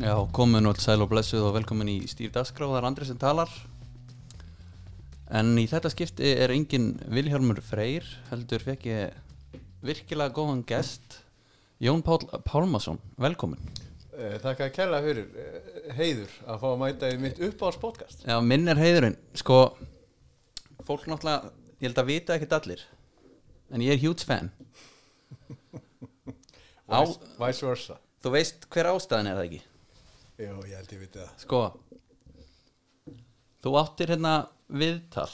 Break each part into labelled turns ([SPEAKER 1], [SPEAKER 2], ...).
[SPEAKER 1] Já, komin og sæl og blessuð og velkomin í Stýr Dasgrá, það er Andri sem talar En í þetta skipti er engin Vilhjálmur Freyr heldur fekk ég virkilega góðan gest Jón Pál Pálmason, velkomin
[SPEAKER 2] Eh, Þakka að kella fyrir eh, heiður að fá að mæta í mitt uppáðs podcast
[SPEAKER 1] Já, minn er heiðurinn, sko fólk náttúrulega, ég held að vita ekkert allir en ég er huge fan Á,
[SPEAKER 2] Vice- Vice versa
[SPEAKER 1] þú veist hver ástæðan er það ekki?
[SPEAKER 2] Jó, ég held ég viti það
[SPEAKER 1] Sko Þú áttir hérna viðtal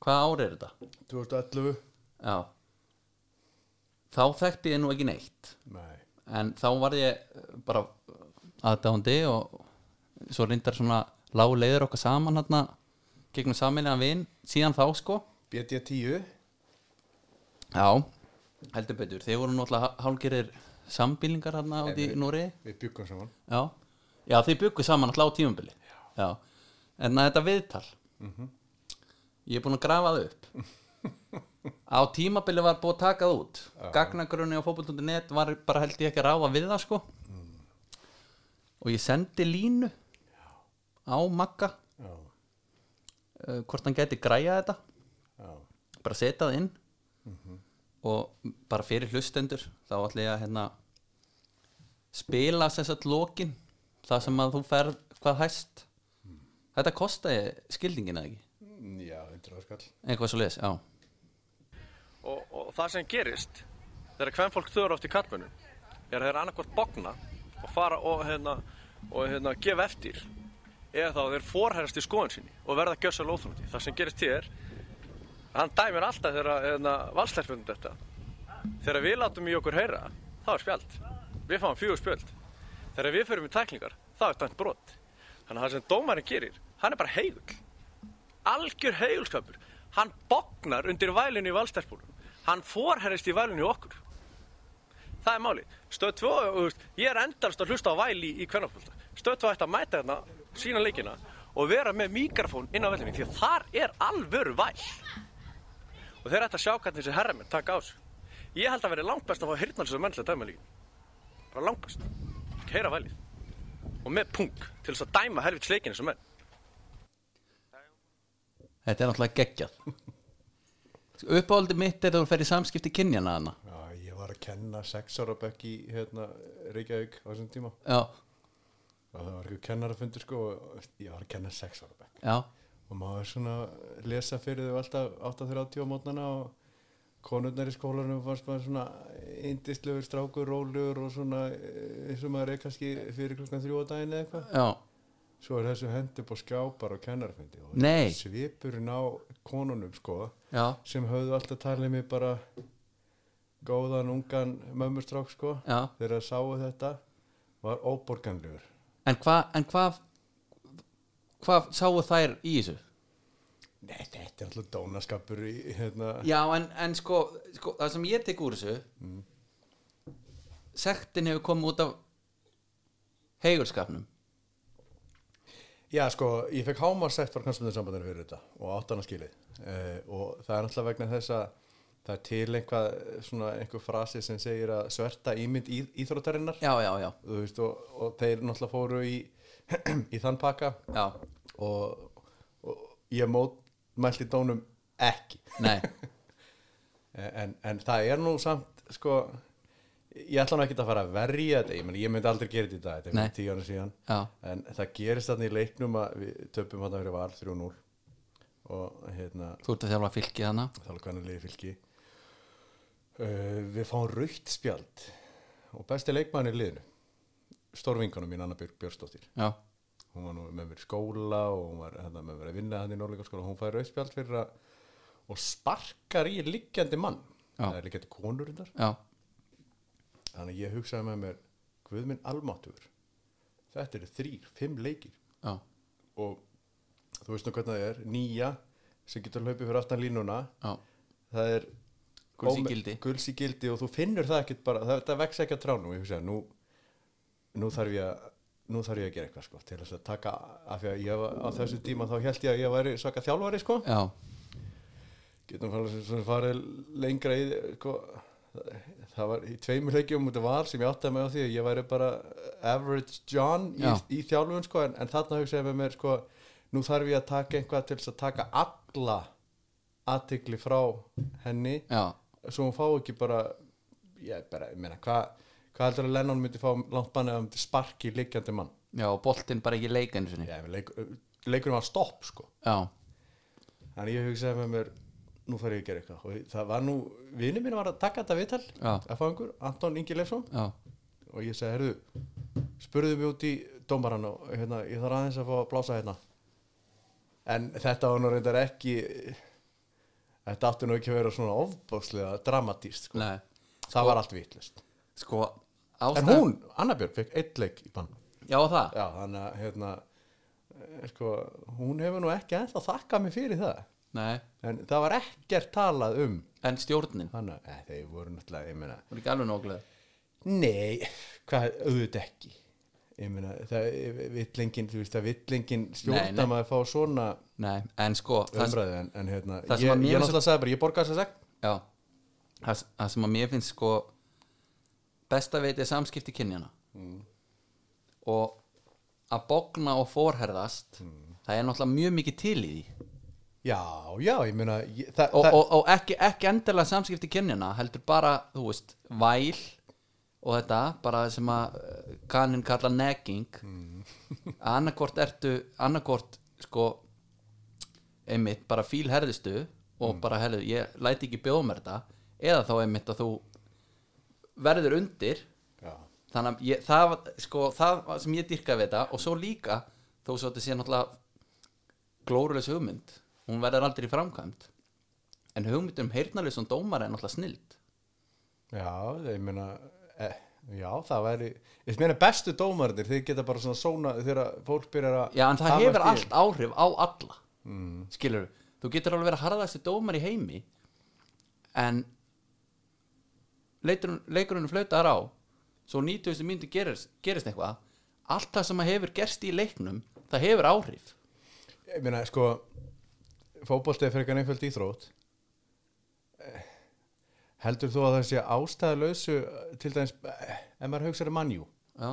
[SPEAKER 1] Hvað ári er þetta?
[SPEAKER 2] 2011
[SPEAKER 1] Já Þá þekkti ég nú ekki neitt
[SPEAKER 2] Nei
[SPEAKER 1] En þá var ég eh, bara aðdándi og svo reyndar svona lágu leiður okkar saman hérna gegnum saminlega vin síðan þá sko
[SPEAKER 2] BD10
[SPEAKER 1] Já, heldur betur Þeir voru náttúrulega hálgerir sambýlingar hérna út í Núri
[SPEAKER 2] Við byggum saman
[SPEAKER 1] Já, já þið byggu saman alltaf á tímumbili já. En að þetta viðtal Ég er búin að grafa það upp Á tímabili var búið að taka það út Gagnagrunni á fótboll.net var bara held ég ekki að ráfa við það sko Og ég sendi línu á Magga
[SPEAKER 2] Já,
[SPEAKER 1] uh, hvort hann gæti græja þetta
[SPEAKER 2] já,
[SPEAKER 1] bara setja það inn og bara fyrir hlustendur þá ætla ég að hérna spila sem sagt lokin það sem að þú ferð hvað hæst þetta kostaði skildingina ekki
[SPEAKER 2] Mm, já, hundrað skall
[SPEAKER 1] eitthvað svo leis, já
[SPEAKER 3] og, og það sem gerist þegar kvennfólk þurra oft í kallmönnum er að þeir annarkvort bogna og fara og hérna og hérna gefa eftir eða þá þeir forherrast í skoðun sinni og verða gjössal óþrúti það sem gerist hér hann dæmir alltaf þegar hérna, valsleirfundum þetta þegar við látum í okkur heyra þá er spjald við fáum fjögur spjöld þegar við förum í tæklingar þá er dæmt brot þannig að það sem dómarinn gerir hann er bara heigull algjör heigulskapur hann bognar undir vælinu í valstærspólunum hann forherrist í vælinu í okkur það er máli stöð 2, og, þú veist, ég er endalst að hlusta á væli í kvennafólta stöð 2 ætti að mæta hérna sína leikina og vera með mikrofón inn á vellinu því að þar er alvöru væl og þeir ætti að sjá hvernig þessi herramenn taka á sig ég held að veri langt best að fá hirtnalsið menn til að dæma líkin bara langt best heyra vælið og með punk til þess að dæma helvits leikinu sem menn
[SPEAKER 1] þetta er náttúrulega geggjað uppáhaldi mitt er þegar þú fer í samskipti kynjana hana
[SPEAKER 2] Já, ég var að kenna sex ára bekk í hérna, Reykjavík á þessum tíma
[SPEAKER 1] já,
[SPEAKER 2] og það var eitthvað kennarafundur sko og ég var að kenna sex ára bekk
[SPEAKER 1] já,
[SPEAKER 2] og maður svona lesa fyrir þau alltaf 8.30 á mótnana og konurnar í skólanum fannst maður svona indislegur, strákur, rólegur og svona eh, eins og maður er kannski fyrir klokkan þrjú á daginn eða eitthvað
[SPEAKER 1] já
[SPEAKER 2] svo er þessu hend upp á skjápar og kennarfindi og
[SPEAKER 1] Nei.
[SPEAKER 2] svipurinn á konunum sko
[SPEAKER 1] já,
[SPEAKER 2] sem höfðu alltaf talið mig bara góðan ungan mömmustrák sko
[SPEAKER 1] já
[SPEAKER 2] þegar það sáu þetta var óborganlegur
[SPEAKER 1] en hvað en hvað hvað sáu þær í þessu?
[SPEAKER 2] Nei, þetta er alltaf dónaskapur í hérna
[SPEAKER 1] Já, en, en sko, sko, það sem ég tek úr þessu
[SPEAKER 2] Mm.
[SPEAKER 1] Sektin hefur komið út af Heigurskapnum
[SPEAKER 2] Já, sko, ég fekk hámarsætt frá knallstundasambandinu fyrir þetta og áttan að skilið uh, og það er alltaf vegna þess að það er til einhvað, eh, svona einhver frasi sem segir að sverta ímynd í, íþróttarinnar
[SPEAKER 1] Já, já, já,
[SPEAKER 2] þú veist, og, og þeir náttúrulega fóru í, í þann pakka
[SPEAKER 1] já,
[SPEAKER 2] og, og ég mót mælti dónum ekki
[SPEAKER 1] nei
[SPEAKER 2] Eh, en, en það er nú samt, sko ég ætla nú ekki að fara að verja þetta ég, meni, ég myndi aldrei gera þetta í dag, þetta er
[SPEAKER 1] Nei.
[SPEAKER 2] fyrir tíu ára síðan
[SPEAKER 1] Já,
[SPEAKER 2] en það gerist þarna í leiknum að við töpum hann fyrir val 3-0 og hérna
[SPEAKER 1] þú ert að þjálfa fylkið hana
[SPEAKER 2] þá er hvernig liði fylki uh, við fáum raukt spjald og besti leikmann í liðinu stórvingunum mín Anna Björg Björnsdóttir
[SPEAKER 1] Já,
[SPEAKER 2] hún var nú með mér í skóla og hún var hérna, með mér að vinna hann í Norrleikaskóla hún fær raukt spjald fyrir að og sparkar í liggjandi mann
[SPEAKER 1] Já.
[SPEAKER 2] það er liggjandi konur þar
[SPEAKER 1] já,
[SPEAKER 2] þannig að ég hugsaði með mér Guðminn Almáttur þetta eru þrýr, fimm leikir
[SPEAKER 1] já,
[SPEAKER 2] og þú veist nú hvernig það er nýja sem getur hlaupið fyrir aftan línuna
[SPEAKER 1] já
[SPEAKER 2] það er
[SPEAKER 1] Guls í
[SPEAKER 2] óme-
[SPEAKER 1] gildi.
[SPEAKER 2] guls í gildi og þú finnur það ekkert bara það, það vex ekki að tránum ég hugsa nú, nú þarf ég að nú þarf ég að gera eitthvað sko til þess að taka af því að ég var á þessu tíma þá held ég að ég væri svaka þjálfari sko
[SPEAKER 1] Já,
[SPEAKER 2] getum farið, svona farið lengra í sko, það var í tveimur leikjum út af val sem ég áttaði mig á því að ég væri bara average John í,
[SPEAKER 1] Já.
[SPEAKER 2] í þjálfun sko, en, en þarna hugsaði ég með mér sko, nú þarf ég að taka eitthvað til þess að taka alla aðtikli frá henni
[SPEAKER 1] já,
[SPEAKER 2] svo hún fá ekki bara ég bara, ég meina, hvað hvað heldur að Lennon myndi fá langt banni að hann myndi sparki leikjandi mann
[SPEAKER 1] já, og boltinn bara ekki leika einu sinni
[SPEAKER 2] ég, leik, leikurinn var stopp sko
[SPEAKER 1] já,
[SPEAKER 2] Þannig ég hugsaði með mér nú þarf ég að gera eitthvað og það var nú, vinur mín var að taka þetta viðtal
[SPEAKER 1] Já.
[SPEAKER 2] að fá einhver, Anton Ingi Leifsson
[SPEAKER 1] já,
[SPEAKER 2] og ég segi, herðu, spurðu mig út í dómarann og hérna, ég þarf aðeins að fá að blása hérna en þetta var nú reyndar ekki þetta átti nú ekki að vera svona ofbáslega dramatíst sko.
[SPEAKER 1] nei
[SPEAKER 2] það var allt vitlist
[SPEAKER 1] sko,
[SPEAKER 2] en
[SPEAKER 1] ástæðan
[SPEAKER 2] hún, Anna Björn, fekk eitt leik í bann
[SPEAKER 1] já, það,
[SPEAKER 2] já, þannig að hérna, eh, sko, hún hefur nú ekki ennþá þakkað mér fyrir það
[SPEAKER 1] nei,
[SPEAKER 2] en það var ekkert talað um
[SPEAKER 1] en stjórnin
[SPEAKER 2] þannig að eh, þeir voru náttúrulega ég meina,
[SPEAKER 1] hún er ekki alveg nóglega
[SPEAKER 2] nei, hvað, auðvitað ekki ég meina, það villingin, þú veist að villingin
[SPEAKER 1] Nei, nei.
[SPEAKER 2] stjórna maður fá svona
[SPEAKER 1] nei, en sko, það,
[SPEAKER 2] umræði en, en hérna,
[SPEAKER 1] það
[SPEAKER 2] ég,
[SPEAKER 1] sem að mér
[SPEAKER 2] ég
[SPEAKER 1] er
[SPEAKER 2] náttúrulega sagði bara, ég borga þess að segn
[SPEAKER 1] já það, það sem að mér finnst sko besta veit er samskipti kynjana og að bogna og forherðast það er náttúrulega mjög mikið til í því
[SPEAKER 2] já, já, ég meina ég, það,
[SPEAKER 1] og,
[SPEAKER 2] það,
[SPEAKER 1] og, og ekki, ekki endilega samskipti kynjana heldur bara, þú veist, væl og þetta, bara það sem að eh, kaninn kalla negging að annarkvort ertu annarkvort, sko einmitt, bara fílherðistu og bara, herðu, ég læti ekki bjóða mér þetta eða þá einmitt að þú verður undir
[SPEAKER 2] já,
[SPEAKER 1] þannig að ég, það, var- sko, það var sem ég dýrkaði við þetta og svo líka þó svo þetta sé náttúrulega glórulegs hugmynd, hún verður aldrei framkvæmt en hugmynd um heyrnarlausan dómara er náttúrulega snild
[SPEAKER 2] já, ég meina eh, já, það væri ég meina bestu dómarnir, þeir geta bara svona svona þegar fólk byrjar að
[SPEAKER 1] já en það
[SPEAKER 2] hafa
[SPEAKER 1] hefur
[SPEAKER 2] eftir-
[SPEAKER 1] allt áhrif á alla mm. skilur þú getur alveg verið að harðast í dómar í heimi en leikurinn leikurinn flautar á svo 90. myndu gerist, gerist eitthvað allt það sem hefur gerst í leiknum það hefur áhrif
[SPEAKER 2] ég meina sko fótbolti er frekar einföld íþrótt Eh, heldur þú að það sé ástæðalausu eh, til dæmis eh, ef maður hugsaður mannjú
[SPEAKER 1] já,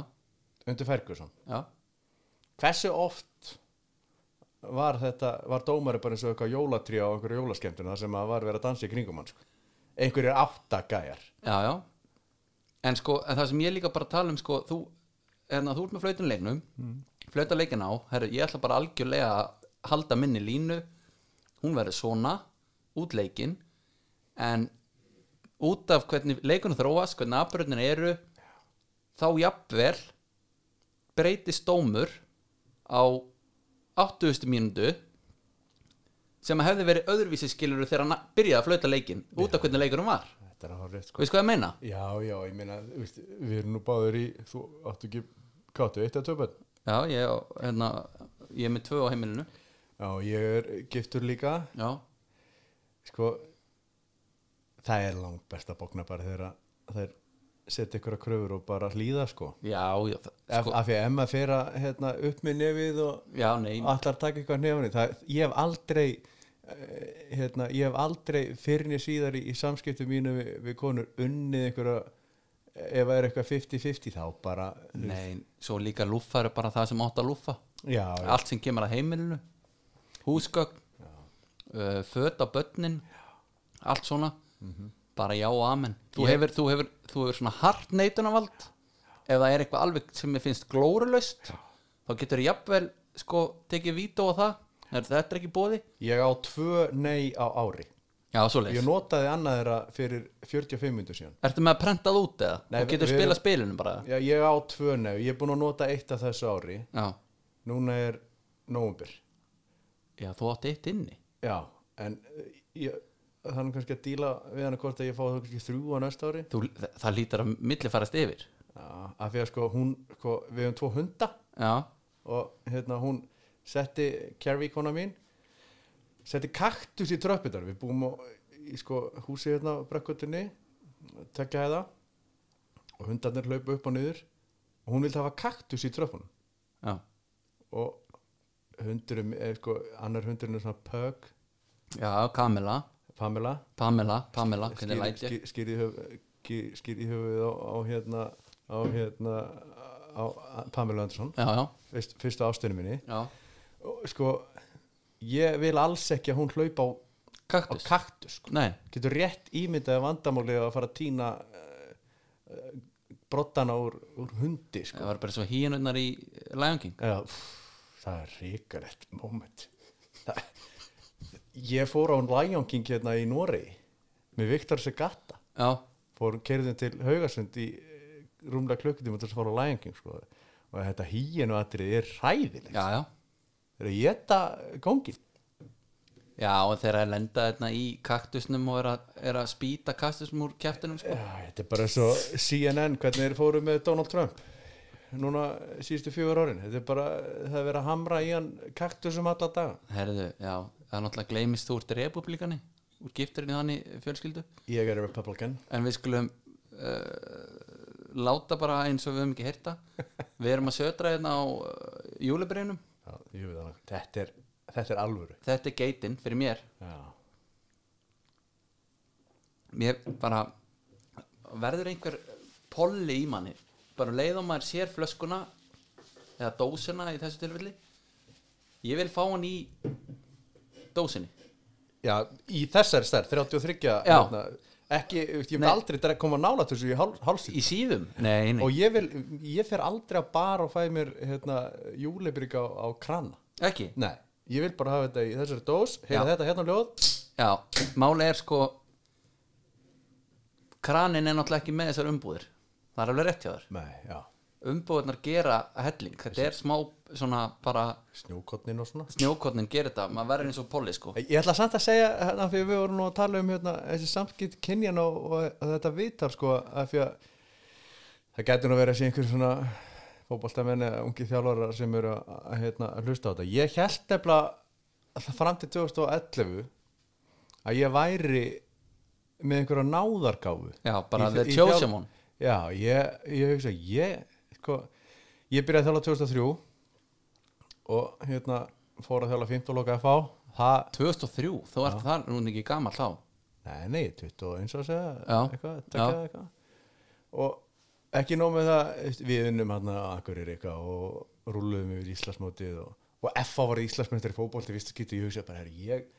[SPEAKER 2] undir Ferguson
[SPEAKER 1] já
[SPEAKER 2] hversu oft var þetta, var dómari bara eins og eitthvað jólatrí á einhverju jólaskemmtun þar sem maður var verið að dansa í kringum hann sko. einhverju áttagæjar
[SPEAKER 1] Já, já En sko, en það sem ég líka bara tala um sko, þú, en að þú ert með flautunleiknum mm. flautarleikin á, herru, ég ætla bara algjörlega að halda minni línu hún verður svona út leikin en út af hvernig leikunum þróast, hvernig afbröðnir eru þá jafnvel breytist dómur á 80. mínútu sem að hefði verið öðruvísi skiluru þegar hann byrjaði að flauta leikin út af hvernig leikurum var
[SPEAKER 2] þetta er að hafa rétt sko
[SPEAKER 1] Sko, veist hvað ég meina?
[SPEAKER 2] já, já, ég meina, þú veist, við erum nú báður í þú áttu ekki, káttu eitt að töpun
[SPEAKER 1] Já, ég, á- hérna, ég er með tvö á heimilinu
[SPEAKER 2] já, ég er giftur líka
[SPEAKER 1] Já,
[SPEAKER 2] sko það er langt best að bókna bara þegar að þeir setja ykkur að kröfur og bara hlýða sko,
[SPEAKER 1] já, já, það-
[SPEAKER 2] sko.
[SPEAKER 1] sko,
[SPEAKER 2] af því að emma fyrir að hérna, upp með nefið og
[SPEAKER 1] já nei
[SPEAKER 2] allar taka eitthvað nefni það, ég hef aldrei eh, hérna, ég hef aldrei fyrirni síðar í, í samskiptum mínu við, við konur unnið einhverja ef það er eitthvað 50-50 þá bara
[SPEAKER 1] Nei, svo líka lúffar er bara það sem átt að lúffa
[SPEAKER 2] já, já,
[SPEAKER 1] Allt sem kemur að heimilinu Húsgögn uh, Föt á börnin Allt svona Bara já og amen Þú
[SPEAKER 2] Mhm. Ég-
[SPEAKER 1] hefur, þú hefur, þú hefur svona hart neitunavald Ef það er eitthvað alveg sem ég finnst glórulaust Þá getur jafnvel sko tekið vító á það Er þetta ekki bóði?
[SPEAKER 2] ég á tvö nei á ári
[SPEAKER 1] Já, svo leys
[SPEAKER 2] ég notaði annað þeirra fyrir 45 minnur síðan
[SPEAKER 1] Ertu með að prentað út eða?
[SPEAKER 2] Nei,
[SPEAKER 1] og getur
[SPEAKER 2] við-
[SPEAKER 1] spilað spilinu bara?
[SPEAKER 2] já, ég á tvö nei, ég er búin að nota eitt af þessu ári
[SPEAKER 1] Já,
[SPEAKER 2] Núna er nóvumbir
[SPEAKER 1] já þú átt eitt inni
[SPEAKER 2] Já, en eh, ég, þannig kannski að díla við hann hvort að ég fá það kannski þrjú á næsta ári
[SPEAKER 1] þú, þa- Það lítur að milli farast yfir
[SPEAKER 2] Já, af því að sko hún, sko, við höfum tvo hunda
[SPEAKER 1] Já,
[SPEAKER 2] og hérna hún setti, Carrie kona mín setti kaktus í tröpputar við búum á, í sko húsi hérna á brekkutinni, tekja hæða og hundarnir hlaupa upp og niður og hún vildi hafa kaktus í tröppunum
[SPEAKER 1] já,
[SPEAKER 2] og hundurum, er, sko, annar hundurinn er svona Pug,
[SPEAKER 1] já Kamila
[SPEAKER 2] Pamela
[SPEAKER 1] Pamela, Pamela, hvernig læt ég
[SPEAKER 2] skýrði skýr, skýr í höfuð á, á hérna á hérna á á Pamela Anderson
[SPEAKER 1] já, já,
[SPEAKER 2] fyrst, fyrstu ástinu minni
[SPEAKER 1] já
[SPEAKER 2] Og, sko, ég vil alls ekki að hún hlaupa á, á
[SPEAKER 1] kaktus,
[SPEAKER 2] kaktus sko.
[SPEAKER 1] nei,
[SPEAKER 2] getur rétt ímyndað vandamálið að fara að týna uh, uh, brottana úr, úr hundi sko.
[SPEAKER 1] það var bara svo hínunnar í Lion King
[SPEAKER 2] Já, pff, það er ríkarlegt moment Það- Ég fór á Lion King hérna í Noregi með Viktor Segata
[SPEAKER 1] já,
[SPEAKER 2] fór kerðin til Haugasund í eh, rúmlega klukkutíma til þess að fara á Lion King sko. og þetta hýjenu atrið er hræðilegt
[SPEAKER 1] já, já
[SPEAKER 2] þeir eru að geta góngin
[SPEAKER 1] Já, og þegar að lenda þarna í kaktusnum og er að, er að spýta kaktusnum úr kjæftinum sko.
[SPEAKER 2] Þetta er bara svo CNN hvernig þeir fóru með Donald Trump núna síðustu fjögur árin þetta er bara, það er verið að hamra í hann kaktusum alla daga
[SPEAKER 1] Herðu, já, það er náttúrulega gleymist þú ert republikani úr gifturinn þannig fjölskyldu
[SPEAKER 2] Ég er Republican
[SPEAKER 1] en við skulum uh, láta bara eins og við höfum ekki hérta við erum að södra hérna á uh, júlibreinum
[SPEAKER 2] Já, ég veit það. Þetta er, þetta er alvöru.
[SPEAKER 1] þetta er geitin fyrir mér
[SPEAKER 2] Já.
[SPEAKER 1] mér bara verður einhver polli í manni bara um leið og maður sér flöskuna eða dósuna í þessu tilfelli ég vil fá hann í dósinni
[SPEAKER 2] Já, í þessari stærð, 33,
[SPEAKER 1] Já.
[SPEAKER 2] hérna, ekki, ég veit, ég vil
[SPEAKER 1] Nei.
[SPEAKER 2] aldrei dre- koma nála þessu í hál, hálsíð.
[SPEAKER 1] í síðum nei, nei.
[SPEAKER 2] Og ég vil, ég fer aldrei að bara og fæ mér, hérna, júlebrygg á, á krana.
[SPEAKER 1] ekki
[SPEAKER 2] Nei, ég vil bara hafa þetta í þessari dós, heyra
[SPEAKER 1] Já.
[SPEAKER 2] þetta hérna ljóð.
[SPEAKER 1] já, máli er sko kranin er náttúrulega ekki með þessar umbúðir það er alveg rétt hjá þér
[SPEAKER 2] Nei, já,
[SPEAKER 1] umbúðirnar gera helling þetta er smá svona bara
[SPEAKER 2] snjókotnin og svona.
[SPEAKER 1] snjókotnin gerir þetta, maður verður eins og polli sko
[SPEAKER 2] Ég ætla samt að segja, hérna, fyrir við vorum nú að tala um hérna, þessi samskipt kynjan og, og þetta vitar, sko, að því að það getur nú verið að sé einhver svona fótboltamenn eða ungi þjálfarar sem eru að, að, hérna, að hlusta á þetta. Ég held nefnilega að fram til 2011 að ég væri með einhverja náðargáfu.
[SPEAKER 1] já, bara
[SPEAKER 2] Í-
[SPEAKER 1] the
[SPEAKER 2] í
[SPEAKER 1] chosen
[SPEAKER 2] þjál-
[SPEAKER 1] one
[SPEAKER 2] Já, ég, ég hugsa, ég, sko, ég byrjaði að þjála 2003 og hérna fór að þjála 15 loka FH. Það
[SPEAKER 1] 2003, þá ert það nú ekki gamall þá
[SPEAKER 2] Nei, nei, 21 og segja
[SPEAKER 1] Já,
[SPEAKER 2] eitthvað,
[SPEAKER 1] já.
[SPEAKER 2] taka eitthvað og ekki nóg með það veist, við unnum hann að Akurir eitthvað og rúluðum yfir Íslandsmótið og, og FA var Íslandsmyndar í fótbolti fyrst skýttu ég hugsa bara, herri, ég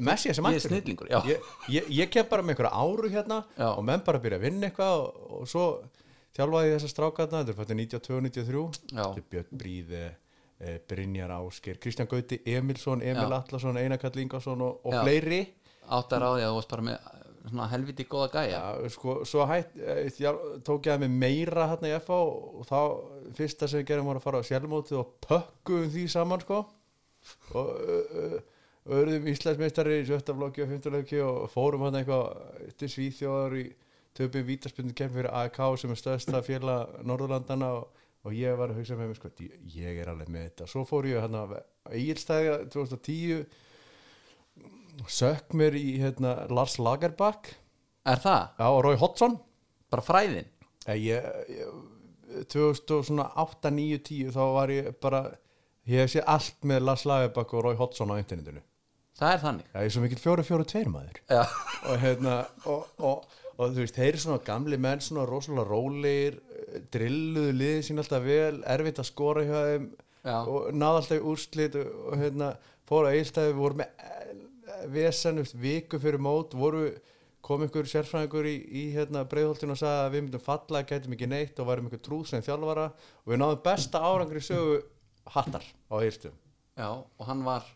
[SPEAKER 2] Messi er sem
[SPEAKER 1] Ég er snillingur, já.
[SPEAKER 2] ég, ég, ég kem bara með einhverja áru hérna
[SPEAKER 1] Já.
[SPEAKER 2] og menn bara byrja að vinna eitthvað og, og svo þjálfaði ég þessa strákarna þetta er fættið 92-93
[SPEAKER 1] Já.
[SPEAKER 2] þetta er Björn Bríði eh, Brynjar Ásker, Kristján Gauti Emilsson, Emil
[SPEAKER 1] Já.
[SPEAKER 2] Atlason, Einar Kall Ingarsson og, og
[SPEAKER 1] Já.
[SPEAKER 2] fleiri
[SPEAKER 1] áttar á því að þú varst bara með uh, svona helviti góða gæja
[SPEAKER 2] Já, sko, svo hætt, eh, ég tók ég að mig meira hérna í FH og þá fyrsta sem við gerum var að fara á sjálfmótið og pökkuðum því saman, sko og uh, uh, öðrum Íslandsmeistari í sjöttaflokki og fymtaflokki og fórum hann eitthvað til Svíþjóðar í töpum vítaspundin kemur fyrir AK sem er stöðsta félag Norðurlandana og, og ég var að hugsa með mér, sko, "Dí- ég er alveg með þetta svo fór ég hérna að Egilstæðja 2010 sökk mér í hérna, Lars Lagerbakk
[SPEAKER 1] er það,
[SPEAKER 2] Já, og Rói Hodson
[SPEAKER 1] bara fræðin
[SPEAKER 2] Eh, ég, ég, 2008, 9, 10 þá var ég bara ég hef séð allt með Lars Lagerbakk og Rói Hodson á internetinu
[SPEAKER 1] það er þannig
[SPEAKER 2] Já, ég er svo mikill 4-4-2 maður
[SPEAKER 1] já,
[SPEAKER 2] og hérna og, og, og þú veist, þeir eru svona gamli menn svona rosalega rólegir eh, drilluðu liðið sín alltaf vel erfitt að skora hjá þeim
[SPEAKER 1] Já.
[SPEAKER 2] og náða alltaf í úrslit og, og hérna fóra eilstæði, voru með eh, vesen, þú veist, viku fyrir mót voru, kom einhver sérfræðingur í, í hérna breiðholtinu og sagði að við myndum falla, gætum ekki neitt og værum einhver trúð sem þjálfara og við náðum besta árangri í sögu hattar á eilstum
[SPEAKER 1] já, og hann var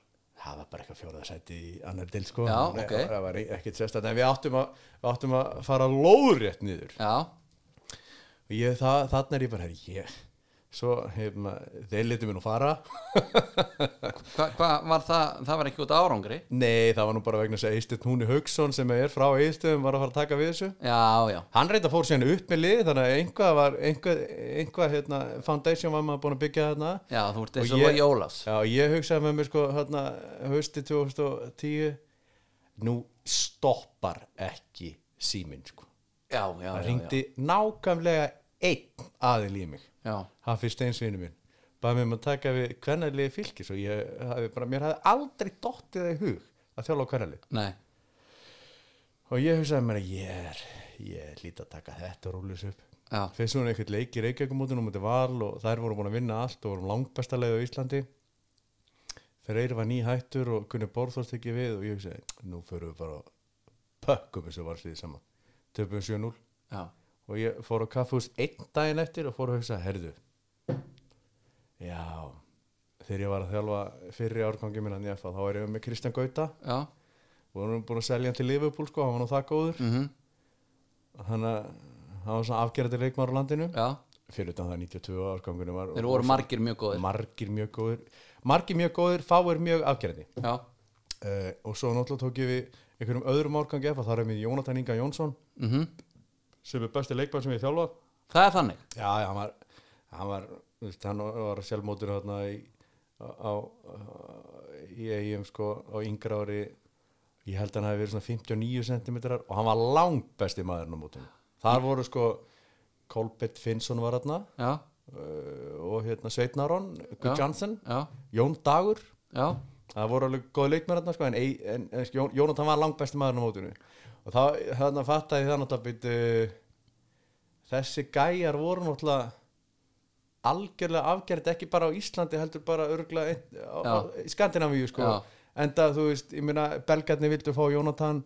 [SPEAKER 2] það var bara eitthvað fjóraða sæti í annar del sko
[SPEAKER 1] Já,
[SPEAKER 2] Nei,
[SPEAKER 1] ok.
[SPEAKER 2] það var ekkert sérstætt en við áttum að, við áttum að fara lóðrétt niður
[SPEAKER 1] já,
[SPEAKER 2] og ég, það, þannig er ég bara herri, ég, svo hefna, þeir letu mér nú fara
[SPEAKER 1] hvað hva var það það var ekki út af árangri
[SPEAKER 2] nei, það var nú bara vegna þess að Eistet Núni Haugsson sem er frá Eistum var að fara að taka við þessu
[SPEAKER 1] já, já,
[SPEAKER 2] hann reynda fór síðan upp með lið þannig að einhvað var einhvað, einhvað hérna, foundation var maður búin að byggja þarna
[SPEAKER 1] já, þú ert
[SPEAKER 2] Og
[SPEAKER 1] eins og Lói
[SPEAKER 2] ég-
[SPEAKER 1] Ólafs
[SPEAKER 2] Já, ég hugsaði með mér sko hérna hausti 2010 nú stoppar ekki síminn sko
[SPEAKER 1] já, já,
[SPEAKER 2] það
[SPEAKER 1] já, já,
[SPEAKER 2] ringdi nákvæmlega einn aðil í mig
[SPEAKER 1] já.
[SPEAKER 2] hann fyrst einsvinu minn bara með maður að taka við kvennarlið fylgis og ég hafi bara, mér hafi aldrei dottið það í hug að þjála á kvennarlið
[SPEAKER 1] nei,
[SPEAKER 2] og ég hugsaði mér að ég er ég líti að taka þetta og rúlis upp
[SPEAKER 1] Já.
[SPEAKER 2] fyrst hún einhvern leik í Reykjavíkumótinu og mútið val og þær voru búin að vinna allt og vorum langbesta leið á Íslandi Freyr var nýhættur og kunni Borþórst ekki við og ég hugsaði nú förum við bara að pökkum þessu varslið saman töpum 7-0
[SPEAKER 1] já,
[SPEAKER 2] og ég fór á kaffús einn daginn eftir og fór að hugsa herðu já þegar ég var að þjálfa fyrri árgangi minna nýjafa þá er ég með Kristján Gauta
[SPEAKER 1] já,
[SPEAKER 2] og hann var búin að selja hann til Liverpool sko, hann var nú það góður
[SPEAKER 1] mm
[SPEAKER 2] hann að- hann var svona afgerðandi leikmar á landinu
[SPEAKER 1] já
[SPEAKER 2] fyrir utan það 92 árgangunum var
[SPEAKER 1] þeir voru margir mjög góðir
[SPEAKER 2] margir mjög góður margir mjög góður, fáir mjög afgerðandi
[SPEAKER 1] já,
[SPEAKER 2] uh, og svo náttúrulega tók ég við einhverjum öðrum árgangi efa, þar er mér Jónatan Inga Jónsson
[SPEAKER 1] mm
[SPEAKER 2] sem er besti leikmar sem ég þjálfa
[SPEAKER 1] það er þannig
[SPEAKER 2] já, já, hann var hann var, þú veist, hann var sjálfmótur þarna í á, á- í eigum sko á yngra ári ég held að hann hafi verið svona 59 cm og hann var langt besti maðurinn á mótum þar voru sko Kolbett Finnsson var þarna
[SPEAKER 1] já,
[SPEAKER 2] uh, og hérna Sveitnaron,
[SPEAKER 1] Já.
[SPEAKER 2] Gudjansson
[SPEAKER 1] já,
[SPEAKER 2] Jón Dagur
[SPEAKER 1] já,
[SPEAKER 2] það voru alveg góð leikmenn hérna sko, en, ei- en, en sko, Jón- Jónatan var langt besti maðurinn á mótinu og þá hérna fattaði ég það náttúrulega byrju, þessi gæjar voru náttúrulega algjörlega afgerð ekki bara á Íslandi heldur bara örgla í Skandinavíu sko
[SPEAKER 1] Já.
[SPEAKER 2] enda þú veist, ég meina belgarnir vildu fá Jónatan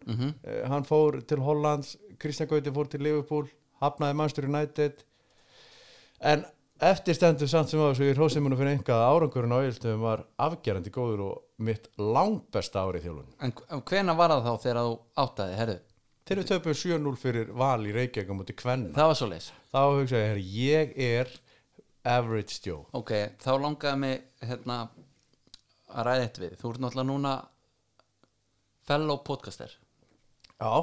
[SPEAKER 2] eh, hann fór til Hollands Kristján Gauti fór til Liverpool hafnaði Manchester United En eftir stendur samt sem á þessu í hrósimunu fyrir einhvað árangurinn á Egilstöðum var afgerandi góður og mitt langbesta ári í þjálfunni.
[SPEAKER 1] en hvena var það þá þegar þú áttaði, herðu,
[SPEAKER 2] Þegar við töpum 7-0 fyrir val í Reykjavík á móti kvenna,
[SPEAKER 1] það var svo leys
[SPEAKER 2] þá hugsaði ég, herri, ég er average Joe.
[SPEAKER 1] ok, þá langaði mig hérna að ræða eitt við, þú ert náttúrulega núna fellow podcaster
[SPEAKER 2] Já,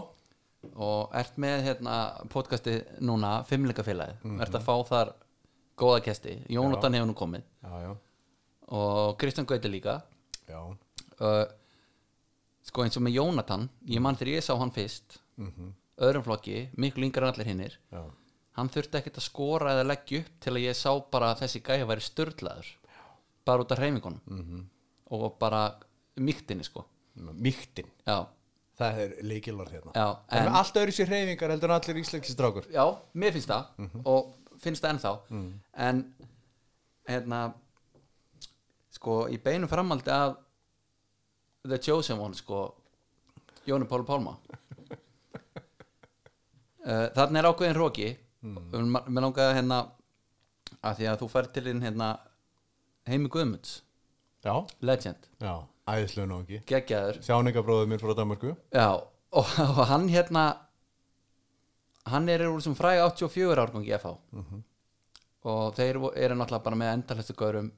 [SPEAKER 1] og ert með hérna podcasti núna, fimmleikafélagið ert að fá þar góða kesti Jónatan hefur nú komið
[SPEAKER 2] já, já,
[SPEAKER 1] og Kristján Gauti líka
[SPEAKER 2] já,
[SPEAKER 1] uh, sko eins og með Jónatan ég mann þegar ég sá hann fyrst öðrum flokki, miklu yngri en allir hinnir
[SPEAKER 2] já,
[SPEAKER 1] hann þurfti ekkert að skora eða leggja upp til að ég sá bara að þessi gæja væri störlaður bara út af hreyfingunum -hmm. og bara mýktinni sko
[SPEAKER 2] mýktin.
[SPEAKER 1] já,
[SPEAKER 2] Það er leikilvar hérna.
[SPEAKER 1] já,
[SPEAKER 2] Það er
[SPEAKER 1] en,
[SPEAKER 2] með allt öðru sér reyfingar heldur en allir íslenski strákur.
[SPEAKER 1] já mér finnst það og finnst það ennþá en hérna sko í beinum framaldi að The Chosen One sko Jóni Pálu Pálma uh, þarna er ákveðin róki mm. mér langaði hérna að því að þú fær til þín hérna heimi Guðmunds
[SPEAKER 2] Já,
[SPEAKER 1] legend,
[SPEAKER 2] já, æðislega nú ekki.
[SPEAKER 1] geggjaður
[SPEAKER 2] Sjáningabróður minn frá Danmarku.
[SPEAKER 1] já, og, og hann hérna hann er úr sem fræg 84 árgangi FH og þeir vo- eru náttúrulega bara með endalhestu gaurum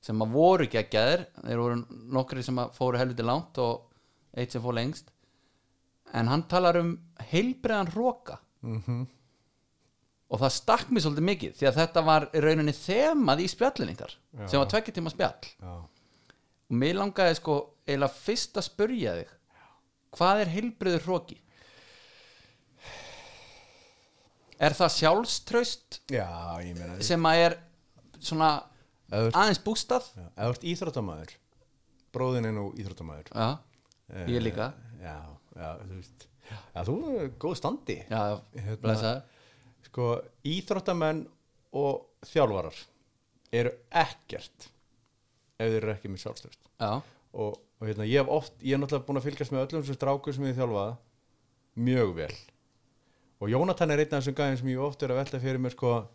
[SPEAKER 1] sem að voru geggjaður þeir voru nokkri sem að fóru helviti langt og eitt sem fór lengst en hann talar um heilbreðan hróka og það stakk mér svolítið mikið því að þetta var í rauninni þemað í spjallin ykkar
[SPEAKER 2] Já.
[SPEAKER 1] sem var tvekkja tíma spjall
[SPEAKER 2] Já,
[SPEAKER 1] og mér langaði sko eiginlega fyrst að spurja þig hvað er heilbriður hróki? Er það sjálfströst
[SPEAKER 2] já, ég meina,
[SPEAKER 1] sem að er svona
[SPEAKER 2] Ef þú ert-
[SPEAKER 1] aðeins bústað?
[SPEAKER 2] já, ef þú ert íþróttamæður, bróðin er nú íþróttamæður.
[SPEAKER 1] Já,
[SPEAKER 2] Eh,
[SPEAKER 1] ég líka
[SPEAKER 2] já, já, þú veist já, þú er góð standi
[SPEAKER 1] Já,
[SPEAKER 2] Hérna-
[SPEAKER 1] blessaður
[SPEAKER 2] sko, íþróttamenn og þjálfarar eru ekkert ef þeir eru ekki með sjálfstöðust
[SPEAKER 1] Já,
[SPEAKER 2] og, og hérna, ég hef oft, ég er náttúrulega búin að fylgjast með öllum sem strákur sem ég þjálfa mjög vel og Jónatan er einn af þessum gæðin sem ég oft er að velta fyrir mér sko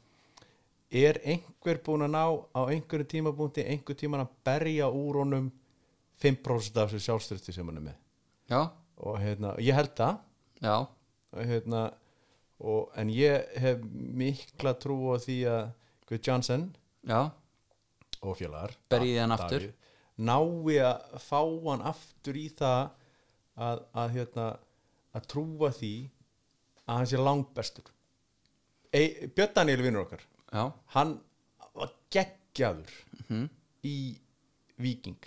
[SPEAKER 2] er einhver búin að ná á einhverju tímabúnti einhver tíman að berja úr honum 5% af þessu sjálfstöðusti sem hann er með
[SPEAKER 1] já,
[SPEAKER 2] og hérna, ég held það
[SPEAKER 1] já
[SPEAKER 2] og hérna, og, en ég hef mikla trú á því að Guð Johnson
[SPEAKER 1] Já,
[SPEAKER 2] og fjölar
[SPEAKER 1] Berjiði hann aftur.
[SPEAKER 2] nái að fá hann aftur í það að, að, hérna, að trúa því að hann sé langbestur e, Björn Daniel vinnur okkar
[SPEAKER 1] já,
[SPEAKER 2] hann var geggjaður
[SPEAKER 1] Mhm.
[SPEAKER 2] í Viking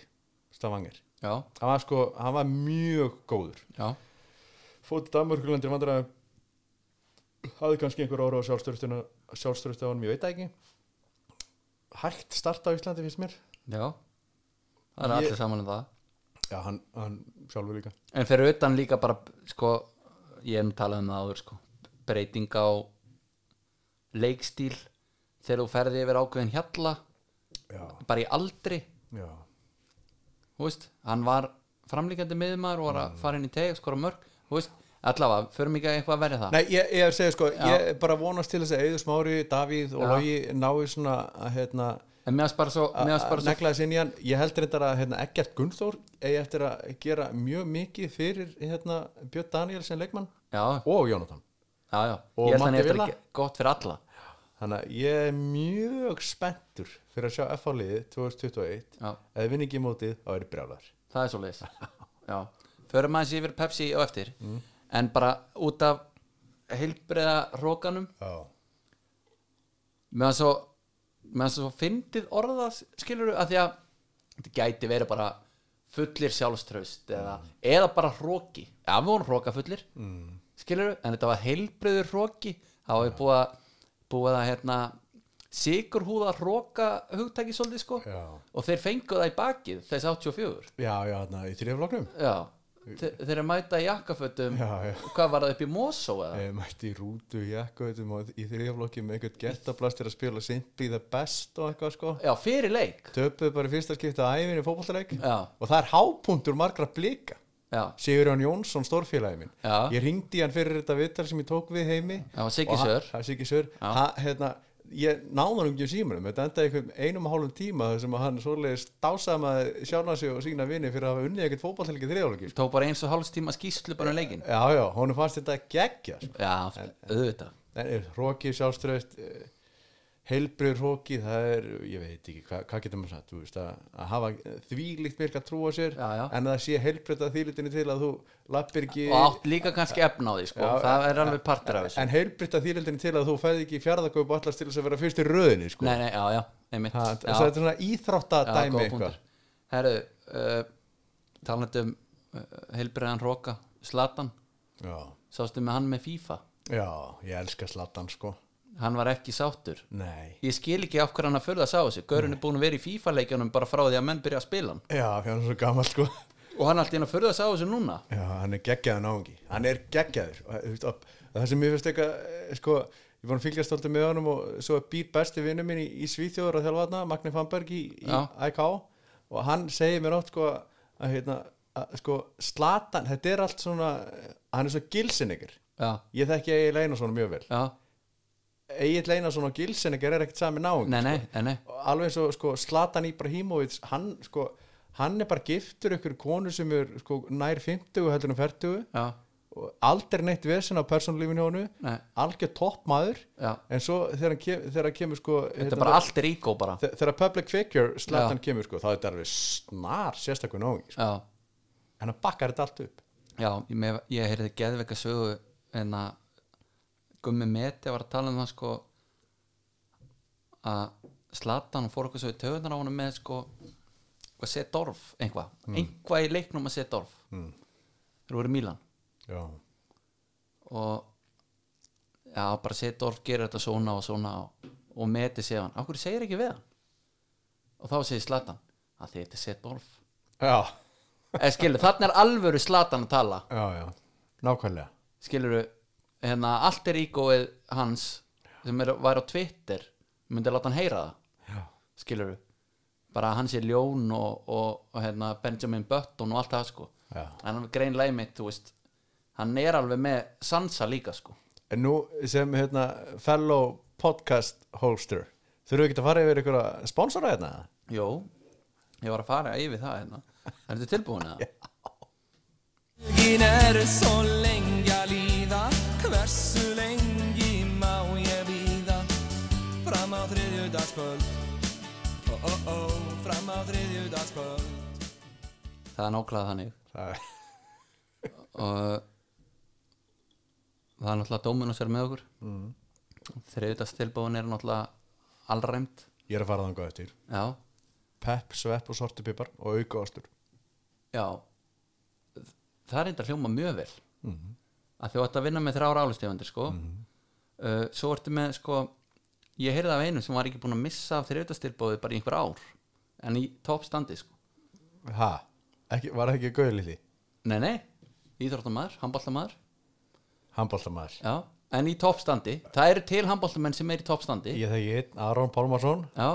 [SPEAKER 2] Stavanger
[SPEAKER 1] já,
[SPEAKER 2] hann var, sko, hann var mjög góður
[SPEAKER 1] já
[SPEAKER 2] fótið Danmörkulandir vandræðum hafði kannski einhver ára á sjálfstörstuna sjálfstörstu á honum, ég veit það ekki hægt starta á Íslandi finnst mér
[SPEAKER 1] Já, það er
[SPEAKER 2] Ég-
[SPEAKER 1] allir saman um það
[SPEAKER 2] já, hann, hann sjálfur líka
[SPEAKER 1] En fyrir utan líka bara sko ég hef nú talað um það áður sko breyting á leikstíl þegar þú ferði yfir ákveðin hjalla
[SPEAKER 2] já,
[SPEAKER 1] bara í aldri,
[SPEAKER 2] já,
[SPEAKER 1] þú veist hann var framlíkandi miðmaður og var
[SPEAKER 2] Mm.
[SPEAKER 1] að fara inn í teg, skora mörg, þú veist allavega, förum ekki að eitthvað að verja það
[SPEAKER 2] Nei, ég, ég er að segja sko, ég bara vonast til þess að Eður Smári, Davíð og
[SPEAKER 1] Já.
[SPEAKER 2] Lógi náu svona að hérna
[SPEAKER 1] en mér varst bara svo, mér varst
[SPEAKER 2] að
[SPEAKER 1] bara svo
[SPEAKER 2] negla þess inn í hann ég heldur þetta að hérna, Eggert Gunnþór eigi eftir að gera mjög mikið fyrir hérna, Björn Danielsen leikmann
[SPEAKER 1] já,
[SPEAKER 2] og Jónatan
[SPEAKER 1] já, já,
[SPEAKER 2] Og
[SPEAKER 1] ég held hann
[SPEAKER 2] Matti
[SPEAKER 1] eftir
[SPEAKER 2] Villa?
[SPEAKER 1] að ge- gott fyrir alla
[SPEAKER 2] þannig að ég er mjög spenntur fyrir að sjá FH-liðið 2021
[SPEAKER 1] Já.
[SPEAKER 2] eða vinn ekki mótið þá er brjálar
[SPEAKER 1] það er svo leiðis já, förum aðeins yfir Pepsi og eftir
[SPEAKER 2] Mm.
[SPEAKER 1] en bara út af heilbreiða rókanum
[SPEAKER 2] Já.
[SPEAKER 1] meðan svo meðan svo fyndið orða skilur að því að þetta gæti verið bara fullir sjálfstraust eða, eða bara hróki já við vorum hróka fullir mm. skilur en þetta var heilbreiður hróki þá hefur búið að búið að hérna sigurhúða hróka hugtæki svolítið sko
[SPEAKER 2] Já.
[SPEAKER 1] og þeir fengu það í bakið þess 84
[SPEAKER 2] já, já, þarna í þrjöfloknum
[SPEAKER 1] Já, þe- þeir eru að mæta í jakkafötum
[SPEAKER 2] Já, já.
[SPEAKER 1] Hvað var það upp í Mosó eða?
[SPEAKER 2] Ég Eh, mætti í rútu í ekkoðum og í þrjöflokki með einhvern gettablast er að spila Simply the Best og eitthvað sko
[SPEAKER 1] Já, fyrir leik
[SPEAKER 2] töpuðu bara í fyrsta skipta að æfinni fótballtaleik
[SPEAKER 1] Já.
[SPEAKER 2] og það er hápuntur margra blika
[SPEAKER 1] Já,
[SPEAKER 2] Sigurjón Jónsson, stórfélagi minn
[SPEAKER 1] Já.
[SPEAKER 2] ég ringdi hann fyrir þetta vitar sem ég tók við heimi
[SPEAKER 1] Já, Siggi
[SPEAKER 2] Og hann-
[SPEAKER 1] Sör.
[SPEAKER 2] hann- Siggi Sör Ha- hérna, ég náði hann ekki um símanum þetta endaði einhver einum og hálfum tíma þar sem að hann svoleiðis dásamaði sjálfan sig og sína vini fyrir að hafa unnið ekkert fótballtaleik í þriðjálagi
[SPEAKER 1] tók bara eins og hálfstíma skýslu bara um leikin
[SPEAKER 2] já, já, honum fannst þetta geggja sko.
[SPEAKER 1] Já, auðvitað
[SPEAKER 2] en er hrókið sjálfströðt heilbrið hrókið það er, ég veit ekki, hvað hva getur maður sagt þú veist, að, að hafa þvílíkt myrk að trúa sér,
[SPEAKER 1] Já, já.
[SPEAKER 2] en að það sé heilbrið að þýlitinu til að þú lappir ekki
[SPEAKER 1] Og átt líka kannski efna á því sko
[SPEAKER 2] Já,
[SPEAKER 1] Það er alveg partur af þessu
[SPEAKER 2] en heilbrið að þýlitinu til að þú fæði ekki fjárðagöf allast til þess að vera fyrst í röðinni sko.
[SPEAKER 1] Nei, nei, já, já, einmitt
[SPEAKER 2] ha,
[SPEAKER 1] Já,
[SPEAKER 2] þess að þetta er svona
[SPEAKER 1] já,
[SPEAKER 2] íþróttadæmi
[SPEAKER 1] góð
[SPEAKER 2] eitthvað
[SPEAKER 1] punktur. Herru, uh, talandi um uh, heilbriðan Róka Slatan,
[SPEAKER 2] já,
[SPEAKER 1] sástu með hann með FIFA
[SPEAKER 2] já, ég elska slattan sko
[SPEAKER 1] Hann var ekki sáttur
[SPEAKER 2] nei,
[SPEAKER 1] Ég skil ekki af hverju hann að furða sá þessu Gaurinn er búin að vera í FIFA-leikjunum bara frá því að menn byrja að spila hann
[SPEAKER 2] já, fjárðan svo gammal sko
[SPEAKER 1] og hann allt í hann að furða sig á þessu núna
[SPEAKER 2] Já, hann er geggjaður náungi Hann er geggjaður Og, þú veist, og Það sem mér finnst eitthvað eh, sko, Ég var að fylgjast alltaf með honum og svo er býr besti vinnu minn í, í Svíþjóður að þjálfa þarna Magni Fannberg í, í
[SPEAKER 1] Já.
[SPEAKER 2] IK og hann segir mér átt sko að hérna að, sko slatan, þetta er allt svona hann er svo gilsinningur
[SPEAKER 1] já,
[SPEAKER 2] ég þekki Egil Einarsson mjög vel
[SPEAKER 1] já,
[SPEAKER 2] Egil Einarsson og gilsinningur er ekkert sami náungi
[SPEAKER 1] nei, nei, nei, nei.
[SPEAKER 2] Og alveg svo sko Slatan Ibrahimovic hann sko hann er bara giftur ykkur konu sem er sko nær 50 heldur en 40
[SPEAKER 1] já,
[SPEAKER 2] og aldrei neitt vesen á persónulífinu honu
[SPEAKER 1] Nei.
[SPEAKER 2] algjör toppmaður
[SPEAKER 1] Já.
[SPEAKER 2] en svo þegar hann kem, þegar hann kemur sko
[SPEAKER 1] þetta er
[SPEAKER 2] hérna,
[SPEAKER 1] bara allt er ígó bara
[SPEAKER 2] þe- þegar public figure slatan kemur sko þá er þetta alveg snar sérstakun áhengi sko.
[SPEAKER 1] já,
[SPEAKER 2] en hann bakkar þetta allt upp
[SPEAKER 1] já, ég, með, ég heyrði geðveika sögu en að Gummi Meti var að tala um það sko að Slatan fór eitthvað svo í töðunar á hann með sko að setja orf, einhvað einhvað í leiknum að setja orf mm. þeir voru í Mílan
[SPEAKER 2] já,
[SPEAKER 1] og já, bara Seedorf gerir þetta svona og svona og, og meti segja hann, okkur segir ekki við hann og þá segir Slatan að því þetta er Seedorf
[SPEAKER 2] já,
[SPEAKER 1] eða skilur, þannig er alvöru Slatan að tala
[SPEAKER 2] já, já. nákvæmlega
[SPEAKER 1] skilur, hérna, allt er ígóið hans sem er, var á Twitter myndi að láta hann heyra það
[SPEAKER 2] já,
[SPEAKER 1] skilur, bara að hann sé ljón og, og, og hérna, Benjamin Button og allt það sko
[SPEAKER 2] Já.
[SPEAKER 1] en hann greinlega mitt, þú veist hann er alveg með sansa líka sko
[SPEAKER 2] en nú sem hérna fellow podcast hoster þurfum við ekki að fara yfir ykkur að sponsora hérna
[SPEAKER 1] Jó, ég var að fara yfir það hérna Er þetta tilbúin eða?
[SPEAKER 4] Daginn er svo lengi að líða Hversu lengi má ég býða Fram á þriðjudagskvöld Ó, ó, ó, fram á þriðjudagskvöld
[SPEAKER 1] Það er nákvæmlega þannig
[SPEAKER 2] Það er-
[SPEAKER 1] og það er náttúrulega Dominos er með okkur mm. er náttúrulega allræmt
[SPEAKER 2] ég er að fara þangar eftir
[SPEAKER 1] Já,
[SPEAKER 2] pepp, svepp og sortipipar og auka ástur
[SPEAKER 1] já Það er enda hljóma mjög vel mm. að þú ætti að vinna með þrjár álustefundir sko uh, Svo ertu með sko ég heyrði af einum sem var ekki búin að missa af þriðutastilbóði bara í einhver ár en í toppstandi sko
[SPEAKER 2] ha, ekki, var það ekki gauðlið því
[SPEAKER 1] Nei, nei, íþróttamæður, handballtamæður
[SPEAKER 2] handbóltamæður
[SPEAKER 1] já, en í toppstandi það eru til handbóltamenn sem er í toppstandi
[SPEAKER 2] Ég þekki einn, Aron Pálmarsson
[SPEAKER 1] já,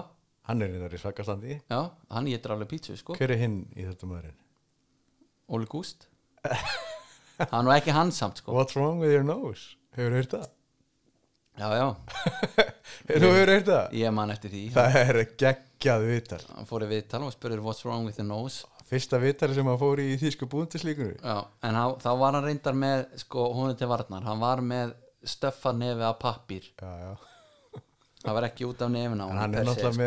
[SPEAKER 2] Hann er innar í svakastandi
[SPEAKER 1] já, hann getur alveg pítsu sko
[SPEAKER 2] Hver er hinn í þetta maðurinn?
[SPEAKER 1] Óli Gúst hann var ekki hans samt sko
[SPEAKER 2] What's wrong with your nose? Hefur þú heyrt það?
[SPEAKER 1] já, já,
[SPEAKER 2] Hefur þú heyrt það?
[SPEAKER 1] ég man eftir því
[SPEAKER 2] Það er geggjað viðtal
[SPEAKER 1] hann fór í viðtal og spurði what's wrong with the nose
[SPEAKER 2] Fyrsta viðtali sem hann fór í í þýsku búndislíkunni
[SPEAKER 1] já, en hann, þá var hann reyndar með sko, hún er til varnar, hann var með stöffa nefi af pappír
[SPEAKER 2] Já, já
[SPEAKER 1] það var ekki út af nefina
[SPEAKER 2] En hann er
[SPEAKER 1] sko.
[SPEAKER 2] náttúrulega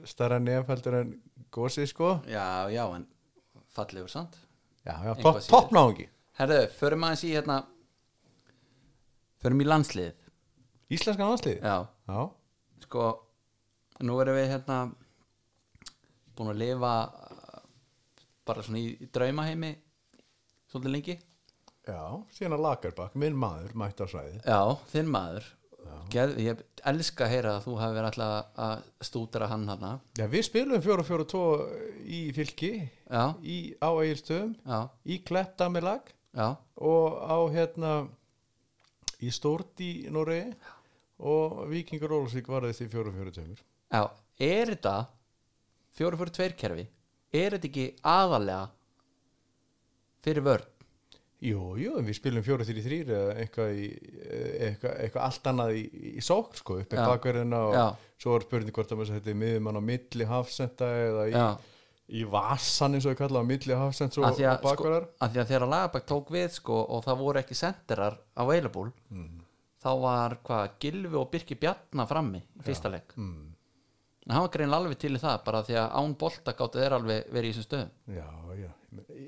[SPEAKER 2] með starra nefnfældur en gósið sko
[SPEAKER 1] já, já, en fallegur sant
[SPEAKER 2] Já, já,
[SPEAKER 1] Eitthvað
[SPEAKER 2] topp
[SPEAKER 1] síður.
[SPEAKER 2] top náðungi
[SPEAKER 1] herðu, förum aðeins í hérna förum í landslið
[SPEAKER 2] Íslenska náðslið
[SPEAKER 1] já,
[SPEAKER 2] já,
[SPEAKER 1] sko nú erum við hérna búin að lifa uh, bara svona í, í draumaheimi svolítið lengi
[SPEAKER 2] já Síðan að Lagerbakk, minn maður, mætt á svæði
[SPEAKER 1] já, þinn maður Geð, ég elska að heyra að þú hafi verið alltaf að stúdra hann hana
[SPEAKER 2] Já, við spilum 4-4-2 í fylki
[SPEAKER 1] já,
[SPEAKER 2] í, á Egilstöðum
[SPEAKER 1] já,
[SPEAKER 2] í Klettamilag
[SPEAKER 1] já,
[SPEAKER 2] og á hérna í Stórt í Noregi og Víkingur Ólfsvík var þessi 4-4 tömur
[SPEAKER 1] já er þetta 442 kerfi er þetta ekki aðalega fyrir vörn
[SPEAKER 2] Jú, jú, en við spilum 4-3-3 eða eitthvað, í, eitthvað, eitthvað allt annað í, í sókn sko, upp í
[SPEAKER 1] Já.
[SPEAKER 2] bakverðina og
[SPEAKER 1] Já.
[SPEAKER 2] svo er spurning hvort að maður þetta er miðumann á milli hafsenda eða í,
[SPEAKER 1] Já.
[SPEAKER 2] í vasan eins og við kallum á milli hafsend og,
[SPEAKER 1] að því
[SPEAKER 2] og
[SPEAKER 1] að, sko,
[SPEAKER 2] bakverðar
[SPEAKER 1] að því að þegar Lagabæk tók við sko, og það voru ekki senderar á Eilabúl
[SPEAKER 2] Mhm.
[SPEAKER 1] þá var hvað Gilvi og Birki Bjarnar frammi í fyrsta leik mm.
[SPEAKER 2] Mhm.
[SPEAKER 1] en hann var grein alveg til í það bara því að án bolta gáttu þeir alveg verið í þessum stöðum
[SPEAKER 2] Já, já,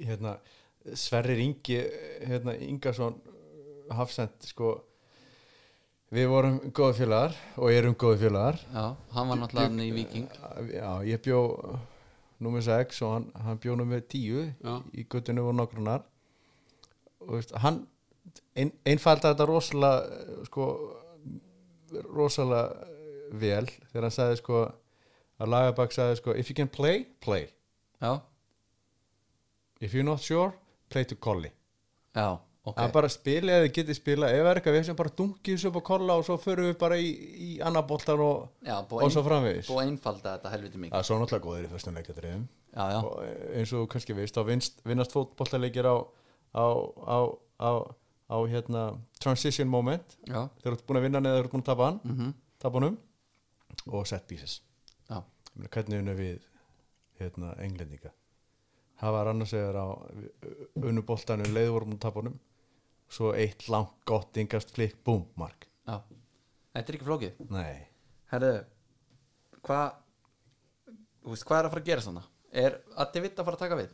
[SPEAKER 2] hérna Sverrir Ingi hérna, Ingarsson hafsend sko við vorum góð félagar og erum góð félagar
[SPEAKER 1] Já, hann var náttúrulega hann í Viking
[SPEAKER 2] Já, ég bjó nummer 6 og hann, hann bjó nummer 10
[SPEAKER 1] Já.
[SPEAKER 2] í guttinu og nokkrunar og veist, hann ein, einfalda þetta rosalega eh, sko rosalega eh, vel þegar hann sagði sko að Lagerbakk sagði sko if you can play, play
[SPEAKER 1] Já,
[SPEAKER 2] if you're not sure, play to collie
[SPEAKER 1] já, ok
[SPEAKER 2] að bara spila eða getið spila ef er eitthvað við sem bara dungið þessu upp á kolla og svo förum við bara í, í annar boltan og,
[SPEAKER 1] Já,
[SPEAKER 2] og svo framvegis
[SPEAKER 1] Búið að einfalda þetta helviti mikið
[SPEAKER 2] það er svo náttúrulega góðir í fyrstum leikjadriðum
[SPEAKER 1] Já, já,
[SPEAKER 2] og eins og þú kannski veist þá vinst, vinnast fótbollaleikir á, á, á, á, á hérna, transition moment
[SPEAKER 1] já, Mhm.
[SPEAKER 2] þegar þú ert búin að vinna neða þú ert búin að tapa hann mm -hmm. tapa honum og set pieces
[SPEAKER 1] já,
[SPEAKER 2] Ég meina, hvernig unna við hérna, englendinga það var annars eða á unnuboltanu leiðvorum og tapunum svo eitt langt gott yngast flikk búm mark
[SPEAKER 1] já Þetta er ekki flókið
[SPEAKER 2] nei
[SPEAKER 1] Herðu, hvað Þú veist, hvað er að fara að gera svona? Er Addi Vitt að fara að taka við?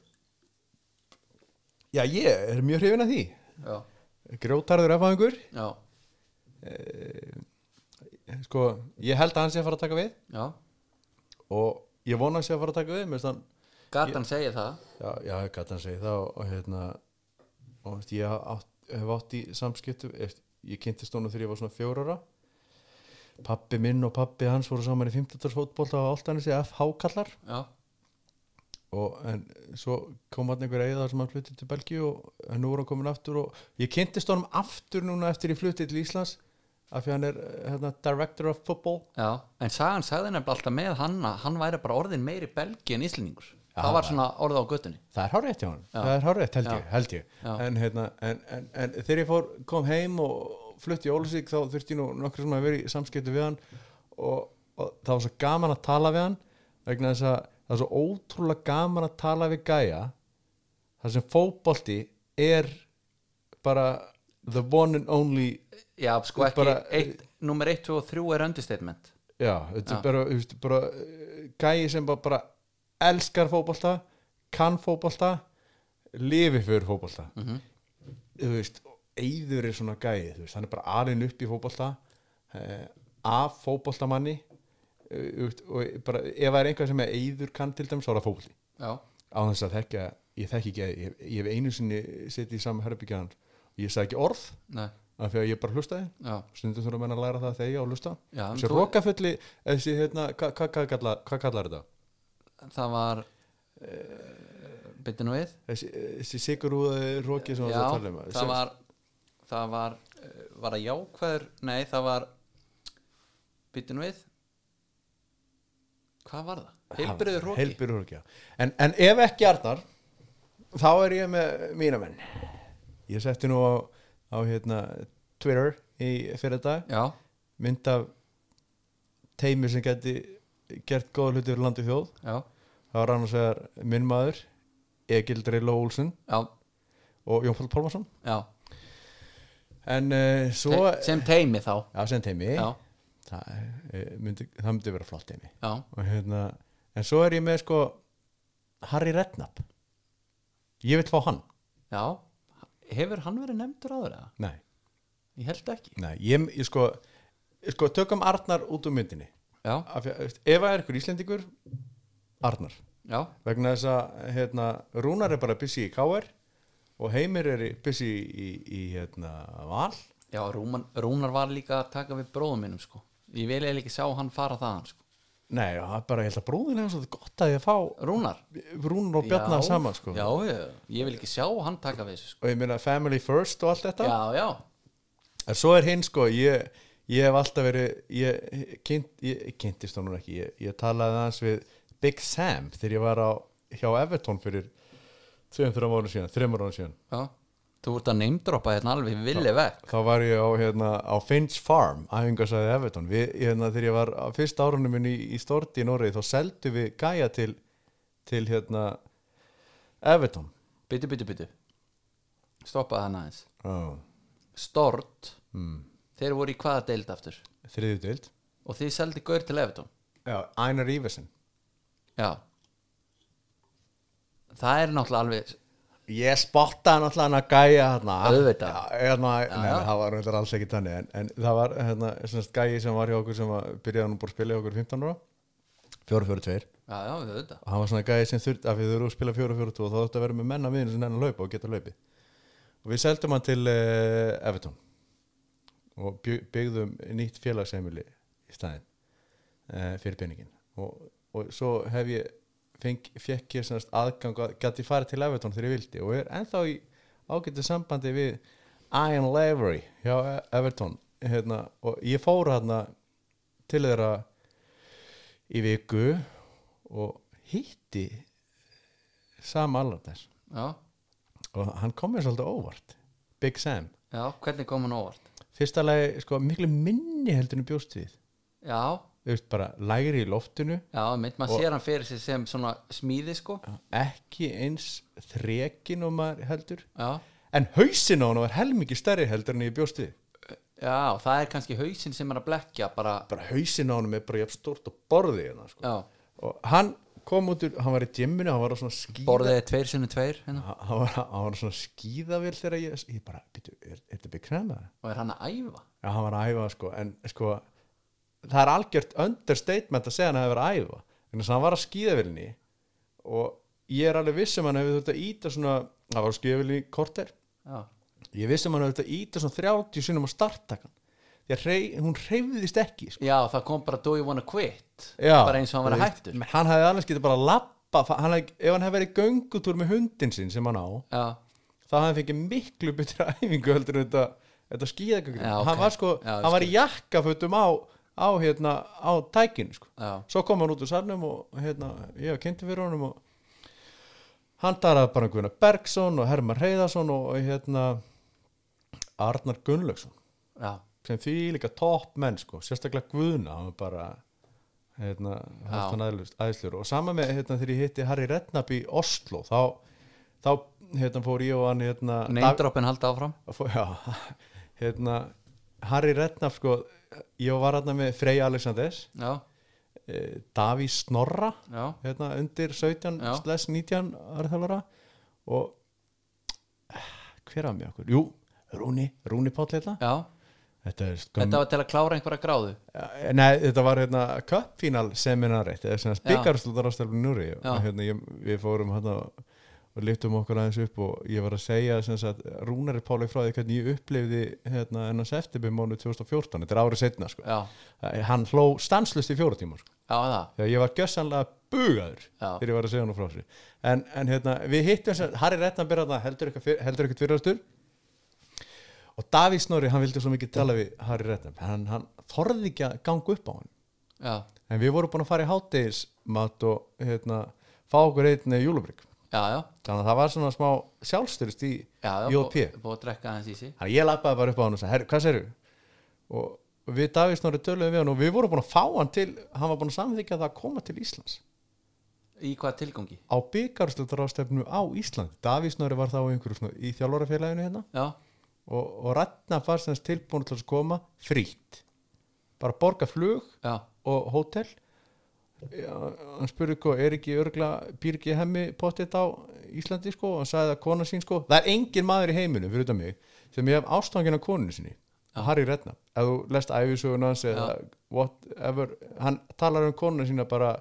[SPEAKER 2] já ég er mjög hrifin að því
[SPEAKER 1] Já,
[SPEAKER 2] grjótarður efaðingur
[SPEAKER 1] já,
[SPEAKER 2] sko ég held að hann sé að fara að taka við
[SPEAKER 1] já
[SPEAKER 2] og ég vona að hann sé að fara að taka við mér finnst hann
[SPEAKER 1] Gatan segir það
[SPEAKER 2] já, já gæti hann segi það og, og hérna og veist, ég átt, hef átt í samskiptum eftir, ég kynntist honum þegar ég var svona fjórara pappi minn og pappi hans voru saman í 15. fótbolta á Altanissi FH kallar
[SPEAKER 1] Já,
[SPEAKER 2] og en svo kom hann einhver eða sem hann fluttið til Belgíu og en nú er hann komin aftur og ég kynntist honum aftur núna eftir ég fluttið til Íslands af því hann er eh, hérna, director of football
[SPEAKER 1] já En sagan sagði nefnilega alltaf með hann að hann væri bara orðin meiri belgi en íslendingur
[SPEAKER 2] hann
[SPEAKER 1] Það var svona orða á göttunni
[SPEAKER 2] Það er hárétt hjá hann, það er hárétt held ég, held ég.
[SPEAKER 1] Já.
[SPEAKER 2] En, hérna, en, en, en þegar ég fór, kom heim og flutti í Ólusík þá þurfti ég nú nokkur svona að vera í samskiptu við hann og, og það var svo gaman að tala við hann vegna þess að það er svo ótrúlega gaman að tala við gæja þar sem fótbolti er bara the one and only
[SPEAKER 1] Já, sko ekki,
[SPEAKER 2] Bara-
[SPEAKER 1] eitt, númer 1, 2 og 3 er understatement
[SPEAKER 2] Já, þetta er bara, þú veist, bara eh, gæi sem bara, bara elskar fótbolta, kann fótbolta lifi fyrir fótbolta þú veist Eyður er svona gæi, þú veist, hann er bara alinn upp í fótbolta eh, af fótboltamanni eh, þú veist, og bara, ef það er einhver sem er Eyður kann til dæmis, þá er það fótbolti
[SPEAKER 1] Já,
[SPEAKER 2] á þess að þekka, ég þekki ekki ég, ég hef einu sinni setið í saman herbyggjaðan og ég sagði ekki orð
[SPEAKER 1] nei,
[SPEAKER 2] af því að ég bara hlustaði
[SPEAKER 1] já
[SPEAKER 2] stundum þurfa menn að læra það að þegja og hlusta
[SPEAKER 1] Já, en
[SPEAKER 2] þessi
[SPEAKER 1] þú-
[SPEAKER 2] rókafulli þessi hérna, hvað hva, hva kallar, hva kallar þetta
[SPEAKER 1] Það var Bytti nú við
[SPEAKER 2] þessi, þessi sigurúðaði róki sem
[SPEAKER 1] Já,
[SPEAKER 2] það tala um
[SPEAKER 1] það var Það var eh, var að jákvæður nei það var býtinu við hvað var það? heilbriður hróki
[SPEAKER 2] Heilbyrður hróki, já en, en ef ekki Arnar þá er ég með mína menn Ég setti nú á, á hérna, Twitter í fyrir dag
[SPEAKER 1] já,
[SPEAKER 2] mynd af teimi sem geti gert góða hluti fyrir landi og þjóð
[SPEAKER 1] já,
[SPEAKER 2] það var annars vegar minn maður Egil Dreilo Olsson
[SPEAKER 1] já,
[SPEAKER 2] og Jón Pál Pálmarsson
[SPEAKER 1] já.
[SPEAKER 2] en uh, svo
[SPEAKER 1] Te- sem teimi þá
[SPEAKER 2] já, sem teimi
[SPEAKER 1] já,
[SPEAKER 2] það, uh, myndi, það myndi vera flott teimi
[SPEAKER 1] já,
[SPEAKER 2] og hérna en svo er ég með sko Harry Redknapp ég vil fá hann
[SPEAKER 1] já hefur hann verið nefndur áður eða?
[SPEAKER 2] nei,
[SPEAKER 1] ég held ekki
[SPEAKER 2] nei ég, ég sko, ég sko tökum Arnar út úr myndinni
[SPEAKER 1] já,
[SPEAKER 2] Af því að, veist, ef það er ykkur Íslendingur Arnar
[SPEAKER 1] já,
[SPEAKER 2] vegna þess að hérna, Rúnar er bara busy í KR og Heimir er í- busy í, í hérna, val
[SPEAKER 1] já Rúman, Rúnar var líka að taka við bróðum minnum sko ég vil eiginlega ekki sjá hann fara þaðan sko
[SPEAKER 2] Nei, og það er bara, ég held að brúðin er svo gott að ég fá
[SPEAKER 1] Rúnar
[SPEAKER 2] Rúnar og Bjarnar
[SPEAKER 1] Já,
[SPEAKER 2] saman sko.
[SPEAKER 1] já, ég, ég vil ekki sjá hann taka við þessu sko
[SPEAKER 2] og ég meina family first og allt þetta
[SPEAKER 1] já, já,
[SPEAKER 2] en svo er hinn sko ég, ég hef alltaf verið ég, kynnt, ég kynntist honum ekki ég, ég talaði aðeins við Big Sam þegar ég var á, hjá Everton fyrir tveim, þreim árum síðan, þreimur árum síðan
[SPEAKER 1] já þú ert að neymdroppa hérna alveg villi vekk
[SPEAKER 2] þá var ég á, hérna, á Finch Farm æfingarsæði Everton við, hérna, þegar ég var á fyrsta árunum minni í, í Storti í Noregi þá seldu við gæja til til hérna Everton
[SPEAKER 1] byttu, byttu, byttu stoppaði hann aðeins
[SPEAKER 2] oh.
[SPEAKER 1] Stort, þeir voru í hvaða deild aftur
[SPEAKER 2] þriðið dild
[SPEAKER 1] og þið seldi gaur til Evertón
[SPEAKER 2] Einar Iversen
[SPEAKER 1] já það er náttúrulega alveg
[SPEAKER 2] Ég spottaði náttúrulega hann að gæja hérna
[SPEAKER 1] Auðvitað.
[SPEAKER 2] Já, hérna, Nei,
[SPEAKER 1] já.
[SPEAKER 2] það var reyndar alls ekki þannig en, en það var hérna, svona gæji sem var hjá okkur sem að byrjaði nú bara að spila hjá okkur 15 ára 4-4-2
[SPEAKER 1] já, já, við veit
[SPEAKER 2] og hann var svona gæji sem þurft að við þurfum að spila 4-4-2 og þá þurfti að vera með menna miðinu sem hennar laupa og geta laupi og við seldum hann til uh, Everton og bygg- byggðum nýtt félagsheimili í staðin uh, fyrir peningin og, og svo hef ég feng, fekk ég semast aðgang að gæti farið til Everton þegar ég vildi og er ennþá í ágættu sambandi við Ian Lavery hjá E- Everton hérna, og ég fór hérna til þeirra í viku og hitti Sam Allardyce
[SPEAKER 1] já,
[SPEAKER 2] og hann kom mér svolítið á óvart Big Sam
[SPEAKER 1] já, hvernig kom hann óvart
[SPEAKER 2] fyrsta lagi sko miklu minni heldur en ég bjóst við
[SPEAKER 1] já,
[SPEAKER 2] þú veist bara lægri í loftinu
[SPEAKER 1] já, mynd, maður sér hann fyrir sig sem svona smíði sko
[SPEAKER 2] ekki eins þrekin og maður heldur
[SPEAKER 1] já,
[SPEAKER 2] en hausin á hann var helmingi stærri heldur en ég bjóst við
[SPEAKER 1] já, það er kannski hausinn sem er að blekja bara,
[SPEAKER 2] bara hausin á hann er bara jafn stórt og borði hérna sko
[SPEAKER 1] já,
[SPEAKER 2] og hann kom út úr, hann var í djemminu hann var á svona skíða
[SPEAKER 1] borðiði tveir sinni tveir hérna.
[SPEAKER 2] hann, hann var, hann var á svona skíðavél þegar ég, ég bara, býtu, er, er þetta Big Sam eða?
[SPEAKER 1] og er hann að æfa
[SPEAKER 2] Já, hann var að æfa sko, en sko það er algjört understatement að segja hann að vera að æfa en þess að hann var að skíða vilni og ég er alveg viss um hann hefur þurft að íta svona, það var skíða vilni korter,
[SPEAKER 1] já,
[SPEAKER 2] ég viss um hann hefur þurft að íta svona 30 sinnum á starttakan því að rey, hún reyfðist ekki sko.
[SPEAKER 1] já, það kom bara do you wanna quit
[SPEAKER 2] Já,
[SPEAKER 1] bara eins og hann
[SPEAKER 2] þú
[SPEAKER 1] verið
[SPEAKER 2] veist,
[SPEAKER 1] hættur
[SPEAKER 2] menn hann hefði alveg getið bara að lappa hann hefði, ef hann hefði verið í göngutúr með hundin sinn sem hann á,
[SPEAKER 1] já,
[SPEAKER 2] þá hefði hann fengið miklu betra æfingu heldur en þetta, þetta skíðagöngur
[SPEAKER 1] Já, ok.
[SPEAKER 2] hann var sko,
[SPEAKER 1] Já, ég
[SPEAKER 2] hann var í jakkafötum á, á hérna, á tækinu sko.
[SPEAKER 1] Já.
[SPEAKER 2] svo kom hann út úr sarnum og hérna, ég var kynnti fyrir honum og hann talaði bara um Gunnar Bergson og Herman Reyðarsson og hérna Arnar Gunnlaugsson
[SPEAKER 1] já,
[SPEAKER 2] sem því líka topp menn sko, sérstaklega Guðna hann var bara hérna, haft hann æðlust, æðslur og sama með hérna, þegar ég hitti Harry Redknapp í Oslo þá, þá hérna, fór ég og hann hérna, Dav-
[SPEAKER 1] neymdroppin halda áfram
[SPEAKER 2] að fó- já, hérna Harry Redknapp sko ég var hérna með Frey Alexanders
[SPEAKER 1] já,
[SPEAKER 2] eh, Daví Snorra
[SPEAKER 1] já,
[SPEAKER 2] hérna undir 17
[SPEAKER 1] Já.
[SPEAKER 2] slash 19 aðræðalara og hver að mér okkur, jú Rúni, Rúni Páll hérna
[SPEAKER 1] já
[SPEAKER 2] þetta er
[SPEAKER 1] Þetta
[SPEAKER 2] skömm
[SPEAKER 1] var til að klára einhverja gráðu
[SPEAKER 2] Eh, Nei, þetta var hérna cupfinal seminarið, eða sem
[SPEAKER 1] Já.
[SPEAKER 2] byggarstúðarastelfni núri
[SPEAKER 1] Já.
[SPEAKER 2] og hérna ég, við fórum hérna og lyftum okkur aðeins upp og ég var að segja sem sagt, Rúnari Páli frá því hvernig ég upplifði hérna hennar september mánu 2014, þetta er árið setna sko.
[SPEAKER 1] Já,
[SPEAKER 2] Eh, hann hló stanslust í fjóra tíma sko.
[SPEAKER 1] já það
[SPEAKER 2] þegar ég var gjössanlega bugaður
[SPEAKER 1] Já.
[SPEAKER 2] þegar ég var að segja hann frá sér en, en hérna, við hittum sem, Harry Rettan byrjaði heldur eitthvað fyr- heldur eitthvað fyrirastur og og Davíð Snorri, hann vildi svo mikið tala við Harry Redknapp, hann, hann þorði ekki að ganga upp á hann
[SPEAKER 1] já,
[SPEAKER 2] en við vorum búin að fara í hátdegismat og hérna, fá okkur einn júlubrygg
[SPEAKER 1] já, já,
[SPEAKER 2] þannig að það var svona smá sjálfstyrst í
[SPEAKER 1] já, já
[SPEAKER 2] JP
[SPEAKER 1] búið búið að drekka aðeins í sig
[SPEAKER 2] þannig að ég lappaði bara upp á hann og sagði, herru, hvað serðu? og við Davíð Snorri töluðum við hann og við vorum búin að fá hann til hann var búin að samþykja það að koma til Íslands
[SPEAKER 1] í hvað tilgangi,
[SPEAKER 2] á byggarslutarástefnu á Ísland Davíð Snorri var þá í einhverju svona í þjálfarafélaginu hérna
[SPEAKER 1] já,
[SPEAKER 2] og, og Ragnar var sem sagt tilbúin til að koma frítt bara borga flug
[SPEAKER 1] já,
[SPEAKER 2] og hótel Já, hann spurði sko, er ekki örgla býr ekki hemmi pottet á Íslandi sko, og hann sagði að kona sín sko það er engin maður í heiminum fyrir utan mig sem ég hef ástangin af koninu sinni Harry Redknapp, ef þú lest æfisöguna hans eða whatever hann talar um konuna sína bara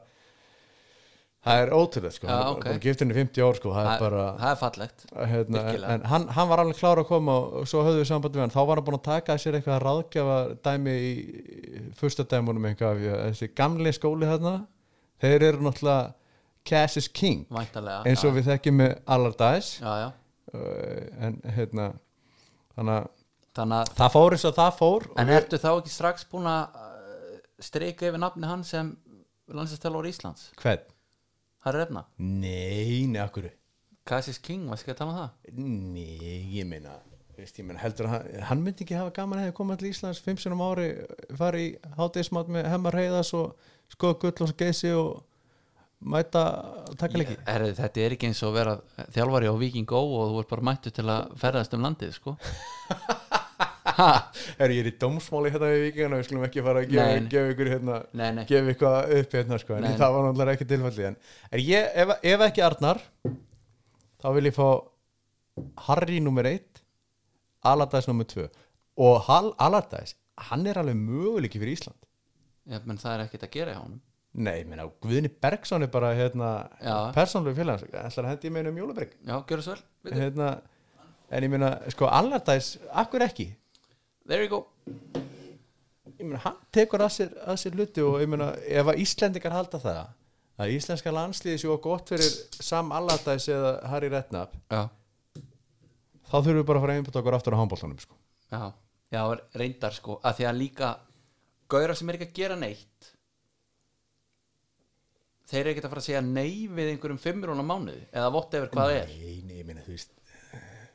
[SPEAKER 2] það er ótrúlega sko
[SPEAKER 1] Já,
[SPEAKER 2] hann
[SPEAKER 1] ok.
[SPEAKER 2] er bara gift henni í 50 ár sko það er bara
[SPEAKER 1] það er fallegt
[SPEAKER 2] hérna, en-
[SPEAKER 1] Virkilega.
[SPEAKER 2] en hann, hann var alveg klár að koma og svo höfðu við samband við hann, þá var hann búin að taka að sér eitthvað ráðgjafa dæmi í fyrsta dæmunum eitthvað, af- þessi gamli skóli hérna, þeir eru náttúrulega Cass is King
[SPEAKER 1] væntalega,
[SPEAKER 2] eins og við þekkjum með Allardyce
[SPEAKER 1] já, já,
[SPEAKER 2] uh, en hérna þannig að
[SPEAKER 1] þannig að
[SPEAKER 2] það fór eins og það fór og
[SPEAKER 1] En
[SPEAKER 2] við-
[SPEAKER 1] ertu þá ekki strax búin að uh, streika yfir nafni hann sem landsastelur Íslands?
[SPEAKER 2] hvern?
[SPEAKER 1] Harry Refna?
[SPEAKER 2] Nei, nei, akkur
[SPEAKER 1] Cassis King, varst ekki að tala um það?
[SPEAKER 2] Nei, ég meina veist, ég meina heldur að hann, hann myndi ekki hafa gaman að hefði komað til Íslands 15 um ári fari í hátíðismat með hemmar heiðas og skoða gull og geysi og mæta taka leiki
[SPEAKER 1] Herri, þetta er ekki eins og að vera þjálfari á Viking Go og þú ert bara mættu til að ferðast um landið, sko
[SPEAKER 2] Er ég er í dómsmáli hérna við vikingana við skulum ekki fara að
[SPEAKER 1] Nei,
[SPEAKER 2] gefa,
[SPEAKER 1] nei.
[SPEAKER 2] gefa ykkur hérna
[SPEAKER 1] Nei, nei.
[SPEAKER 2] gefa ykkur upp hérna sko en
[SPEAKER 1] Nei, nei.
[SPEAKER 2] það var náttúrulega ekki tilfældi en er ég, ef, ef ekki Arnar þá vil ég fá Harry nummer 1 Allardyce nummer 2 og Hal- Allardyce, hann er alveg möguleiki fyrir Ísland
[SPEAKER 1] Já, menn það er ekkert að gera hjá honum
[SPEAKER 2] Nei, ég meina, Guðni Bergson er bara hérna,
[SPEAKER 1] Já.
[SPEAKER 2] persónlega félags ætlar að hendi í meina um Jólabrygg
[SPEAKER 1] Já, gjörðu svo vel, byrju.
[SPEAKER 2] hérna, en ég meina, sko, Allardæs akkur ekki,
[SPEAKER 1] there you go
[SPEAKER 2] ég meina, hann tekur að sér, að sér hluti og ég meina ef að Íslendingar halda það að íslenska landsliði séu of gott fyrir Sam Allardæs eða Harry Redknapp
[SPEAKER 1] Já,
[SPEAKER 2] þá þurfum við bara að fara einbútt okkur aftur á handbóltanum sko.
[SPEAKER 1] já, já, reyndar sko að því að líka gauðra sem er ekki að gera neitt þeir eru ekkert að fara að segja nei við einhverjum fimmurón á mánuði eða whatever hvað er
[SPEAKER 2] Nei, nei, ég meina, þú veist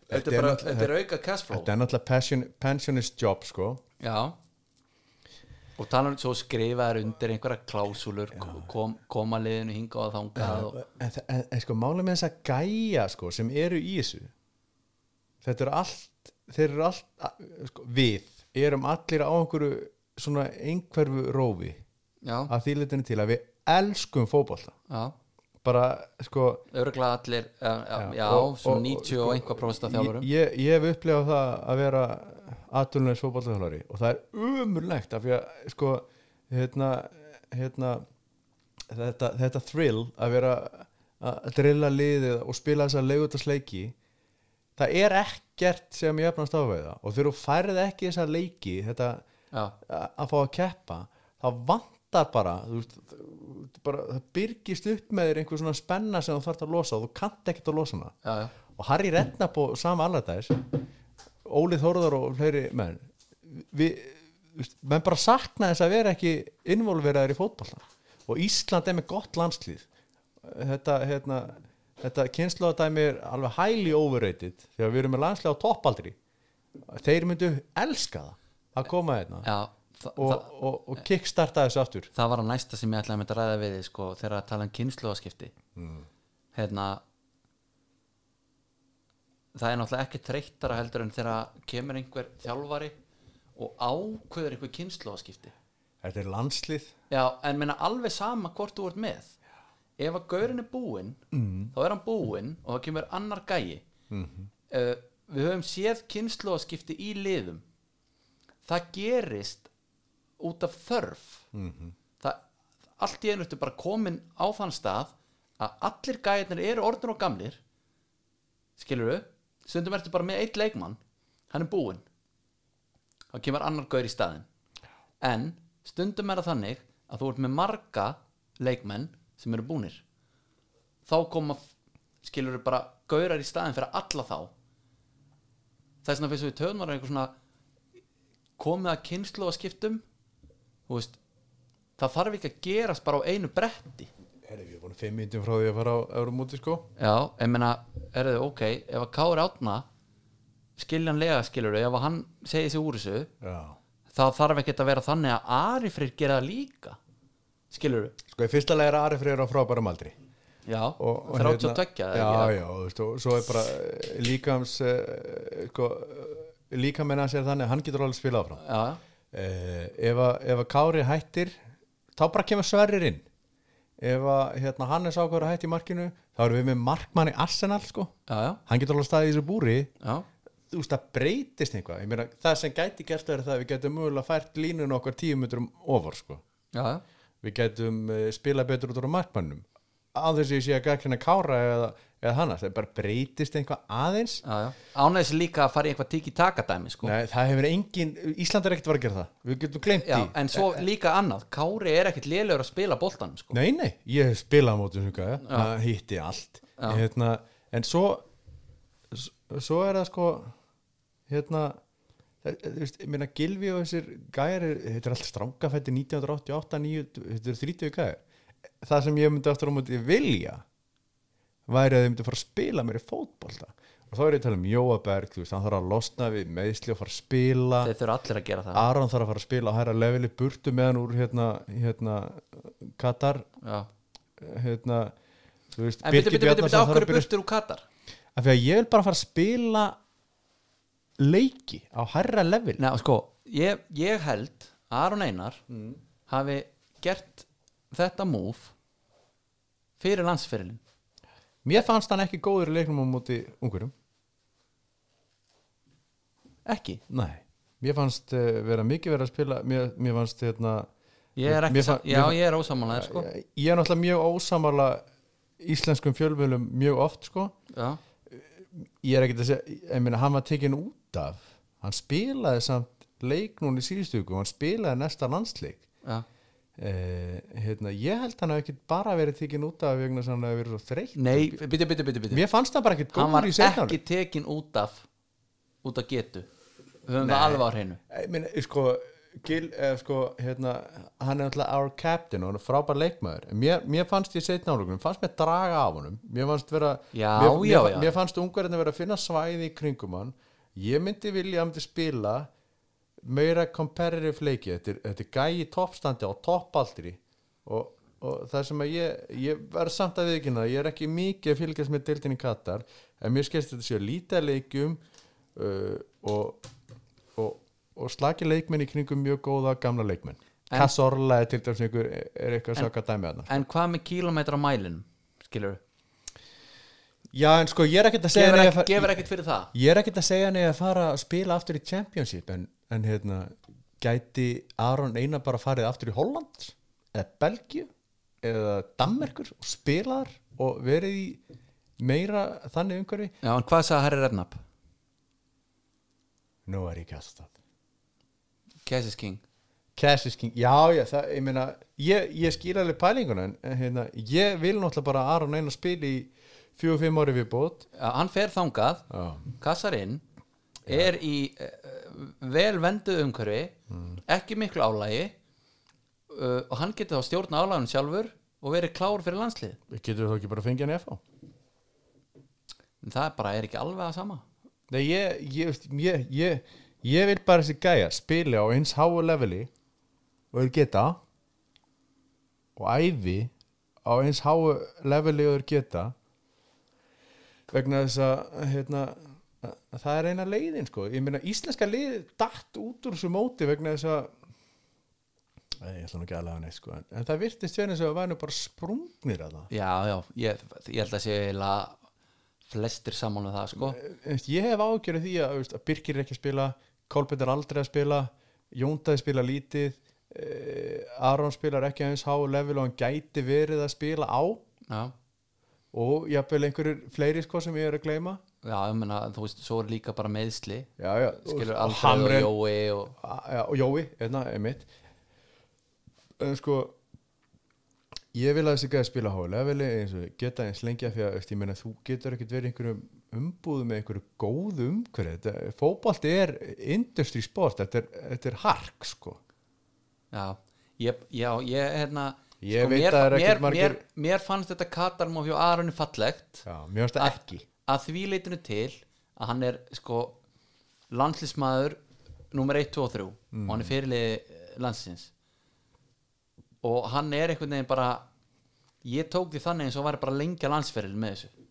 [SPEAKER 1] Þetta er bara,
[SPEAKER 2] náttúrulega-
[SPEAKER 1] þetta er auka cashflow
[SPEAKER 2] þetta er náttúrulega passion, pensionist job sko.
[SPEAKER 1] Já Og tala um svo skrifaðar undir einhverja klásúlur kom, koma liðinu hingað og þangað og,
[SPEAKER 2] en, en, en sko málið með þess að gæja sko, sem eru í þessu þetta eru allt þeir eru allt a- sko, við erum allir á einhverju svona einhverfu rófi
[SPEAKER 1] Já,
[SPEAKER 2] af því litinu til að við elskum fótbolta
[SPEAKER 1] já
[SPEAKER 2] bara sko
[SPEAKER 1] Örglega allir, já, já, já
[SPEAKER 2] og-
[SPEAKER 1] svona
[SPEAKER 2] og-
[SPEAKER 1] 90 og einhvað prófist að þjálfurum
[SPEAKER 2] ég, ég hef upplifað það að vera aðtunlega fótballþjálfari og það er umurlegt af því að sko hérna, hérna þetta, þetta thrill að vera að drilla liðið og spila þessa leigutasleiki það er ekkert sem ég efnast á við það og þegar þú færið ekki þessa leiki þetta
[SPEAKER 1] Já,
[SPEAKER 2] að að fá að keppa það vantar bara, þú veist, þú- bara það byrgist upp með þér einhver svona spenna sem þú þarft að losa og þú kannt ekkert að losa hana
[SPEAKER 1] já, já
[SPEAKER 2] og Harry Redknapp og Sam Allardyce Óli Þórðar og fleiri menn við, við, menn bara sakna þess að vera ekki involveraður í fótballa og Ísland er með gott landslíð þetta, hérna, þetta kynnslóðadæmi er alveg highly overrated þegar við erum með landslíð á toppaldri þeir myndu elska það að koma hérna
[SPEAKER 1] Já, þa
[SPEAKER 2] og,
[SPEAKER 1] þa
[SPEAKER 2] og, og kickstarta þessu aftur
[SPEAKER 1] það var að næsta sem ég ætlaði að mynda að ræða við þig, sko, þegar að tala um kynnslóðaskipti
[SPEAKER 2] Mm.
[SPEAKER 1] hérna það er náttúrulega ekki treyttara heldur en þegar kemur einhver þjálfari og ákveður einhver kynnslóðaskipti
[SPEAKER 2] þetta er landslíð
[SPEAKER 1] Já, en meina alveg sama hvort þú ert með Ef að gaurin er búinn þá er hann búinn og þá kemur annar gæi uh, Við höfum séð kynnslóðaskipti í liðum Það gerist út af þörf Það, allt í einu ertu bara komin á þann stað að allir gæjarnir eru orðnir og gamlir skilur við stundum ertu bara með eitt leikmann hann er búinn þá kemur annar gaur í staðin en stundum er það þannig að þú ert með marga leikmenn sem eru búnir þá koma skilur við bara gaurar í staðin fyrir alla þá þess vegna fyrst við töðum var einhver svona komið að kynslu að skiptum þú veist það þarf ekki að gerast bara á einu bretti
[SPEAKER 2] Herri, við erum búin fimm mínutum frá því að fara á Euromóti sko
[SPEAKER 1] já, ég meina, er þau ok ef að Kári átna skiljanlega skilur ef að hann segir sig úr þessu
[SPEAKER 2] Já
[SPEAKER 1] það þarf ekki að vera þannig að Ari Freyr gera það líka skilur
[SPEAKER 2] Sko, í fyrsta leið er Ari Freyr á frábærum aldri
[SPEAKER 1] já,
[SPEAKER 2] Og-
[SPEAKER 1] 32
[SPEAKER 2] og hérna-
[SPEAKER 1] eða
[SPEAKER 2] Já,
[SPEAKER 1] ekki?
[SPEAKER 2] já, þú veist, og svo er bara eh, líkams eh, sko, líkamenn að segja þannig að hann getur alveg spilað áfram
[SPEAKER 1] já, já.
[SPEAKER 2] eh, ef, að, ef að Kári hættir þá bara kemur Sverrir inn ef að hérna, Hannes ákvæður að hætti í markinu þá erum við með markmann í Arsenal sko.
[SPEAKER 1] Já, já.
[SPEAKER 2] hann getur alveg staðið í þessu búri
[SPEAKER 1] Já,
[SPEAKER 2] þú veist það breytist einhvað Ég meina, það sem gæti gert er það að við getum mögulega fært línun okkar tíu metrum ofar sko.
[SPEAKER 1] já, já.
[SPEAKER 2] við getum eh, spilað betur út úr á markmannum á þessi sé að gækina Kára eða, eða Hannes, það bara breytist einhvað aðeins
[SPEAKER 1] já, já. Ánægis líka að fara í eitthvað tiki-taka dæmi sko.
[SPEAKER 2] Nei, það hefur engin, Ísland er ekkert var að gera það við getum glemt
[SPEAKER 1] já,
[SPEAKER 2] því
[SPEAKER 1] En svo líka annað, Kári er ekkit lélegur að spila boltanum sko.
[SPEAKER 2] Nei, nei, ég hef spilað á mótum hugað, það hitti allt hérna, en svo s- svo er það sko hérna það- þú veist, ég meina Gilvi og þessir gæjar eru- þetta er allt strángafætti 1988 9, þetta eru 30 gæjar það sem ég myndi aftur á móti vilja væri að þið myndi fara að spila mér í fótbolta og þá er ég að tala um Jóaberg, þú veist, hann þarf að losna við meðsli og fara að spila
[SPEAKER 1] Þeir þurfa allir að gera það
[SPEAKER 2] Aron þarf að fara að spila á hæra leveli burtu meðan úr hérna, hérna Katar
[SPEAKER 1] já.
[SPEAKER 2] hérna þú veist,
[SPEAKER 1] En byrju, byrju, byrju, byrju,
[SPEAKER 2] Bjarnason þarf
[SPEAKER 1] okkur
[SPEAKER 2] að byrja-
[SPEAKER 1] burtur úr Katar
[SPEAKER 2] af því að ég vil bara fara að spila leiki á hærra level
[SPEAKER 1] Nei, sko, ég, ég held að Aron Einar
[SPEAKER 2] Mm.
[SPEAKER 1] hafi gert þetta múf fyrir landsfyrirlin
[SPEAKER 2] mér fannst hann ekki góður í leiknum á móti ungurum
[SPEAKER 1] Ekki,
[SPEAKER 2] nei, mér fannst uh, vera mikið verið að spila mér, mér fannst hérna
[SPEAKER 1] ég er,
[SPEAKER 2] mér
[SPEAKER 1] ekki
[SPEAKER 2] fann-
[SPEAKER 1] sam...
[SPEAKER 2] mér
[SPEAKER 1] Já,
[SPEAKER 2] fann-
[SPEAKER 1] ég er ósamanlega sko.
[SPEAKER 2] ég, ég er náttúrulega mjög ósamarla íslenskum fjölmjölum mjög oft sko
[SPEAKER 1] Já,
[SPEAKER 2] ég er ekkert að segja, ég meina hann var tekin út af hann spilaði samt leik núna í síðustöku og hann spilaði næsta landsleik
[SPEAKER 1] já,
[SPEAKER 2] eh, hérna, ég held hann hafi ekki bara verið tekin út af vegna sem hann hafi verið svo þreytt
[SPEAKER 1] nei, byrju, byrju, byrju, byrju
[SPEAKER 2] mér fannst það bara ekkert
[SPEAKER 1] Hann var
[SPEAKER 2] góður í setna
[SPEAKER 1] ekki tekin út af út af getu Við höfum það alveg á hreinu
[SPEAKER 2] ég meina, sko, Gil, eh, sko hérna, hann er alltaf our captain og hann er frábær leikmaður En mér, mér fannst í setna álugunum, fannst mér draga af honum mér fannst vera
[SPEAKER 1] Já,
[SPEAKER 2] mér, mér,
[SPEAKER 1] já,
[SPEAKER 2] fa-
[SPEAKER 1] já.
[SPEAKER 2] mér fannst ungarinn að vera að finna svæði í kringum hann ég myndi vilja að hann myndi spila meira competitive leiki þetta er, þetta er gæi í toppstandi á toppaldri og, og það sem að ég ég verð samt að viðkynna ég er ekki mikið að fylgjast með deildin í Katar en mér skilst þetta sé lítið af leikjum uh, og, og, og slaki leikmenn í kringum mjög góða gamla leikmenn Kassorla er til dæmis einhver er eitthvað að saka dæmi þarna
[SPEAKER 1] En hvað með kílómetra mælin skilur
[SPEAKER 2] já en sko ég er ekkert að segja
[SPEAKER 1] gefur,
[SPEAKER 2] henni
[SPEAKER 1] ekki,
[SPEAKER 2] að fara-
[SPEAKER 1] gefur ekkert fyrir það
[SPEAKER 2] Ég er ekkert að segja henni að fara að spila aftur í Championship en, en hérna, gæti Aron Einar bara farið aftur í Holland eða Belgíu eða Danmerkur og spilaðar og verið í meira þannig umhverfi
[SPEAKER 1] Já, en hvað sagði Harry Redknapp?
[SPEAKER 2] Nú er ég kastað
[SPEAKER 1] Cass is king
[SPEAKER 2] Cash is King, já, já, það, ég meina ég, ég skil alveg pælinguna en en, hérna, ég vil náttúrulega bara að Aron Einar spila í 4-5 ári við bót
[SPEAKER 1] Já, Hann fer þangað,
[SPEAKER 2] Já.
[SPEAKER 1] kassar inn er í uh, vel vendu umhverfi
[SPEAKER 2] Mm.
[SPEAKER 1] ekki miklu álægi uh, og hann getur þá stjórna álægun sjálfur og verið klár fyrir landslið
[SPEAKER 2] Getur þú ekki bara að fengja hann í FH?
[SPEAKER 1] en það bara er ekki alveg að sama
[SPEAKER 2] Nei, ég, ég, veist, ég, ég, ég vil bara þessi gæja spila á eins háu leveli og þeir geta og æfi á eins háu leveli og þeir geta vegna þess að hérna, að- að það er eina leiðin sko. ég meina íslenska leiðið datt út úr þessu móti vegna þess að Nei, ég ætla nú ekki að laga neitt sko. en, en það virtist verið eins og það væri nú bara sprungnir að það
[SPEAKER 1] Já, já, ég, ég held að sé eiginlega flestir saman með það sko
[SPEAKER 2] Þú veist, ég hef ágjörðu því að, þú veist, að Birkir er ekki að spila Kolbjörn er aldrei að spila Jóndaði spila lítið eh, Aron spilar ekki aðeins háu level og hann gæti verið að spila á
[SPEAKER 1] Já,
[SPEAKER 2] og jafnvel einhverjir fleiri sko sem ég er að gleyma
[SPEAKER 1] já, ég meina, þú veist, svo er líka bara meðsli
[SPEAKER 2] já, já,
[SPEAKER 1] skilur
[SPEAKER 2] og
[SPEAKER 1] aldrei og
[SPEAKER 2] Hamren
[SPEAKER 1] Jói og
[SPEAKER 2] hérna, A- já, og Jói, einna, einmitt en sko ég vil að þessi gæði spila hálega eins og geta eins lengja því að veist, ég meina, þú getur ekkert verið í einhverjum umbúðum með einhverju góðu umhverju Þetta- fótbolti er industry sport þetta er, þetta er hark sko
[SPEAKER 1] Já, ég, já, ég hérna
[SPEAKER 2] Ég veit að það er ekkert
[SPEAKER 1] mér,
[SPEAKER 2] margir-
[SPEAKER 1] mér, mér fannst þetta Katarmóf hjá Aronu fallegt
[SPEAKER 2] Já, mér finnst það
[SPEAKER 1] að,
[SPEAKER 2] ekki
[SPEAKER 1] að því leitinu til að hann er sko landslísmaður nummer 1, 2 og 3 og hann er fyrirliði eh, landsins og hann er einhvern veginn bara ég tók því þannig eins og hann var bara lengja landsferil með þessu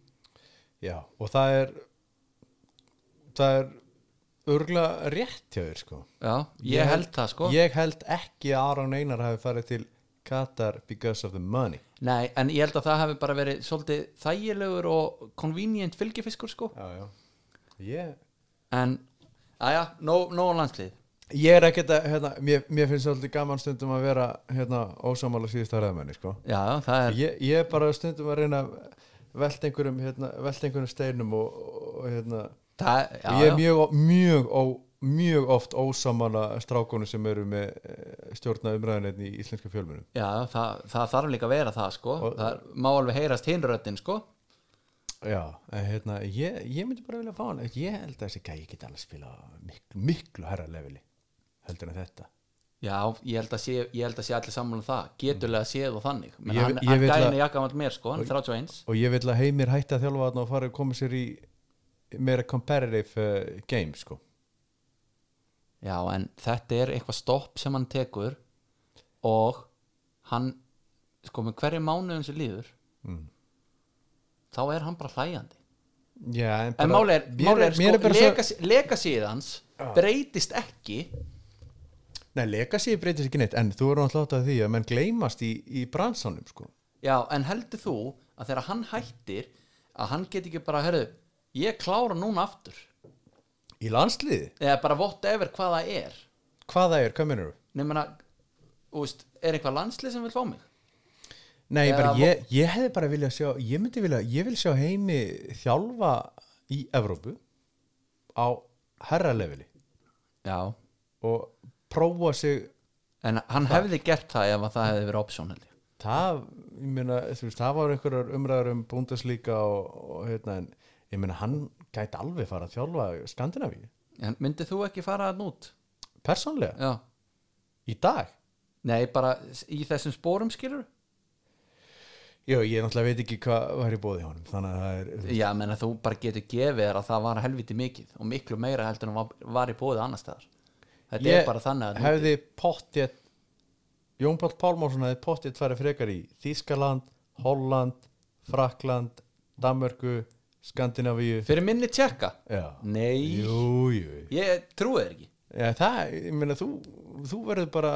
[SPEAKER 2] Já, og það er það er örgla rétt hjá þér sko
[SPEAKER 1] Já, ég, held það sko
[SPEAKER 2] Ég held ekki að Aron Einar hafi farið til Qatar because of the money
[SPEAKER 1] Nei, en ég held að það hefði bara verið svolítið þægilegur og convenient fylgifiskur sko
[SPEAKER 2] Já, já Ég,
[SPEAKER 1] en, aðja, nóg um no, landslið
[SPEAKER 2] ég er ekkert að, hérna, mér, mér finnst svolítið gaman stundum að vera hérna ósamála síðust að ræðmenni sko
[SPEAKER 1] já, já, það er,
[SPEAKER 2] ég, ég er bara stundum að reyna að velta einhverjum, hérna, velta einhverjum steinum og, og hérna
[SPEAKER 1] það, já,
[SPEAKER 2] ég er
[SPEAKER 1] já,
[SPEAKER 2] mjög, mjög, ó, mjög oft ósamála strákunum sem eru með eh, stjórna umræðinni í íslenska fjölmunum
[SPEAKER 1] já það, það þarf líka að vera það sko,
[SPEAKER 2] Og-
[SPEAKER 1] það er, má alveg heyrast hinröddin sko,
[SPEAKER 2] Já, en hérna, ég, ég myndi bara vilja fá hann ég held að þessi gæi geti alveg spila miklu, miklu herra leveli heldur en þetta
[SPEAKER 1] já, ég held að sé ég held að sé allir sammála um það, geturlega séð og þannig, menn
[SPEAKER 2] Ég-
[SPEAKER 1] hann,
[SPEAKER 2] ég
[SPEAKER 1] hann
[SPEAKER 2] vil
[SPEAKER 1] gæðin
[SPEAKER 2] að-
[SPEAKER 1] er jakkamall mér sko, hann er 31
[SPEAKER 2] og ég vil að heimir hætti að þjálfa hann og fara að koma sér í meira comparative uh, game sko.
[SPEAKER 1] já, en þetta er eitthvað stopp sem hann tekur og hann sko, með hverju mánuðum sem líður
[SPEAKER 2] Mm.
[SPEAKER 1] þá er hann bara hlæjandi
[SPEAKER 2] Já, en,
[SPEAKER 1] en máli er,
[SPEAKER 2] mér
[SPEAKER 1] máli er,
[SPEAKER 2] mér
[SPEAKER 1] sko,
[SPEAKER 2] bara
[SPEAKER 1] legas, legasíð hans breytist ekki
[SPEAKER 2] svo, Nei, legacy breytist ekki neitt en þú eru alltaf átt að því að menn gleymast í, í bransanum sko.
[SPEAKER 1] Já, en heldur þú að þegar hann hættir að hann get ekki bara, herðu, ég klára núna aftur
[SPEAKER 2] í landsliði,
[SPEAKER 1] eða bara votta yfir hvað það er
[SPEAKER 2] hvað það er, hvað minnur
[SPEAKER 1] nefnir að, úst, er eitthvað landslið sem vil fá mig?
[SPEAKER 2] Nei,
[SPEAKER 1] Eða
[SPEAKER 2] bara,
[SPEAKER 1] vo-
[SPEAKER 2] ég, ég hefði bara vilja sjá ég myndi vilja, ég vil sjá heimi þjálfa í Evrópu á herra leveli
[SPEAKER 1] Já,
[SPEAKER 2] og prófa sig
[SPEAKER 1] en hann hefði gert það ef að það hefði verið option held ég
[SPEAKER 2] það, ég meina, þú veist, það var einhverjar umræður um búndaslíka og, og hérna, en ég meina, hann gæti alveg fara að þjálfa Skandinavíu
[SPEAKER 1] En myndið þú ekki fara að nút?
[SPEAKER 2] persónlega,
[SPEAKER 1] Já,
[SPEAKER 2] í dag
[SPEAKER 1] nei, bara í þessum spórum skilur?
[SPEAKER 2] Jó, ég náttúrulega veit ekki hvað var í bóði honum þannig að það er, þú veist,
[SPEAKER 1] Já, menna þú bara getur gefið þér að það var helviti mikið og miklu meira heldur en var, var í bóðið annar staðar Þetta er bara þannig að
[SPEAKER 2] hefði pottjett Jón Páll Pálmásson hefði pottjett farið frekar í Þískaland, Holland Frakland, Danmörku Skandinavíu
[SPEAKER 1] fyrir minni tjekka
[SPEAKER 2] Já.
[SPEAKER 1] Nei,
[SPEAKER 2] Jú, jú
[SPEAKER 1] ég trúi þér ekki
[SPEAKER 2] Já, það, ég meina, þú, þú verður bara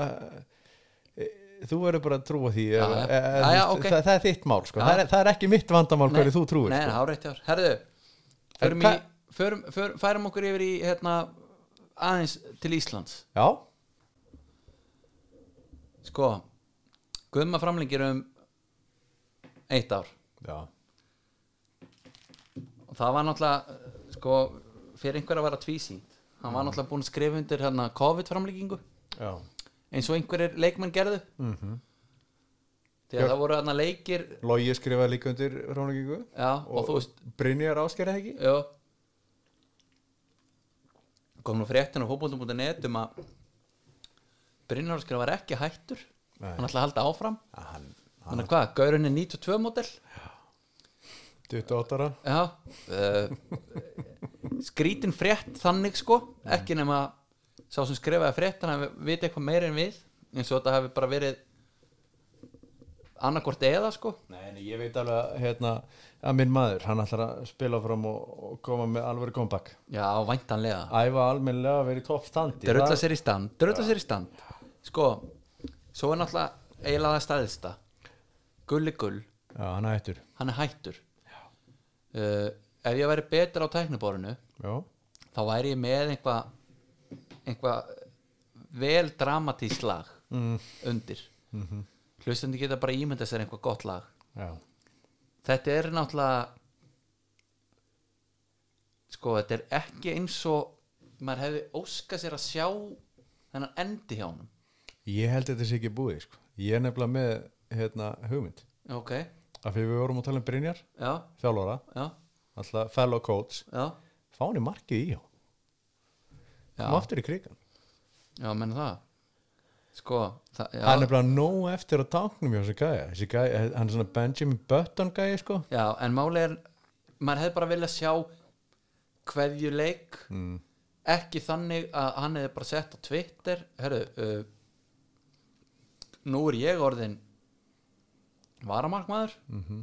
[SPEAKER 2] e, þú verður bara að trúa því
[SPEAKER 1] Já,
[SPEAKER 2] ef-
[SPEAKER 1] já.
[SPEAKER 2] ef- ef-
[SPEAKER 1] Já, já,
[SPEAKER 2] þú veist,
[SPEAKER 1] ok.
[SPEAKER 2] það, það er þitt mál, sko
[SPEAKER 1] Já.
[SPEAKER 2] það er, það er ekki mitt vandamál hverju þú trúir
[SPEAKER 1] Nei,
[SPEAKER 2] sko.
[SPEAKER 1] það er rétt hjá þér. Herðu, förum,
[SPEAKER 2] En
[SPEAKER 1] í, förum, förum, færum okkur yfir í hérna, aðeins til Íslands
[SPEAKER 2] Já,
[SPEAKER 1] Sko, Guðma framlengir um eitt ár
[SPEAKER 2] já,
[SPEAKER 1] og það var náttúrulega eh, sko, fyrir einhver að vera tvísýnt hann var náttúrulega búinn að skrifa undir hérna, COVID framlengingu
[SPEAKER 2] já
[SPEAKER 1] eins og einhverjir leikmenn gerðu mm -hmm. þegar það voru hérna, leikir
[SPEAKER 2] Logi skrifaði líka undir Rónagingu
[SPEAKER 1] já, og,
[SPEAKER 2] og,
[SPEAKER 1] þú veist
[SPEAKER 2] Brynjar áskerði það ekki
[SPEAKER 1] Já kom nú fréttin á hópundum.net um að Brynjarskar var ekki hættur
[SPEAKER 2] Nei.
[SPEAKER 1] hann ætla að halda áfram
[SPEAKER 2] Já, hann,
[SPEAKER 1] hann er hvað, Gaurinn er 92 model
[SPEAKER 2] 28 ára
[SPEAKER 1] já uh, skrítin frétt þannig sko ekki nema sá sem skrifaði fréttin að vita eitthvað meira en við eins og þetta hafi bara verið annarkvort eða sko
[SPEAKER 2] Nei, en ég veit alveg að, hérna, að minn maður, hann ætlar að spila fram og, og koma með alveg comeback
[SPEAKER 1] já, væntanlega
[SPEAKER 2] Æfa almennilega að vera í toppstandi
[SPEAKER 1] drölla
[SPEAKER 2] Það-
[SPEAKER 1] sér í stand drölla sér í stand sko, svo er náttúrulega eiginlega það staðista gulli gull,
[SPEAKER 2] Já, hann er hættur
[SPEAKER 1] hann er hættur uh, ef ég væri betur á tækniborinu
[SPEAKER 2] Já,
[SPEAKER 1] þá væri ég með einhvað einhvað vel dramatísk lag undir mm
[SPEAKER 2] Mhm.
[SPEAKER 1] -hmm. hlustandi geta bara ímynda sér einhvað gott lag
[SPEAKER 2] já,
[SPEAKER 1] þetta er náttúrulega sko, þetta er ekki eins og maður hefði óskað sér að sjá þennan endi hjá honum
[SPEAKER 2] Ég held að þetta sé ekki búið sko. Ég er nefnilega með hérna, hugmynd
[SPEAKER 1] ok,
[SPEAKER 2] af því við vorum að tala um Brynjar,
[SPEAKER 1] já,
[SPEAKER 2] þjálfara
[SPEAKER 1] já,
[SPEAKER 2] alltaf fellow coach,
[SPEAKER 1] já
[SPEAKER 2] fá hann í markið í hjá
[SPEAKER 1] Já,
[SPEAKER 2] og aftur í krigan
[SPEAKER 1] já, menn það Sko, það, já,
[SPEAKER 2] hann er bara nóg eftir að táknum hjá þessi gæja, þessi gæja hann er svona Benjamin Button gæja sko
[SPEAKER 1] já en máli er maður hefði bara viljað sjá hverju leik mm. ekki þannig að hann hefði bara sett á Twitter herru uh, nú er ég orðin varamarkmaður mm
[SPEAKER 2] mhm,
[SPEAKER 1] -hmm.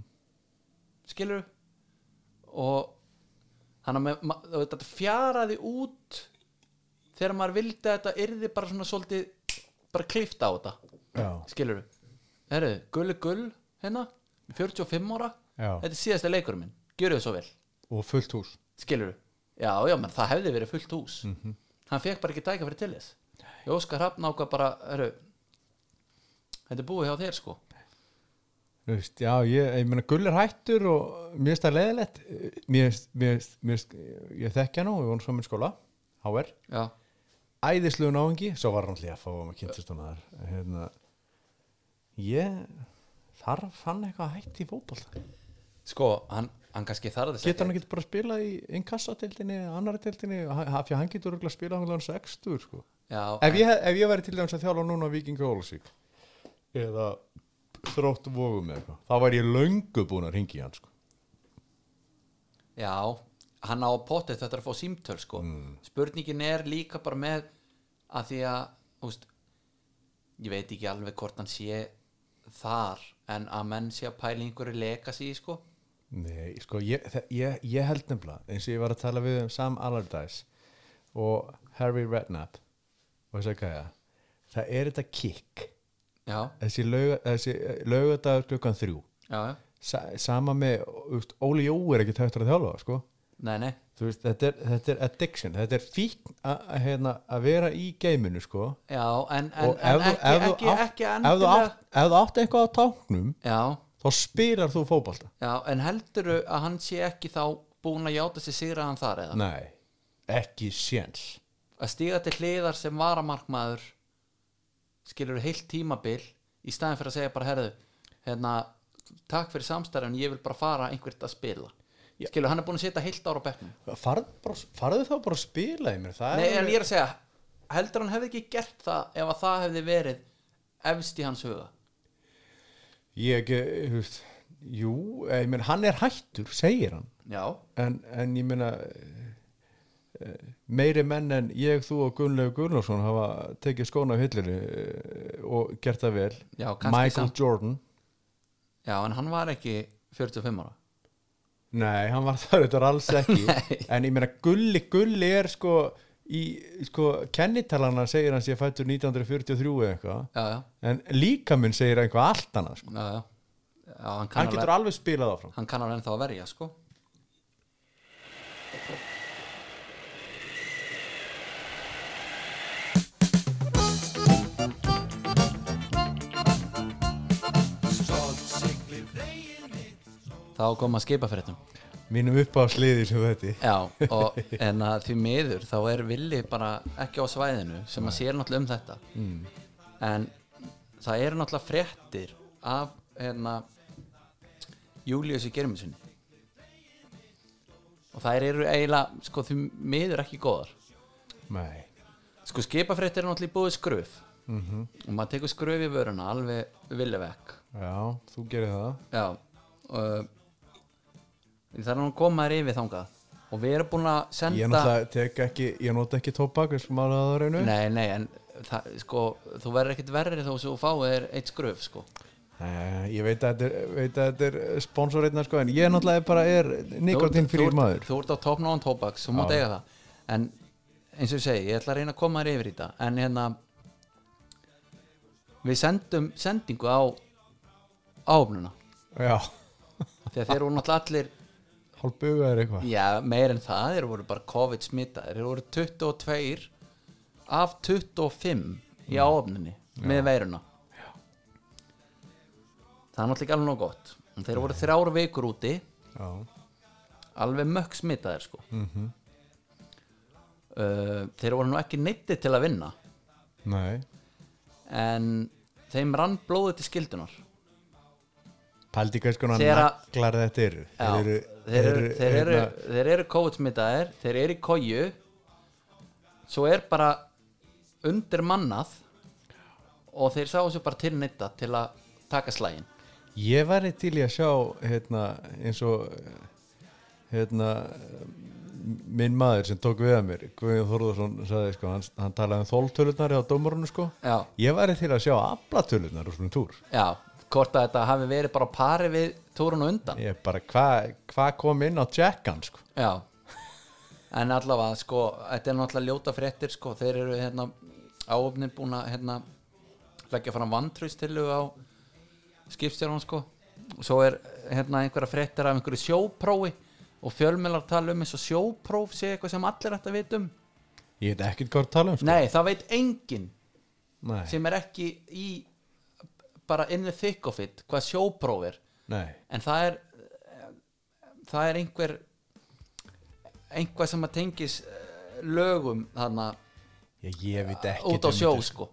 [SPEAKER 1] skilur og hann að með- ma- þú veit, þetta fjaraði út þegar maður vildi að þetta yrði bara svona svolítið bara klifta á þetta
[SPEAKER 2] já,
[SPEAKER 1] skilur herru, gullu gull hérna, 45 ára
[SPEAKER 2] Já.
[SPEAKER 1] þetta er síðasta leikur minn, gjöru þið svo vel
[SPEAKER 2] og fullt hús
[SPEAKER 1] skilur já, já, menn það hefði verið fullt hús hann fekk bara ekki tæka fyrir til þess ég óskar hafna ákvað bara herru, þetta er búið hjá þér sko
[SPEAKER 2] Þú veist, já, ég, ég meina gull er hættur og mér finnst það leðilegt mér, finnst- mér, finnst- mér, finnst- ég þekki hann og við vorum saman í skóla HR,
[SPEAKER 1] já,
[SPEAKER 2] æðislu náðingi svo var hann hljáf og maður kynntist hann þar hérna ég þarf hann eitthvað að hætti í fótbolta
[SPEAKER 1] sko, hann, hann kannski þarði þess
[SPEAKER 2] getur hann ekki bara að spila í inkassadeildinni eða annari deildinni, af því að hann getur örugglega að spila hann hann sextur sko
[SPEAKER 1] já,
[SPEAKER 2] ef ég, hef- ef ég væri til dæmis að þjálfa núna Vikinga Ólusík eða þrótt vogum eða eitthvað þá væri ég löngu búin að ringi hann sko
[SPEAKER 1] Já, hann á potið þetta er að fá símtöl sko spurningin er líka bara með að því að úst, ég veit ekki alveg hvort hann sé þar en að menn sé að pæla í einhverju legacy sko
[SPEAKER 2] Nei, sko, ég, þe- ég, ég held nefnilega eins og ég var að tala við um Sam Allardyce og Harry Redknapp og þess að gæja það er þetta kick
[SPEAKER 1] Já,
[SPEAKER 2] þessi, lauga, þessi eh, laugardagur klukkan þrjú
[SPEAKER 1] já, já,
[SPEAKER 2] Sa, sama með, þú veist, Óli Jó er ekki tættur að þjálfa, sko
[SPEAKER 1] nei, nei
[SPEAKER 2] Þú veist, þetta, er, þetta er addiction, þetta er fíkn að- að hérna, að vera í geiminu sko
[SPEAKER 1] Já, en, en,
[SPEAKER 2] og
[SPEAKER 1] en
[SPEAKER 2] ef, þú-
[SPEAKER 1] ekki,
[SPEAKER 2] ef,
[SPEAKER 1] ekki,
[SPEAKER 2] þú átt-
[SPEAKER 1] ekki
[SPEAKER 2] ef þú
[SPEAKER 1] endilega
[SPEAKER 2] átt, ef þú átt eitthvað á táknum
[SPEAKER 1] Já,
[SPEAKER 2] þá spilar þú fótbalta
[SPEAKER 1] já, en heldurðu að hann sé ekki þá búin að játa sig sigraðan þar eða
[SPEAKER 2] Nei, ekki séns
[SPEAKER 1] að stíga til hliðar sem varamarkmaður skilur heilt tímabil í staðin fyrir að segja bara herðu hérna, takk fyrir samstæðan ég vil bara fara einhvert að spila skilur, hann er búin að setja heilt ára á bekknum
[SPEAKER 2] farð, bara, farðu þá bara að spila í mér það
[SPEAKER 1] Nei,
[SPEAKER 2] er
[SPEAKER 1] en ég er að segja, heldur hann hefði ekki gert það ef að það hefði verið efst í hans huga
[SPEAKER 2] ég, eh, þú veist, jú, eh, ég meina, hann er hættur, segir hann
[SPEAKER 1] Já,
[SPEAKER 2] en, en ég meina eh, eh, meiri menn en ég, þú og Gunnlegu Gunnlaugsson hafa tekið skóna á hillinu eh, og gert það vel
[SPEAKER 1] Já, kannski
[SPEAKER 2] Michael
[SPEAKER 1] samt.
[SPEAKER 2] Jordan
[SPEAKER 1] já, en hann var ekki 45 ára
[SPEAKER 2] nei, hann var það þetta alls ekki en ég meina Gulli, Gulli er sko í, sko, kennitalana segir hann sé fættur 1943 eða eitthvað
[SPEAKER 1] Já, já,
[SPEAKER 2] en líkaminn segir eitthvað allt annað sko.
[SPEAKER 1] já, já, já hann, kann
[SPEAKER 2] hann getur
[SPEAKER 1] alveg,
[SPEAKER 2] alveg spilað áfram
[SPEAKER 1] hann kannar ennþá að verja, sko Þá kom að skipa fyrir þetta
[SPEAKER 2] mínum uppáðsliði sem þetta
[SPEAKER 1] Já, og, en að því miður þá er villi bara ekki á svæðinu sem að sér náttúrulega um þetta
[SPEAKER 2] Mm.
[SPEAKER 1] en það eru náttúrulega fréttir af hérna Júliusi Germinsinni og þær eru eiginlega sko því miður ekki góðar
[SPEAKER 2] Nei,
[SPEAKER 1] sko skipafréttir eru náttúrulega í búið skröf
[SPEAKER 2] Mhm.
[SPEAKER 1] og maður tekur skröf í vöruna alveg vilja vekk
[SPEAKER 2] já, þú gerir það
[SPEAKER 1] Já og, Það er nú að koma þér yfir þangað og við erum búin að senda
[SPEAKER 2] Ég náttúrulega tek ekki, ég nota ekki tóbak við slum alveg að það reynu
[SPEAKER 1] Nei, nei, en það, sko, þú verður ekkert verri þó sem þú fáið er eitt skröf, sko.
[SPEAKER 2] Nei, Ég veit að þetta er, veit að þetta er sponsorreitna sko en ég náttúrulega bara er nikotin
[SPEAKER 1] Þú
[SPEAKER 2] fyrir
[SPEAKER 1] ert-
[SPEAKER 2] maður
[SPEAKER 1] Þú ert á topnáðan tóbaks, þú mátt eiga það. En eins og ég segi, ég ætla að reyna að koma þér yfir í þetta. En hérna, við sendum sendingu á áfnuna.
[SPEAKER 2] Já,
[SPEAKER 1] Þegar þeir voru náttúrulega allir,
[SPEAKER 2] hálf bugaður eitthvað
[SPEAKER 1] já, meir en það, þeir voru bara COVID smitaðir. Þeir voru 22 af 25 í áfnunni með veiruna. Það er náttúrulega ekki alveg nóg gott. En Þeir voru þrjár vikur úti.
[SPEAKER 2] Já,
[SPEAKER 1] alveg mökk smitaðir sko uh, þeir voru nú ekki neytti til að vinna
[SPEAKER 2] nei
[SPEAKER 1] en þeim rann blóðið til skildunar
[SPEAKER 2] Pældi hvers konar
[SPEAKER 1] Þegar að-
[SPEAKER 2] naglar þetta eru
[SPEAKER 1] Já, þeir eru, þeir eru, þeir eru,
[SPEAKER 2] hérna,
[SPEAKER 1] þeir eru COVID-smitaðir þeir eru í kóju svo er bara undir mannað og þeir sáu sér bara tilnýtta til að taka slægin
[SPEAKER 2] Ég væri til í að sjá hérna, eins og hérna minn maður sem tók við að mér Guðjón Þorðarsson sagði sko hann, hann talaði um þóltölurnar hjá dómurunum sko
[SPEAKER 1] Já.
[SPEAKER 2] ég væri til að sjá aflatölurnar og svona túr
[SPEAKER 1] já, hvort að þetta hafi verið bara á pari við túrun og undan
[SPEAKER 2] ég bara hvað hva kom inn á Jackan sko
[SPEAKER 1] já, en allavega sko, þetta er náttúrulega ljóta fréttir sko, þeir eru hérna áöfni búin að hérna leggja fram vantrústilu á skipstjórnum sko og svo er hérna einhverja fréttir af einhverju sjóprófi og fjölmjölar tala um eins og sjópróf sé eitthvað sem allir ætti að vita um
[SPEAKER 2] ég veit ekkert hvað að tala um sko
[SPEAKER 1] nei það veit enginn
[SPEAKER 2] nei,
[SPEAKER 1] sem er ekki í bara in the thick of it hvað sjópróf er
[SPEAKER 2] nei.
[SPEAKER 1] en það er það er einhver einhver sem að tengis eh, lögum þarna
[SPEAKER 2] Ég, ég veit ekkert
[SPEAKER 1] út á
[SPEAKER 2] um
[SPEAKER 1] sjó
[SPEAKER 2] þetta,
[SPEAKER 1] sko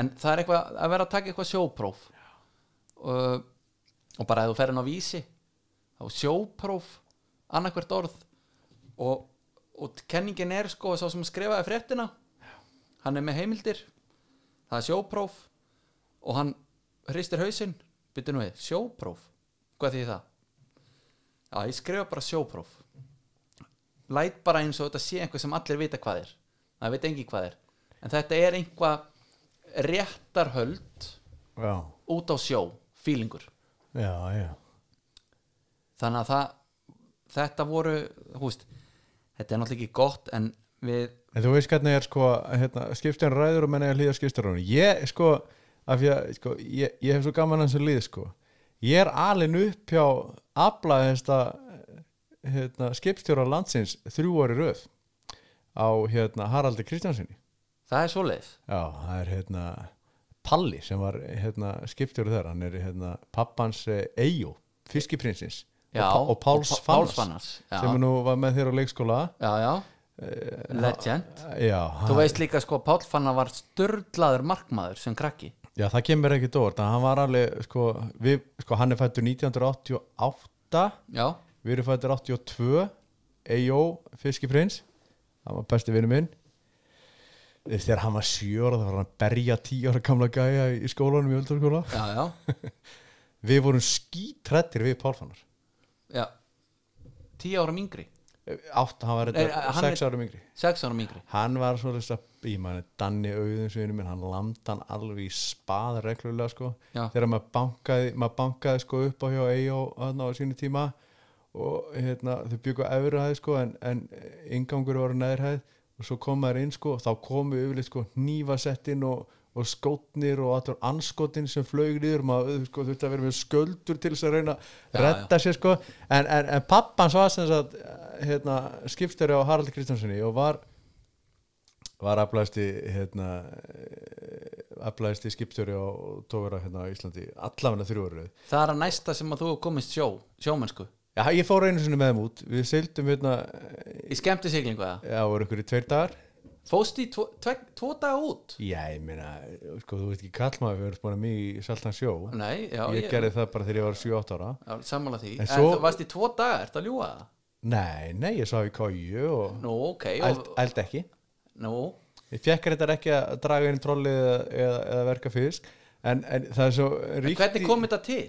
[SPEAKER 1] en það er eitthvað að vera að taka eitthvað sjópróf og, og bara ef þú ferðin á vísi þá sjópróf annarkvert orð og, og kenningin er sko sá sem skrifaði fréttina hann er með heimildir það er sjópróf og hann hristir hausinn byttu nú við, sjópróf hvað því það? já, ég skrifa bara sjópróf læt bara eins og þetta sé einhver sem allir vita hvað er það veit engi hvað er en þetta er einhvað réttarhöld
[SPEAKER 2] já,
[SPEAKER 1] út á sjó, fílingur
[SPEAKER 2] sko. já, já.
[SPEAKER 1] þannig að það þetta voru, húst þetta er náttúrulega ekki gott en við
[SPEAKER 2] En þú veist hvernig er sko hérna, skipstjón ræður og menn er að hlýða skipstjórnum ég sko, af því að sko, ég, ég hef svo gaman hans að lið sko ég er alin upp hjá afla þesta hérna, skipstjóra landsins þrjú ári röð á hérna, Haraldi Kristjánsinni
[SPEAKER 1] það er svoleiðis
[SPEAKER 2] já, það er hérna Palli sem var hérna, skipstjóru þar hann er hérna, pappans Eyjó, fiskiprinsins
[SPEAKER 1] Já,
[SPEAKER 2] og, Pa- og Páls
[SPEAKER 1] og Pa- Páls
[SPEAKER 2] Fannars,
[SPEAKER 1] Fannars, já.
[SPEAKER 2] sem nú var með þér á leikskóla
[SPEAKER 1] já, já, legend
[SPEAKER 2] já,
[SPEAKER 1] þú veist líka sko, Páll Fanna var störðlaður markmaður sem krakki
[SPEAKER 2] Já, það kemur ekkert óvart, en hann var alveg, sko, við, sko, hann er fættur 1988,
[SPEAKER 1] já,
[SPEAKER 2] við erum fættur 82, Eyjó, Fiskiprins, hann var besti vinnu minn. Þegar hann var sjö ára, það var hann að berja tíu ára gamla gæja í skólanum í öldurskóla.
[SPEAKER 1] já, já,
[SPEAKER 2] Við vorum skítrættir við Pálfannar.
[SPEAKER 1] já. tíu árum yngri
[SPEAKER 2] Átt, hann var
[SPEAKER 1] Nei,
[SPEAKER 2] þetta
[SPEAKER 1] hann
[SPEAKER 2] sex
[SPEAKER 1] er-
[SPEAKER 2] árum yngri.
[SPEAKER 1] sex árum yngri
[SPEAKER 2] Hann var svo þess að, ég mani, Danni auðinsvinu minn, hann lamdi hann alveg í spað reglulega sko.
[SPEAKER 1] Já.
[SPEAKER 2] Þegar maður bankaði, maður bankaði sko upp á hjá Eyjó þarna á sínu tíma og hérna, þau byggu efri hæð sko en, en ingangur var neðri hæð og svo kom maður inn sko og þá komu yfirleitt sko nýfasettinn og, og skótnir og allur anskotinn sem flög niður, maður sko, þurfti að vera með sköldur til þess að reyna að redda sér sko en, en, en pappan svo að sem sagt hérna, skiptari á Haraldi Kristjánssoni og var var aflæðasti hérna, eh, aflæðasti skiptjóri og tókara hérna á Íslandi allafina þrjúrið
[SPEAKER 1] það er að næsta sem að þú hefur komist sjó sjómennsku,
[SPEAKER 2] Já, ég fór einu sinni með þeim út við seildum hérna,
[SPEAKER 1] í skemmti siglingu eða
[SPEAKER 2] já, voru ykkur í tveir dagar
[SPEAKER 1] fóst í tvo, tve, tvo daga út
[SPEAKER 2] Já, ég meina, sko, þú veist ekki kallmaður við erum spána mjög í Saltan sjó
[SPEAKER 1] Nei, já,
[SPEAKER 2] Ég
[SPEAKER 1] ég-
[SPEAKER 2] gerði það bara þegar ég var 7-8 ára
[SPEAKER 1] Já, sammála því,
[SPEAKER 2] En
[SPEAKER 1] en,
[SPEAKER 2] svo-
[SPEAKER 1] þú varst í tvo daga ertu að ljúga það?
[SPEAKER 2] Nei, nei, ég sá í kóju og
[SPEAKER 1] Nú, ok,
[SPEAKER 2] eld,
[SPEAKER 1] og,
[SPEAKER 2] eld ekki
[SPEAKER 1] nú,
[SPEAKER 2] Ég fekk þetta ekki að draga inn trollið eða, eða, eða verka fisk en, en það er svo
[SPEAKER 1] en hvernig kom þetta til?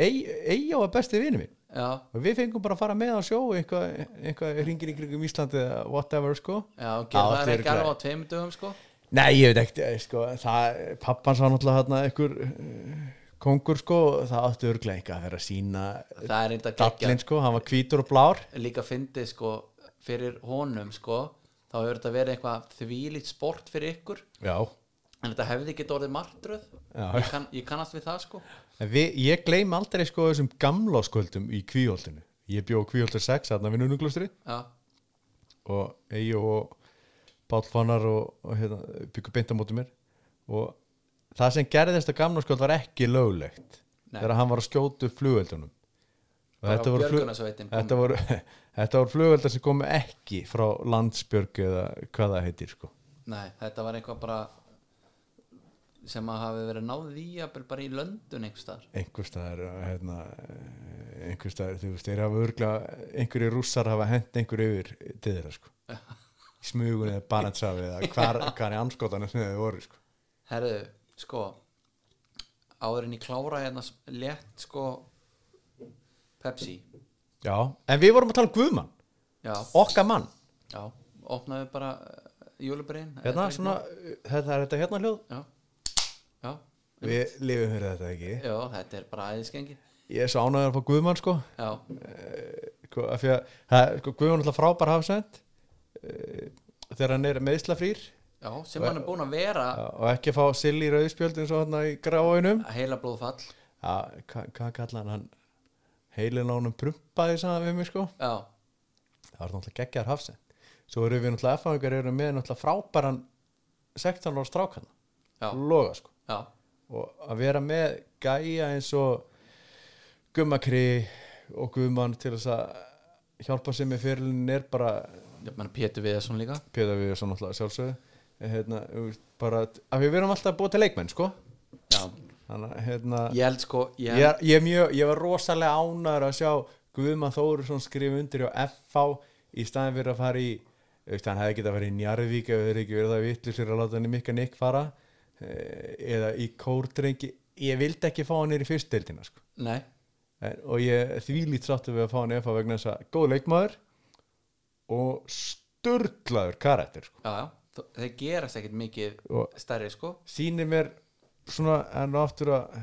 [SPEAKER 2] Eyjá var besti vinur minn
[SPEAKER 1] Já,
[SPEAKER 2] og við fengum bara að fara með á sjó eitthvað, eitthvað ringir í kringum Íslandi eða whatever sko
[SPEAKER 1] já, gerðu það er
[SPEAKER 2] allir
[SPEAKER 1] ekki
[SPEAKER 2] glaðir.
[SPEAKER 1] alveg á tveim dögum, sko
[SPEAKER 2] nei ég veit ekkert eh, sko, það, pappans var náttúrulega hérna einhver eh, kongur sko og það áttu örglega eitthvað að vera að sína
[SPEAKER 1] Það er reynda geggja,
[SPEAKER 2] dallin sko, hann var hvítur og blár
[SPEAKER 1] líka fyndið, sko fyrir honum, sko þá hefur þetta verið eitthvað þvílít sport fyrir ykkur,
[SPEAKER 2] já
[SPEAKER 1] en þetta hefði ekki orðið martröð,
[SPEAKER 2] Já.
[SPEAKER 1] ég, kann, ég kannast við það, sko
[SPEAKER 2] við, ég gleym aldrei sko þessum gamla sköldum í kvíhóldinu ég bjó kvíhóldur 6 þarna við nunnuglustri
[SPEAKER 1] Já,
[SPEAKER 2] og Eigi og Páll Fannar og, og hérna, byggur beint á móti mér og það sem gerðist á gamla skjöld var ekki löglegt
[SPEAKER 1] Nei.
[SPEAKER 2] þegar hann var að skjóta upp flugveldunum og
[SPEAKER 1] Bara
[SPEAKER 2] þetta voru,
[SPEAKER 1] björgunarsveitin kom.
[SPEAKER 2] þetta, voru, þetta voru flugveldar sem komu ekki frá landsbjörg eða hvað það heitir sko.
[SPEAKER 1] nei, þetta var eitthvað bara sem að hafi verið náðið í jafnvel bara í löndun einhvers staðar
[SPEAKER 2] einhverstaðar hérna, einhverstaðar, þú veist, þeir hafa örgla einhverju rússar hafa hent einhverju yfir til þeirra, sko í smugun eða barentsafi eða hvar, hvar í anskotan sem þeir voru, sko
[SPEAKER 1] Herðu, sko áður en ég klára hérna s- létt sko Pepsi
[SPEAKER 2] Já, en við vorum að tala um Guðmann,
[SPEAKER 1] Já,
[SPEAKER 2] okkar mann
[SPEAKER 1] já, opnaðu bara eh, júlubriðin
[SPEAKER 2] hérna, svona, þetta er þetta hérna hljóð
[SPEAKER 1] Já, já,
[SPEAKER 2] Við lifum fyrir þetta ekki
[SPEAKER 1] já, þetta er bara æðiskengi
[SPEAKER 2] Ég er svo ánægður að fá Guðmann, sko
[SPEAKER 1] Já,
[SPEAKER 2] sko, af því að, það, sko, Guðmann er alltaf frábær hafsend Eh, þegar hann er meðslafrýr
[SPEAKER 1] já, sem hann er búin að vera
[SPEAKER 2] og ekki að fá sill í rauðspjöld eins og hann í gráinum
[SPEAKER 1] heila blóðfall
[SPEAKER 2] Já, hva- hvað kalla hann hann heilin á honum prumpaði saman við mig sko
[SPEAKER 1] Já,
[SPEAKER 2] það var náttúrulega geggjar hafsend svo eru við náttúrulega F-fangar eru með náttúrulega frábæran 16 ára strákan
[SPEAKER 1] Já.
[SPEAKER 2] loga sko
[SPEAKER 1] já,
[SPEAKER 2] og að vera með gæja eins og gummakri og guðmann til þess að hjálpa sér með fyrirlin er bara
[SPEAKER 1] ég menn Pétur Viðarsson líka
[SPEAKER 2] Pétur við svo náttúrulega sjálfsögðu Eh, hérna, þú veist, bara að við verum alltaf að búa til leikmenn sko
[SPEAKER 1] Já,
[SPEAKER 2] þannig að hérna
[SPEAKER 1] ég held sko ég,
[SPEAKER 2] ég, er- ég, er mjög, ég var rosalega ánæður að sjá Guðmann Þórisson skrifa undir á FH í staðin fyrir að fara í þú veist, hann hefði getað að fara í Njarðvík ef þeir ekki verið það vitlu sér að láta hann í Mikka Nick fara eh, eða í Kórdrengi ég vildi ekki fá hann niður í fyrstdeildina sko.
[SPEAKER 1] Nei,
[SPEAKER 2] en, og ég þvílít sáttu við að fá hann í FH vegna þess að góð leikmaður og sturdlaður karakter sko.
[SPEAKER 1] já, já, þó- þeir gerast ekkert mikið
[SPEAKER 2] Og-
[SPEAKER 1] stærri sko
[SPEAKER 2] sýnir mér svona enn og aftur að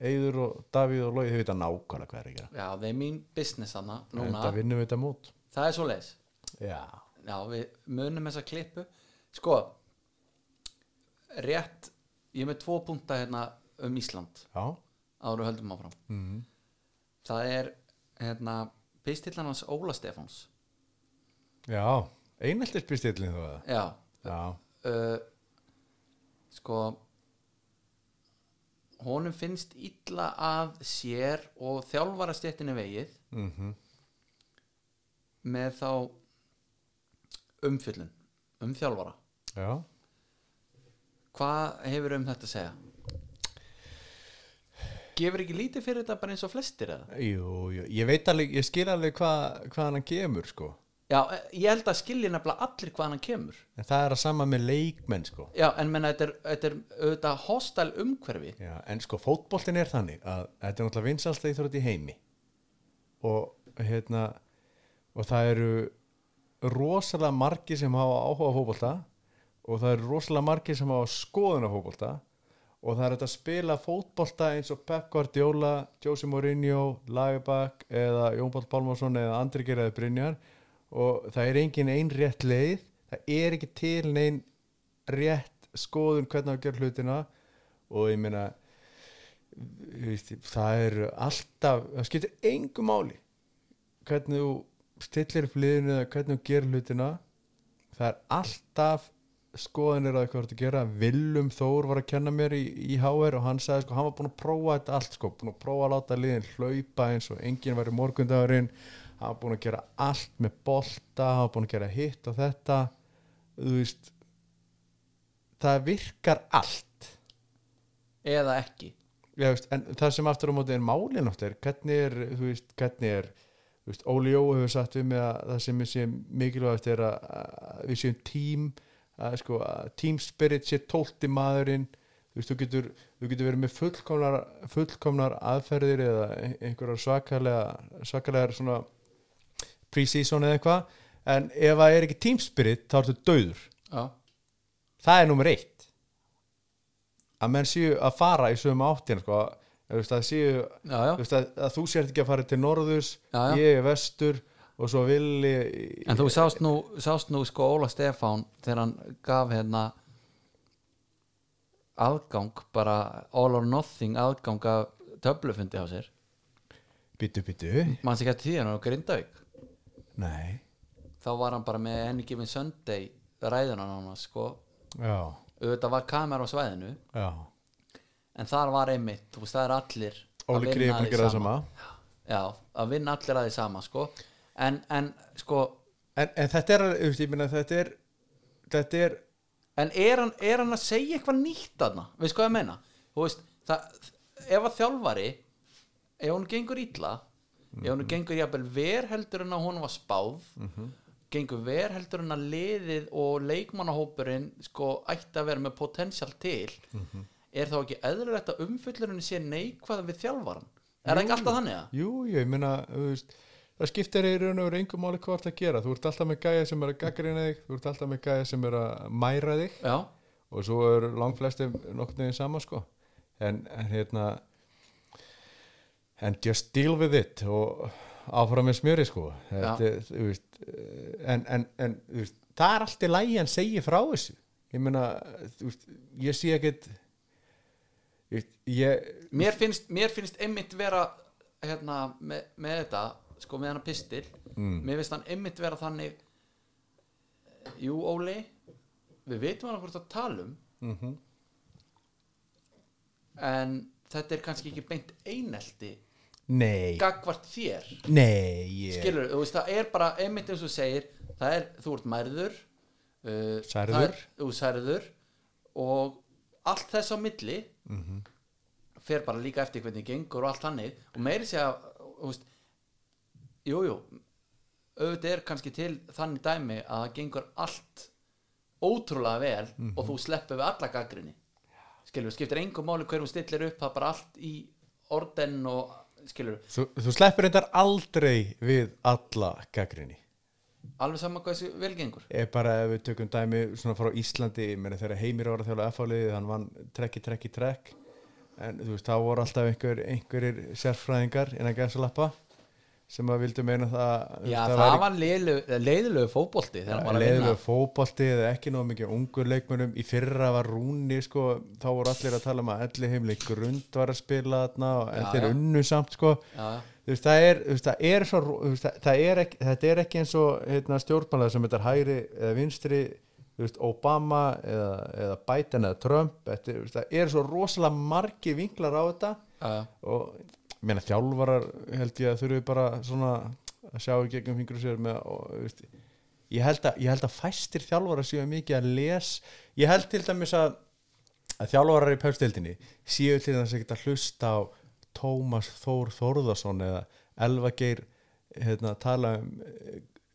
[SPEAKER 2] Eyður og Davíð og Lói þau vita nákvæmlega hvað er ekki
[SPEAKER 1] Já, það er mín business hana
[SPEAKER 2] en
[SPEAKER 1] núna
[SPEAKER 2] það vinnum við þetta mót
[SPEAKER 1] Það er svo leis
[SPEAKER 2] Já,
[SPEAKER 1] Já, við munum þessa klippu Sko Rétt, ég er með tvo punta hérna um Ísland
[SPEAKER 2] já,
[SPEAKER 1] áru höldum áfram mm.
[SPEAKER 2] Mhm.
[SPEAKER 1] Það er hérna pistillan hans Óla Stefáns
[SPEAKER 2] já eineltis pistillin þú að
[SPEAKER 1] Já,
[SPEAKER 2] Já,
[SPEAKER 1] uh, sko honum finnst illa að sér og þjálfara stjættinni vegið -hmm. með þá umfyllun um þjálfara
[SPEAKER 2] já
[SPEAKER 1] hvað hefur um þetta að segja? gefur ekki lítið fyrir þetta bara eins og flestir eða?
[SPEAKER 2] Jú, jú, ég veit alveg, ég skil alveg hva, hvað hann kemur sko
[SPEAKER 1] Já, eh, ég held að skilji nefnilega allir hvaðan hann kemur
[SPEAKER 2] En það er að sama með leikmenn sko
[SPEAKER 1] Já, en menna þetta er, þetta er auðvitað hostal umhverfi
[SPEAKER 2] Já, en sko fótboltin er þannig að þetta er náttúrulega vinsalsta íþrótt í heimi og hérna og það eru rosalega margir sem hafa áhuga á fótbolta og það eru rosalega margir sem hafa skoðun á fótbolta og það er þetta að spila fótbolta eins og Pep Guardiola, Jose Mourinho Lagerbach eða Jón Páll Pálmarsson eða Andri Gerðið Brynjar og það er engin ein rétt leið það er ekki til neinn rétt skoðun hvernig að gera hlutina og ég meina þú veist, það eru alltaf það skiptir engu máli hvernig þú stillir upp liðinu eða hvernig þú gerir hlutina það er alltaf skoðanir að hvað þú ert að gera Willum Þór var að kenna mér í, í HR og hann sagði sko, hann var búin að prófa þetta allt sko, búin að prófa að láta liðin hlaupa eins og enginn var í morgundagurinn hann var búin að gera allt með bolta hann var búin að gera hitt og þetta þú veist það virkar allt
[SPEAKER 1] eða ekki
[SPEAKER 2] Já, veist, en það sem aftur á móti er málin áttir, hvernig er, þú veist, hvernig er þú veist, Óli Jó hefur sagt við með að það sem er sér mikilvægt er að, að við séum tím að, sko, að team spirit sé tólti maðurinn þú, veist, þú, getur, þú getur verið með fullkomnar, fullkomnar aðferðir eða ein- einhverjar svakalega svakalega svona pre-season eða eitthvað en ef það er ekki team spirit þá ertu döður
[SPEAKER 1] Já,
[SPEAKER 2] það er nummer eitt að menn séu að fara í sömu áttin sko, að, veist, að, séu,
[SPEAKER 1] já, já.
[SPEAKER 2] þú veist, að, að þú sért ekki að fara til norðurs
[SPEAKER 1] Já, já.
[SPEAKER 2] ég er vestur og svo villi
[SPEAKER 1] En þú sást nú, sást nú sko Óla Stefán þegar hann gaf hérna aðgang bara all or nothing aðgang að töflufundi á sér
[SPEAKER 2] bitu bitu
[SPEAKER 1] mann sér gæti því hann á Grindavík
[SPEAKER 2] nei
[SPEAKER 1] þá var hann bara með Any Given Sunday ræðuna hann sko
[SPEAKER 2] já,
[SPEAKER 1] auðvitað var kamera á svæðinu
[SPEAKER 2] já.
[SPEAKER 1] en þar var einmitt, þú veist það er allir að
[SPEAKER 2] Óli
[SPEAKER 1] vinna
[SPEAKER 2] Kriði
[SPEAKER 1] að
[SPEAKER 2] búin
[SPEAKER 1] því
[SPEAKER 2] að gera það sama
[SPEAKER 1] Já, að vinna allir að því sama sko en, en sko
[SPEAKER 2] en, en þetta er, þú veist, ég meina þetta er þetta er
[SPEAKER 1] en er hann, er hann að segja eitthvað nýtt aðna veist hvað ég meina Þú veist, það, ef að þjálfari ef hún gengur illa ef hún
[SPEAKER 2] Mhm.
[SPEAKER 1] gengur jafnvel ver heldur en að hún var spáð gengur ver heldur en að liðið og leikmannahópurinn sko ætti að vera með potensial til
[SPEAKER 2] Mhm.
[SPEAKER 1] er þá ekki eðlilegt að umfyllurinni sé neikvað við þjálfaran er það ekki alltaf þannig að?
[SPEAKER 2] Jú, jú, ég meina, þú veist, það skiptir í raun og veru engum máli hvað þú ert að gera. Þú ert alltaf með gæja sem er að gaggrina þig, þú ert alltaf með gæja sem er að mæra þig
[SPEAKER 1] Já,
[SPEAKER 2] og svo eru langflesti nokkurn veginn sama, sko. En, en hérna, en just deal with it og áfram með smjöri, sko. Þetta, er, þú veist, eh, en, en, en, þú veist, það er allt í lagi hann segi frá þessu. Ég meina, þú veist, ég sé ekkit, ég, ég
[SPEAKER 1] mér finnst, mér finnst einmitt vera hérna með, með þetta sko með hann pistil mér finnst hann einmitt vera þannig jú Óli við veitum hann hvort að tala um -hmm. en þetta er kannski ekki beint einelti
[SPEAKER 2] nei,
[SPEAKER 1] gagvart þér
[SPEAKER 2] nei, ég.
[SPEAKER 1] skilur, þú veist, það er bara einmitt eins og þú segir, það er, þú ert mærður uh,
[SPEAKER 2] Særður.
[SPEAKER 1] það er, þú særður og allt þess á milli
[SPEAKER 2] Mhm.
[SPEAKER 1] -hmm. fer bara líka eftir hvernig gengur og allt hannig og meiri segja, þú veist jújú jú, auðvitað er kannski til þannig dæmi að það gengur allt ótrúlega vel og
[SPEAKER 2] Mhm.
[SPEAKER 1] þú sleppur við alla gaggrinni skilur, skiptir engum máli hverjum stillir upp það er bara allt í orden og skilur,
[SPEAKER 2] Þú, þú sleppur þetta aldrei við alla gaggrinni.
[SPEAKER 1] alveg saman hvað þessu vel gengur
[SPEAKER 2] Ef bara ef við tökum dæmi svona frá Íslandi, ég meina þegar Heimir var að þjóla F-áliðið, hann vann trekki, trekki, trekk. En þú veist, þá voru alltaf einhver, einhverir sérfræðingar innan gæðsalappa sem að vildu meina það
[SPEAKER 1] Já, það, var leiðilegu, leiðilegu fótbolti þegar hann var að vinna
[SPEAKER 2] leiðilegu fótbolti eða ekki nóg mikið ungur leikmönum í fyrra var Rúni sko, þá voru allir að tala um að elli heimli grund var að spila þarna og- en
[SPEAKER 1] Já,
[SPEAKER 2] þeir
[SPEAKER 1] já.
[SPEAKER 2] unnu samt sko
[SPEAKER 1] Já.
[SPEAKER 2] Þú veist, það er, þú veist, það er, svo, þú veist, það- það er ekki, þetta er ekki eins og hérna, stjórnmála sem þetta er hægri eða vinstri þú veist, Obama eða, eða Biden eða Trump þetta, er- þú veist, það er svo rosalega margi vinklar á þetta
[SPEAKER 1] Já, já.
[SPEAKER 2] og ég meina þjálfarar held ég að þurfi bara svona að sjá í gegnum fingur sér með og, þú veist, ég, held að, ég held að fæstir þjálfarar séu mikið að les ég held til dæmis að, að þjálfarar í pöfstildinni séu til dæmis ekkert að hlusta á Tómas Þór Þórðarsson eða Elva Geir hérna, tala um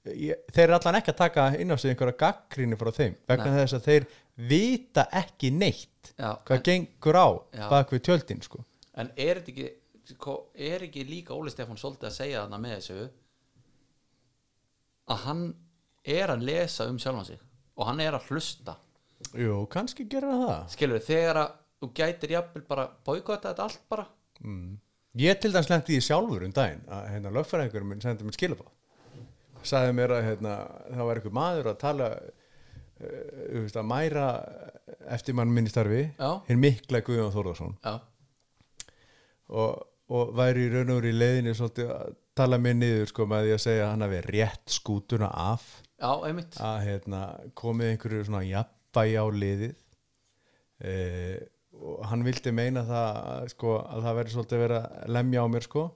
[SPEAKER 2] eh, ég, þeir eru allan ekki að taka inn á sig einhverja gaggrinni frá þeim vegna þess að þeir vita ekki neitt
[SPEAKER 1] Já,
[SPEAKER 2] hvað gengur á
[SPEAKER 1] Já.
[SPEAKER 2] bak við tjöldin sko.
[SPEAKER 1] En er þetta ekki sko, er ekki líka Óli Stefán svolítið að segja þarna með þessu að hann er að lesa um sjálfan sig og hann er að hlusta
[SPEAKER 2] Jú, kannski gera það
[SPEAKER 1] skilur þegar að þú gætir jafnvel bara boykota þetta allt bara
[SPEAKER 2] Ég til dæmis lendi í sjálfur um daginn að hérna, lögfæringur minn sendi mér skilabóð sagði mér að hérna, það var einhver maður að tala uh, veist, að mæra eftir mann minni starfi
[SPEAKER 1] Já.
[SPEAKER 2] hinn mikla Guðjón Þórðarsson
[SPEAKER 1] Já,
[SPEAKER 2] og, og væri í raun og veru í leiðinni svolítið að tala mér niður sko með því að segja að hann hafi rétt skútuna af
[SPEAKER 1] já einmitt
[SPEAKER 2] að hérna, komið einhverju svona jafnbæja á liðið e, og hann vildi meina það að, sko, að það veri svolítið verið að lemja á mér sko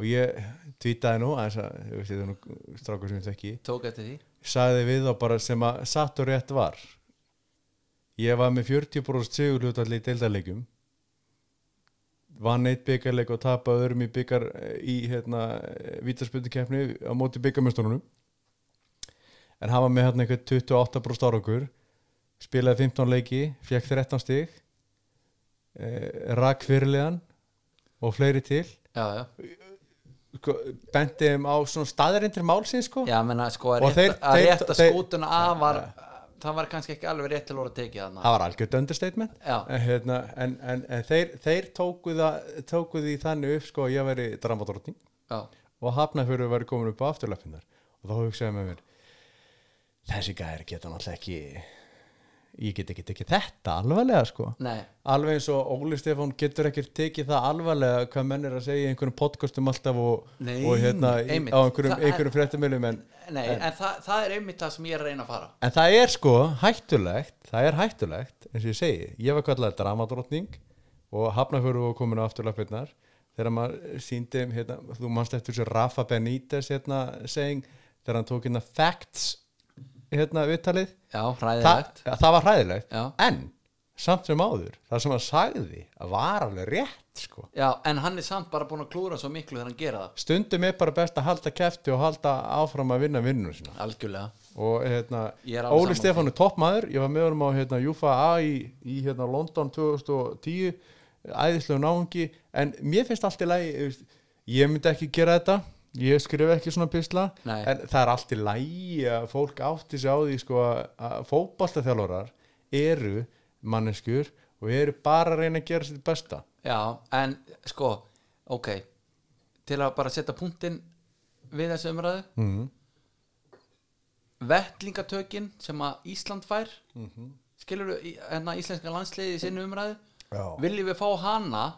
[SPEAKER 2] og ég tvítaði nú aðeins að ég veist þetta er nú strákur sem ég þekki
[SPEAKER 1] Tók eftir því
[SPEAKER 2] sagði við þá bara sem að satt og rétt var ég var með 40% sigurlutall í deildarleikum vann eitt byggarleik og tapaði öðrum í byggar í hérna vítarspöndikeppni á móti byggarmestunum en hann var með hérna eitthvað 28% árangur spilaði 15 leiki, fekk 13 stig eh, rak fyrirliðan og fleiri til
[SPEAKER 1] Já, já,
[SPEAKER 2] sko, benti þeim á svona staðarindir málsins sko
[SPEAKER 1] já menna sko að
[SPEAKER 2] Og
[SPEAKER 1] rétta,
[SPEAKER 2] þeir-
[SPEAKER 1] að
[SPEAKER 2] þeir-
[SPEAKER 1] rétta
[SPEAKER 2] þeir-
[SPEAKER 1] skútuna af var, það var kannski ekki alveg rétt til orða tekið þarna
[SPEAKER 2] það var algjört understatement
[SPEAKER 1] Já.
[SPEAKER 2] en, hérna, en, en, en þeir, þeir tóku, það, tóku því þannig upp sko að ég veri dramadrótning
[SPEAKER 1] Já,
[SPEAKER 2] og hafnafjörður veri komin upp á afturlöpinnar og þá hugsaði ég með mér þessi gæðir geta náttúrulega ekki ég get ekki tekið þetta alvarlega sko
[SPEAKER 1] nei,
[SPEAKER 2] alveg eins og Óli Stefán getur ekki tekið það alvarlega hvað menn er að segja í einhverjum podcastum alltaf og,
[SPEAKER 1] Nei,
[SPEAKER 2] og hérna í-
[SPEAKER 1] einmitt.
[SPEAKER 2] á einhverjum,
[SPEAKER 1] Það er-
[SPEAKER 2] einhverjum fréttamilum en,
[SPEAKER 1] nei en, það, það er einmitt það sem ég er að reyna að fara
[SPEAKER 2] En það er sko hættulegt, það er hættulegt, eins og ég segi, ég var kallar dramadrottning og hafnafjörðu og komin á afturlappirnar þegar maður síndi, hérna, þú manst eftir þessu Rafa Benítez hérna, seging, þegar hann tók hérna facts hérna viðtalið
[SPEAKER 1] Já,
[SPEAKER 2] Þa,
[SPEAKER 1] hræðilegt
[SPEAKER 2] það var hræðilegt
[SPEAKER 1] Já.
[SPEAKER 2] en samt sem áður, það sem hann sagði að var alveg rétt sko
[SPEAKER 1] Já, en hann er samt bara búin að klúra svo miklu þegar hann gera
[SPEAKER 2] stundum er bara best að halda kefti og halda áfram að vinna vinnunum sína
[SPEAKER 1] það Algjörlega
[SPEAKER 2] og hérna,
[SPEAKER 1] Ég er alveg
[SPEAKER 2] Óli
[SPEAKER 1] sammála
[SPEAKER 2] Stefán er toppmaður ég var með honum á hérna, UFA í, í hérna, London 2010 æðislegu náungi en mér finnst allt í lagi þú veist, ég myndi ekki gera þetta ég skrif ekki svona pisla
[SPEAKER 1] Nei.
[SPEAKER 2] en það er allt í lagi að fólk átti sig á því sko, að fótballtaþjálfarar eru manneskur og eru bara að reyna að gera sitt besta
[SPEAKER 1] Já, en sko, ok Til að bara setja punktinn við þessu umræðu
[SPEAKER 2] mm.
[SPEAKER 1] Vettlingatökin sem að Ísland fær mm
[SPEAKER 2] Mhm.
[SPEAKER 1] -hmm. Skilur hérna íslenska landsliði í sinni umræðu
[SPEAKER 2] Já.
[SPEAKER 1] Viljum við fá hana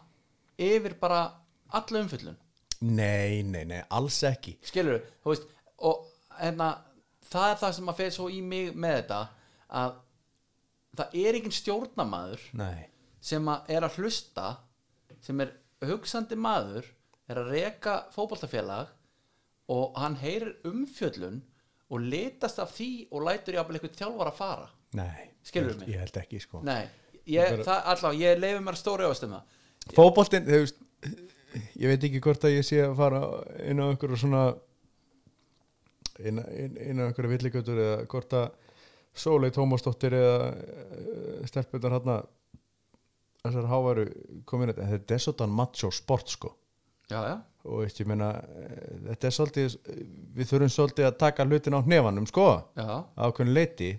[SPEAKER 1] yfir bara alla umfyllun
[SPEAKER 2] nei, nei, nei, alls ekki
[SPEAKER 1] skilur þú veist og hérna, það er það sem að fer svo í mig með þetta að það er engin stjórnamaður
[SPEAKER 2] nei,
[SPEAKER 1] sem að er að hlusta sem er hugsandi maður er að reka fótboltafélag og hann heyrir umfjöllun og litast af því og lætur jafnvel eitthvað þjálfar að fara
[SPEAKER 2] nei
[SPEAKER 1] Skilurðu
[SPEAKER 2] Ég-
[SPEAKER 1] mig?
[SPEAKER 2] ég held ekki sko
[SPEAKER 1] nei, ég, það, allavega, ég leifi mér stóri ávast um það
[SPEAKER 2] fótboltinn, þú veist ég veit ekki hvort að ég sé að fara inn á einhverju svona inn, inn, inn á einhverju villigötur eða hvort að Sólei Tómasdóttir eða stelpunar hann að þessar hávaru komin en þetta er svolítið macho sport sko
[SPEAKER 1] já, já,
[SPEAKER 2] og veist, ég meina eh, þetta er svolítið, við þurfum svolítið að taka hlutin á hnefanum sko
[SPEAKER 1] já,
[SPEAKER 2] ákveðin leiti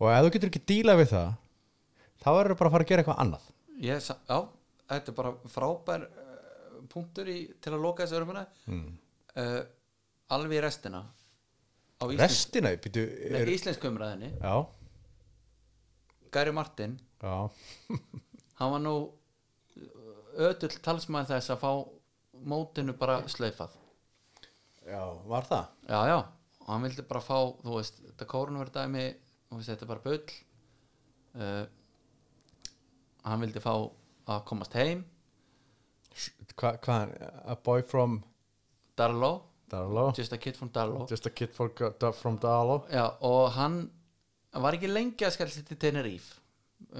[SPEAKER 2] og ef þú getur ekki díla við það þá verður bara að fara að gera eitthvað annað
[SPEAKER 1] Ég, sa- já, þetta er bara frábær uh, punktur í, til að loka þessu örmuna mm. uh, alveg í restina á íslensk,
[SPEAKER 2] restina, býtu
[SPEAKER 1] er...
[SPEAKER 2] er-
[SPEAKER 1] íslensku umræðinni
[SPEAKER 2] já,
[SPEAKER 1] Gary Martin,
[SPEAKER 2] já
[SPEAKER 1] hann var nú ödull talsmaður þess að fá mótinu bara slaufað
[SPEAKER 2] Já, var það?
[SPEAKER 1] já, já, og hann vildi bara fá þú veist, þetta kórnverð dæmi þú veist, þetta er bara bull uh, hann vildi fá að komast heim
[SPEAKER 2] Hvað, hva, a boy from
[SPEAKER 1] Darlo,
[SPEAKER 2] Darlo just,
[SPEAKER 1] just a kid from Darlo
[SPEAKER 2] a kid for, uh, da, from Darlo
[SPEAKER 1] Já, og hann var ekki lengi að skallast til Tenerife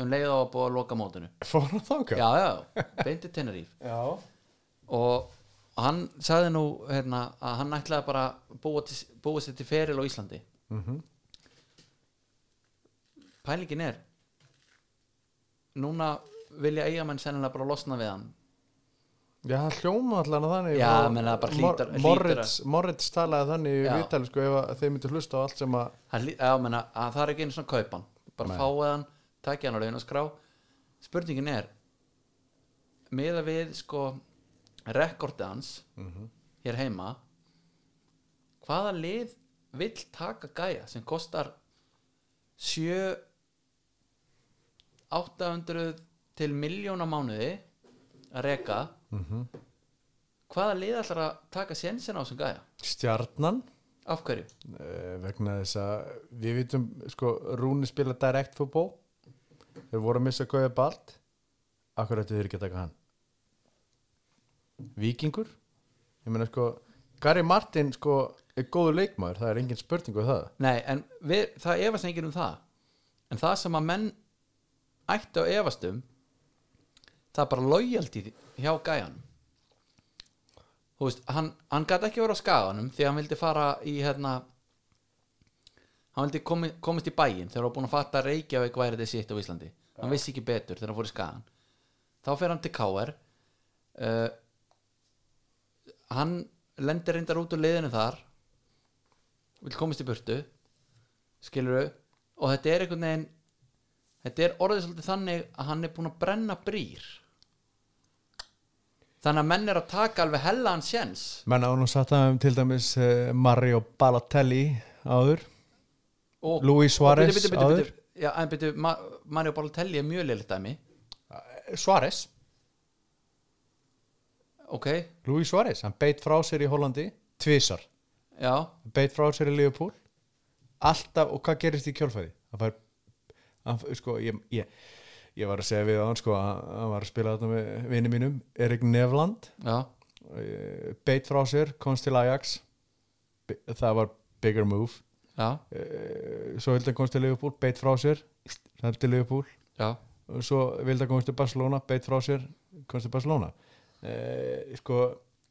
[SPEAKER 1] um leið á að búa að loka mótinu
[SPEAKER 2] Fór hann þáka?
[SPEAKER 1] Já, já, beinti Tenerife
[SPEAKER 2] Já,
[SPEAKER 1] og hann sagði nú hérna, að hann ætlaði bara að búa, til, búa sér til feril á Íslandi mm Pælingin er núna vilja eigamenn sennilega bara losna við hann
[SPEAKER 2] já hann hljóma allan að þannig
[SPEAKER 1] Já,
[SPEAKER 2] og-
[SPEAKER 1] menn það bara
[SPEAKER 2] Mor-
[SPEAKER 1] hlýtur- hlýtur
[SPEAKER 2] Moritz, Moritz talaði þannig í
[SPEAKER 1] Já.
[SPEAKER 2] viðtali sko ef að þeir myndi hlusta á allt sem að
[SPEAKER 1] hann, lí- já, menna, að það er ekki einu svona kaupan bara
[SPEAKER 2] Nei.
[SPEAKER 1] fáið hann, takja hann á launaskrá spurningin er meða við sko rekordi hans hér heima hvaða lið vill taka gæja sem kostar 7 800 til miljóna mánuði að reka hvaða lið ætlar að taka sénsinn á sem gæja
[SPEAKER 2] stjarnan
[SPEAKER 1] af hverju?
[SPEAKER 2] eh, vegna þess að við vitum sko Rúni spila direct fútbol þeir voru að missa Gauja Balt Akkur ættu þeir ekki að taka hann Víkingur Ég meina sko Gary Martin sko er góður leikmaður það er engin spurning við það
[SPEAKER 1] Nei, en við, það efast enginn um það En það sem að menn ættu að efast um það er bara lojaldi hjá gæjan Þú veist, hann, hann gat ekki verið á skaganum því að hann vildi fara í hérna hann vildi komi, komist í bæin þegar hann var búin að fatta að Reykjavík væri þetta sitt á Íslandi hann vissi ekki betur þegar hann fór í skagan þá fer hann til KR uh, hann lendir reyndar út úr liðinu þar vil komast í burtu skilur og þetta er einhvern veginn þetta er orðið svolítið þannig að hann er búin að brenna brýr þannig að menn er að taka alveg hella hans sjens
[SPEAKER 2] Menn án og satt að um til dæmis uh, Mario Balotelli áður
[SPEAKER 1] og,
[SPEAKER 2] Luis Suarez
[SPEAKER 1] og, bitu, bitu, bitu,
[SPEAKER 2] áður.
[SPEAKER 1] bitu, já, en bitu, Ma, Mario Balotelli er mjög leiligt dæmi
[SPEAKER 2] Eh, Suárez
[SPEAKER 1] ok,
[SPEAKER 2] Luis Suárez, hann beit frá sér í Hollandi tvisar,
[SPEAKER 1] já,
[SPEAKER 2] beit frá sér í Liverpool alltaf, og hvað gerist í kjálfæði? Hann fær hann, f- sko, ég, ég, ég var að segja við á hann sko, hann hann var að spila þetta með vini mínum Erik Nefland
[SPEAKER 1] já,
[SPEAKER 2] eh, beit frá sér, komst til Ajax Bi- það var bigger move
[SPEAKER 1] já,
[SPEAKER 2] Eh, svo vildi hann komast til Leifupúl, beitt frá sér hann til Leifupúl
[SPEAKER 1] já,
[SPEAKER 2] svo vildi hann komast til Barcelona, beitt frá sér komast til Barcelona eh, sko,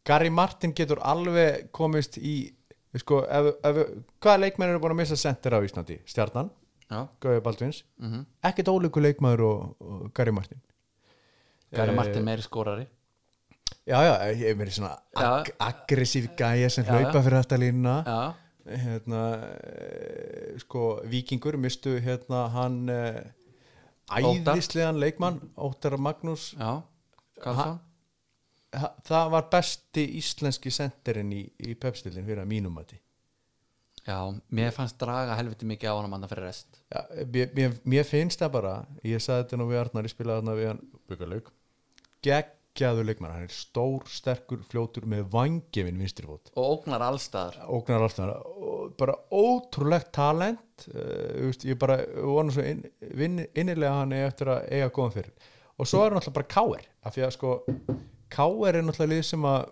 [SPEAKER 2] Gary Martin getur alveg komist í sko, ef, ef, hvaða leikmenn eru búin að missa sendir á Íslandi? Stjarnan,
[SPEAKER 1] já
[SPEAKER 2] Gauði Baldvins
[SPEAKER 1] mm
[SPEAKER 2] ekkert ólíku leikmaður og, og Gary Martin
[SPEAKER 1] Gary Martin meiri skórari
[SPEAKER 2] já, já, ég hef verið svona ag
[SPEAKER 1] Já.
[SPEAKER 2] aggressív gæja sem
[SPEAKER 1] Já,
[SPEAKER 2] hlaupa
[SPEAKER 1] já.
[SPEAKER 2] fyrir þetta línuna
[SPEAKER 1] Já,
[SPEAKER 2] hérna eh, sko, vikingur mistu hérna hann eh,
[SPEAKER 1] Óttar.
[SPEAKER 2] æðislegan leikmann Óttar Magnús
[SPEAKER 1] já, Karlsson
[SPEAKER 2] Ha- það var besti íslenski senderinn í, í pepstillin fyrir að mínum mati
[SPEAKER 1] Já, mér fannst draga helviti mikið á hann manna fyrir rest
[SPEAKER 2] Já, mér, mér, mér finnst það bara ég sagði þetta nú við Arnar, ég spilaði þarna við hann byggarleik geggjaður leikmann, hann er stór, sterkur, fljótur með vangefin vinstrifót
[SPEAKER 1] og ógnar allstaðar
[SPEAKER 2] ógnar allt þarna og bara ótrúlegt talent uh, veist, ég bara vona svo inn, vinn- innilega að hann eigi eftir að eiga góðan fyrir og svo er hann alltaf bara K.R. af því að sko K.R. er náttúrulega lið sem að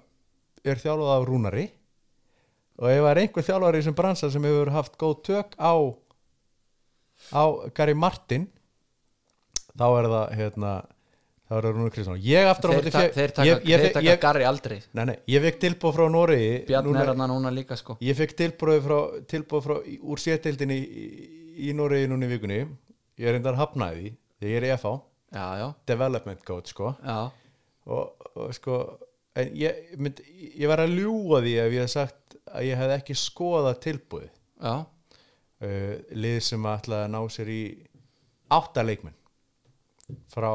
[SPEAKER 2] er þjálfað af Rúnari og ef það er einhver þjálfari sem bransa sem hefur haft góð tök á á Gary Martin þá er það hérna þá er það Rúnar Kristján ég aftur á
[SPEAKER 1] Þeir,
[SPEAKER 2] móti
[SPEAKER 1] ta
[SPEAKER 2] fékk-
[SPEAKER 1] þeir taka,
[SPEAKER 2] ég- ég
[SPEAKER 1] þeir
[SPEAKER 2] fékk-
[SPEAKER 1] taka
[SPEAKER 2] ég-
[SPEAKER 1] Gary aldrei
[SPEAKER 2] Nei, nei, ég fekk tilbúð frá Noregi
[SPEAKER 1] Bjarni
[SPEAKER 2] núna-
[SPEAKER 1] er hann núna líka sko
[SPEAKER 2] Ég fekk tilbúið frá, tilbúið frá í- úr sétildinni í, í Noregi núna í vikunni. Ég er reyndar hafnaði því þegar ég er í FH,
[SPEAKER 1] Já, já,
[SPEAKER 2] development coach sko
[SPEAKER 1] já,
[SPEAKER 2] og, og sko en ég, mynd, ég var að ljúga því ef ég hef sagt að ég hefði ekki skoðað tilbúið
[SPEAKER 1] já
[SPEAKER 2] uh, lið sem ætlaði að ná sér í átta leikmenn frá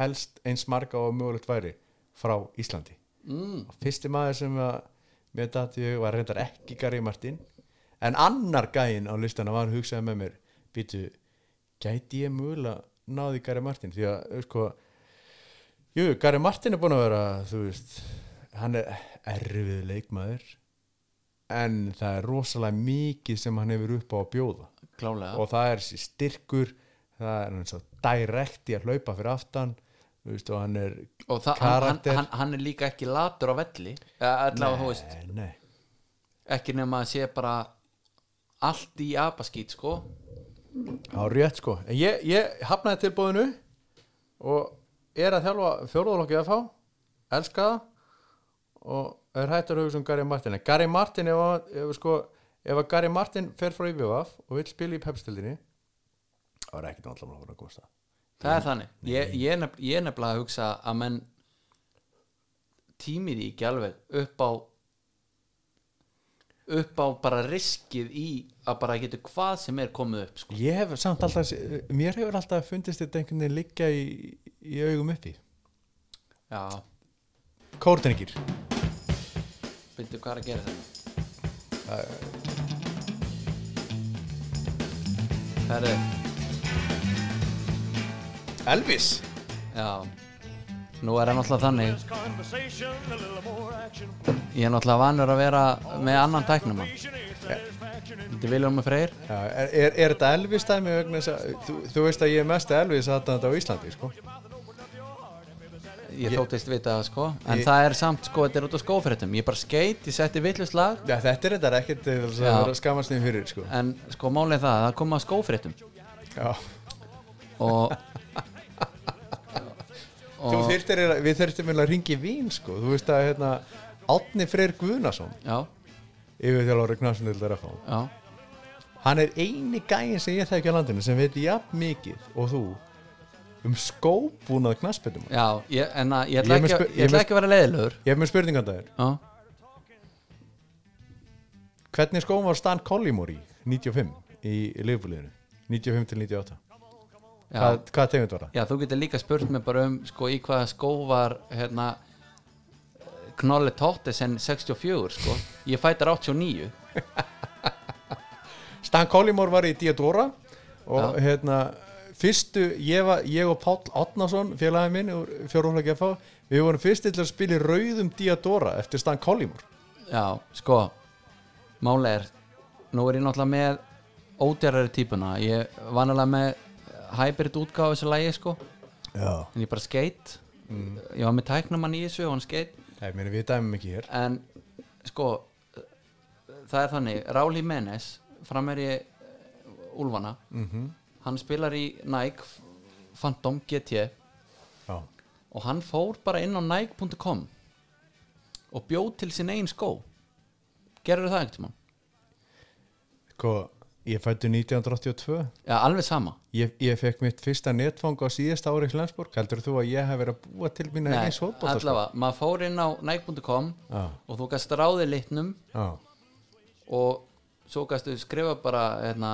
[SPEAKER 2] helst eins marga og mögulegt væri frá Íslandi
[SPEAKER 1] mm,
[SPEAKER 2] og fyrsti maður sem að mér dati ég var reyndar ekki Gary Martin en annar gæinn á listana var hugsaði með mér býtu, gæti ég mögulega náði Gary Martin því að þú veist, sko, jú, Gary Martin er búin að vera þú veist, hann er erfið leikmaður en það er rosalega mikið sem hann hefur upp á að bjóða
[SPEAKER 1] Klálega,
[SPEAKER 2] og það er þessi styrkur það er hann svo direkt í að hlaupa fyrir aftan þú veist, og hann er
[SPEAKER 1] og það, hann, hann,
[SPEAKER 2] karakter-
[SPEAKER 1] hann, hann er líka ekki latur á velli allavega, þú veist,
[SPEAKER 2] nei, nei
[SPEAKER 1] ekki nema að sé bara allt í apaskýt sko
[SPEAKER 2] Já, rétt sko. En Ég, ég hafnaði tilbúðinu og er að þjálfa fjóruðalokki að fá, elska það og er hættur að hugsa um Gary Martin. En Gary Martin, ef, að- ef, sko, ef að Gary Martin fer frá IBVF og vill spila í pepstildinni, það var ekkert náttúrulega að fara að gósta.
[SPEAKER 1] Það er þannig, ég, ég, nef, ég er nefnilega að hugsa að menn tímir því ekki alveg upp á upp á bara riskið í að bara getur hvað sem er komið upp sko.
[SPEAKER 2] Ég hef samt alltaf, mér hefur alltaf fundist þetta einhvern veginn liggja í, í augum uppi.
[SPEAKER 1] Já,
[SPEAKER 2] Kórteningir.
[SPEAKER 1] byrju hvað er að gera hérna? þetta Það er
[SPEAKER 2] Elvis.
[SPEAKER 1] Já Nú er hann alltaf þannig
[SPEAKER 5] Conversation, a little more action.
[SPEAKER 1] Ég er náttúrulega vanur að vera með annan tæknum Þetta er Viljum Freyr
[SPEAKER 2] Já, er, er, er þetta Elvis dæmi vegna þess að, þú, þú veist að ég er mest Elvis aðdæmd á Íslandi, sko.
[SPEAKER 1] Ég þóttist vita það sko En það er samt sko, þetta er út á skófréttum Ég bara skeit, ég setti villust lag
[SPEAKER 2] Já, þetta er þetta ekkert til þess
[SPEAKER 1] Já.
[SPEAKER 2] að vera skamast niður fyrir sko.
[SPEAKER 1] En sko málið er það, að það kom að skófréttum
[SPEAKER 2] Já.
[SPEAKER 1] Og
[SPEAKER 2] Þú
[SPEAKER 1] Og,
[SPEAKER 2] þyrftir, eiginlega- við þurftum að ringi í vín sko. þú veist að hérna, Átni Freyr Guðnason
[SPEAKER 1] já,
[SPEAKER 2] yfir þjálfari knarsunildar að fá
[SPEAKER 1] já,
[SPEAKER 2] hann er eini gæin sem ég þekki á landinu sem veit jafn mikið og þú um skóbúnað knarspettum
[SPEAKER 1] já ég, En að, ég
[SPEAKER 2] Ég
[SPEAKER 1] ætla
[SPEAKER 2] er með
[SPEAKER 1] ekki,
[SPEAKER 2] spu-
[SPEAKER 1] að-
[SPEAKER 2] ég
[SPEAKER 1] ég
[SPEAKER 2] er með
[SPEAKER 1] ætla ekki að vera leiðilegur
[SPEAKER 2] ég hef um með spurningandagir
[SPEAKER 1] Já,
[SPEAKER 2] hvernig skóm var Stan Collymore í 95 í liðbúliðinu 95 til
[SPEAKER 1] já,
[SPEAKER 2] 98 hvað, hvað tegund var það?
[SPEAKER 1] já, þú getur líka spurt mig bara um sko í hvaða skó var hérna Knolli Tóttisen 64 sko Ég fætar 89
[SPEAKER 2] Stan Collymore var í Diadora og hérna fyrstu, ég, var, ég og Páll Átnason félagið minn úr fjórhóðlega FH við vorum fyrst til að spila í rauðum Diadora eftir Stan Collymore
[SPEAKER 1] Já, sko Máli er, nú er ég náttúrulega með ódjarrari típuna Ég var náttúrulega með hybrid útgáfa þessu lægi sko
[SPEAKER 2] Já,
[SPEAKER 1] En ég bara skeitt
[SPEAKER 2] Mm.
[SPEAKER 1] Ég var með tæknumann í þessu og hann skeitt
[SPEAKER 2] það er um mér við dæmum ekki hér
[SPEAKER 1] En sko Það er þannig, Ráli Menes framherji eh, Úlfana
[SPEAKER 2] Mhm.
[SPEAKER 1] hann spilar í Nike Phantom GT
[SPEAKER 2] já,
[SPEAKER 1] og hann fór bara inn á Nike.com og bjóð til sín einn skó gerður það einhvern tímann?
[SPEAKER 2] sko, ég fættu 1982
[SPEAKER 1] Já, alveg sama
[SPEAKER 2] ég, ég fekk mitt fyrsta netfang á síðast ári í Hlensborg, heldur þú að ég hef verið að búa til mín
[SPEAKER 1] Nei,
[SPEAKER 2] eins fótbolta sko.
[SPEAKER 1] allavega, maður fór inn á Nike.com
[SPEAKER 2] Já.
[SPEAKER 1] og þú gæst ráðið litnum
[SPEAKER 2] já,
[SPEAKER 1] og svo gæstu skrifa bara hérna,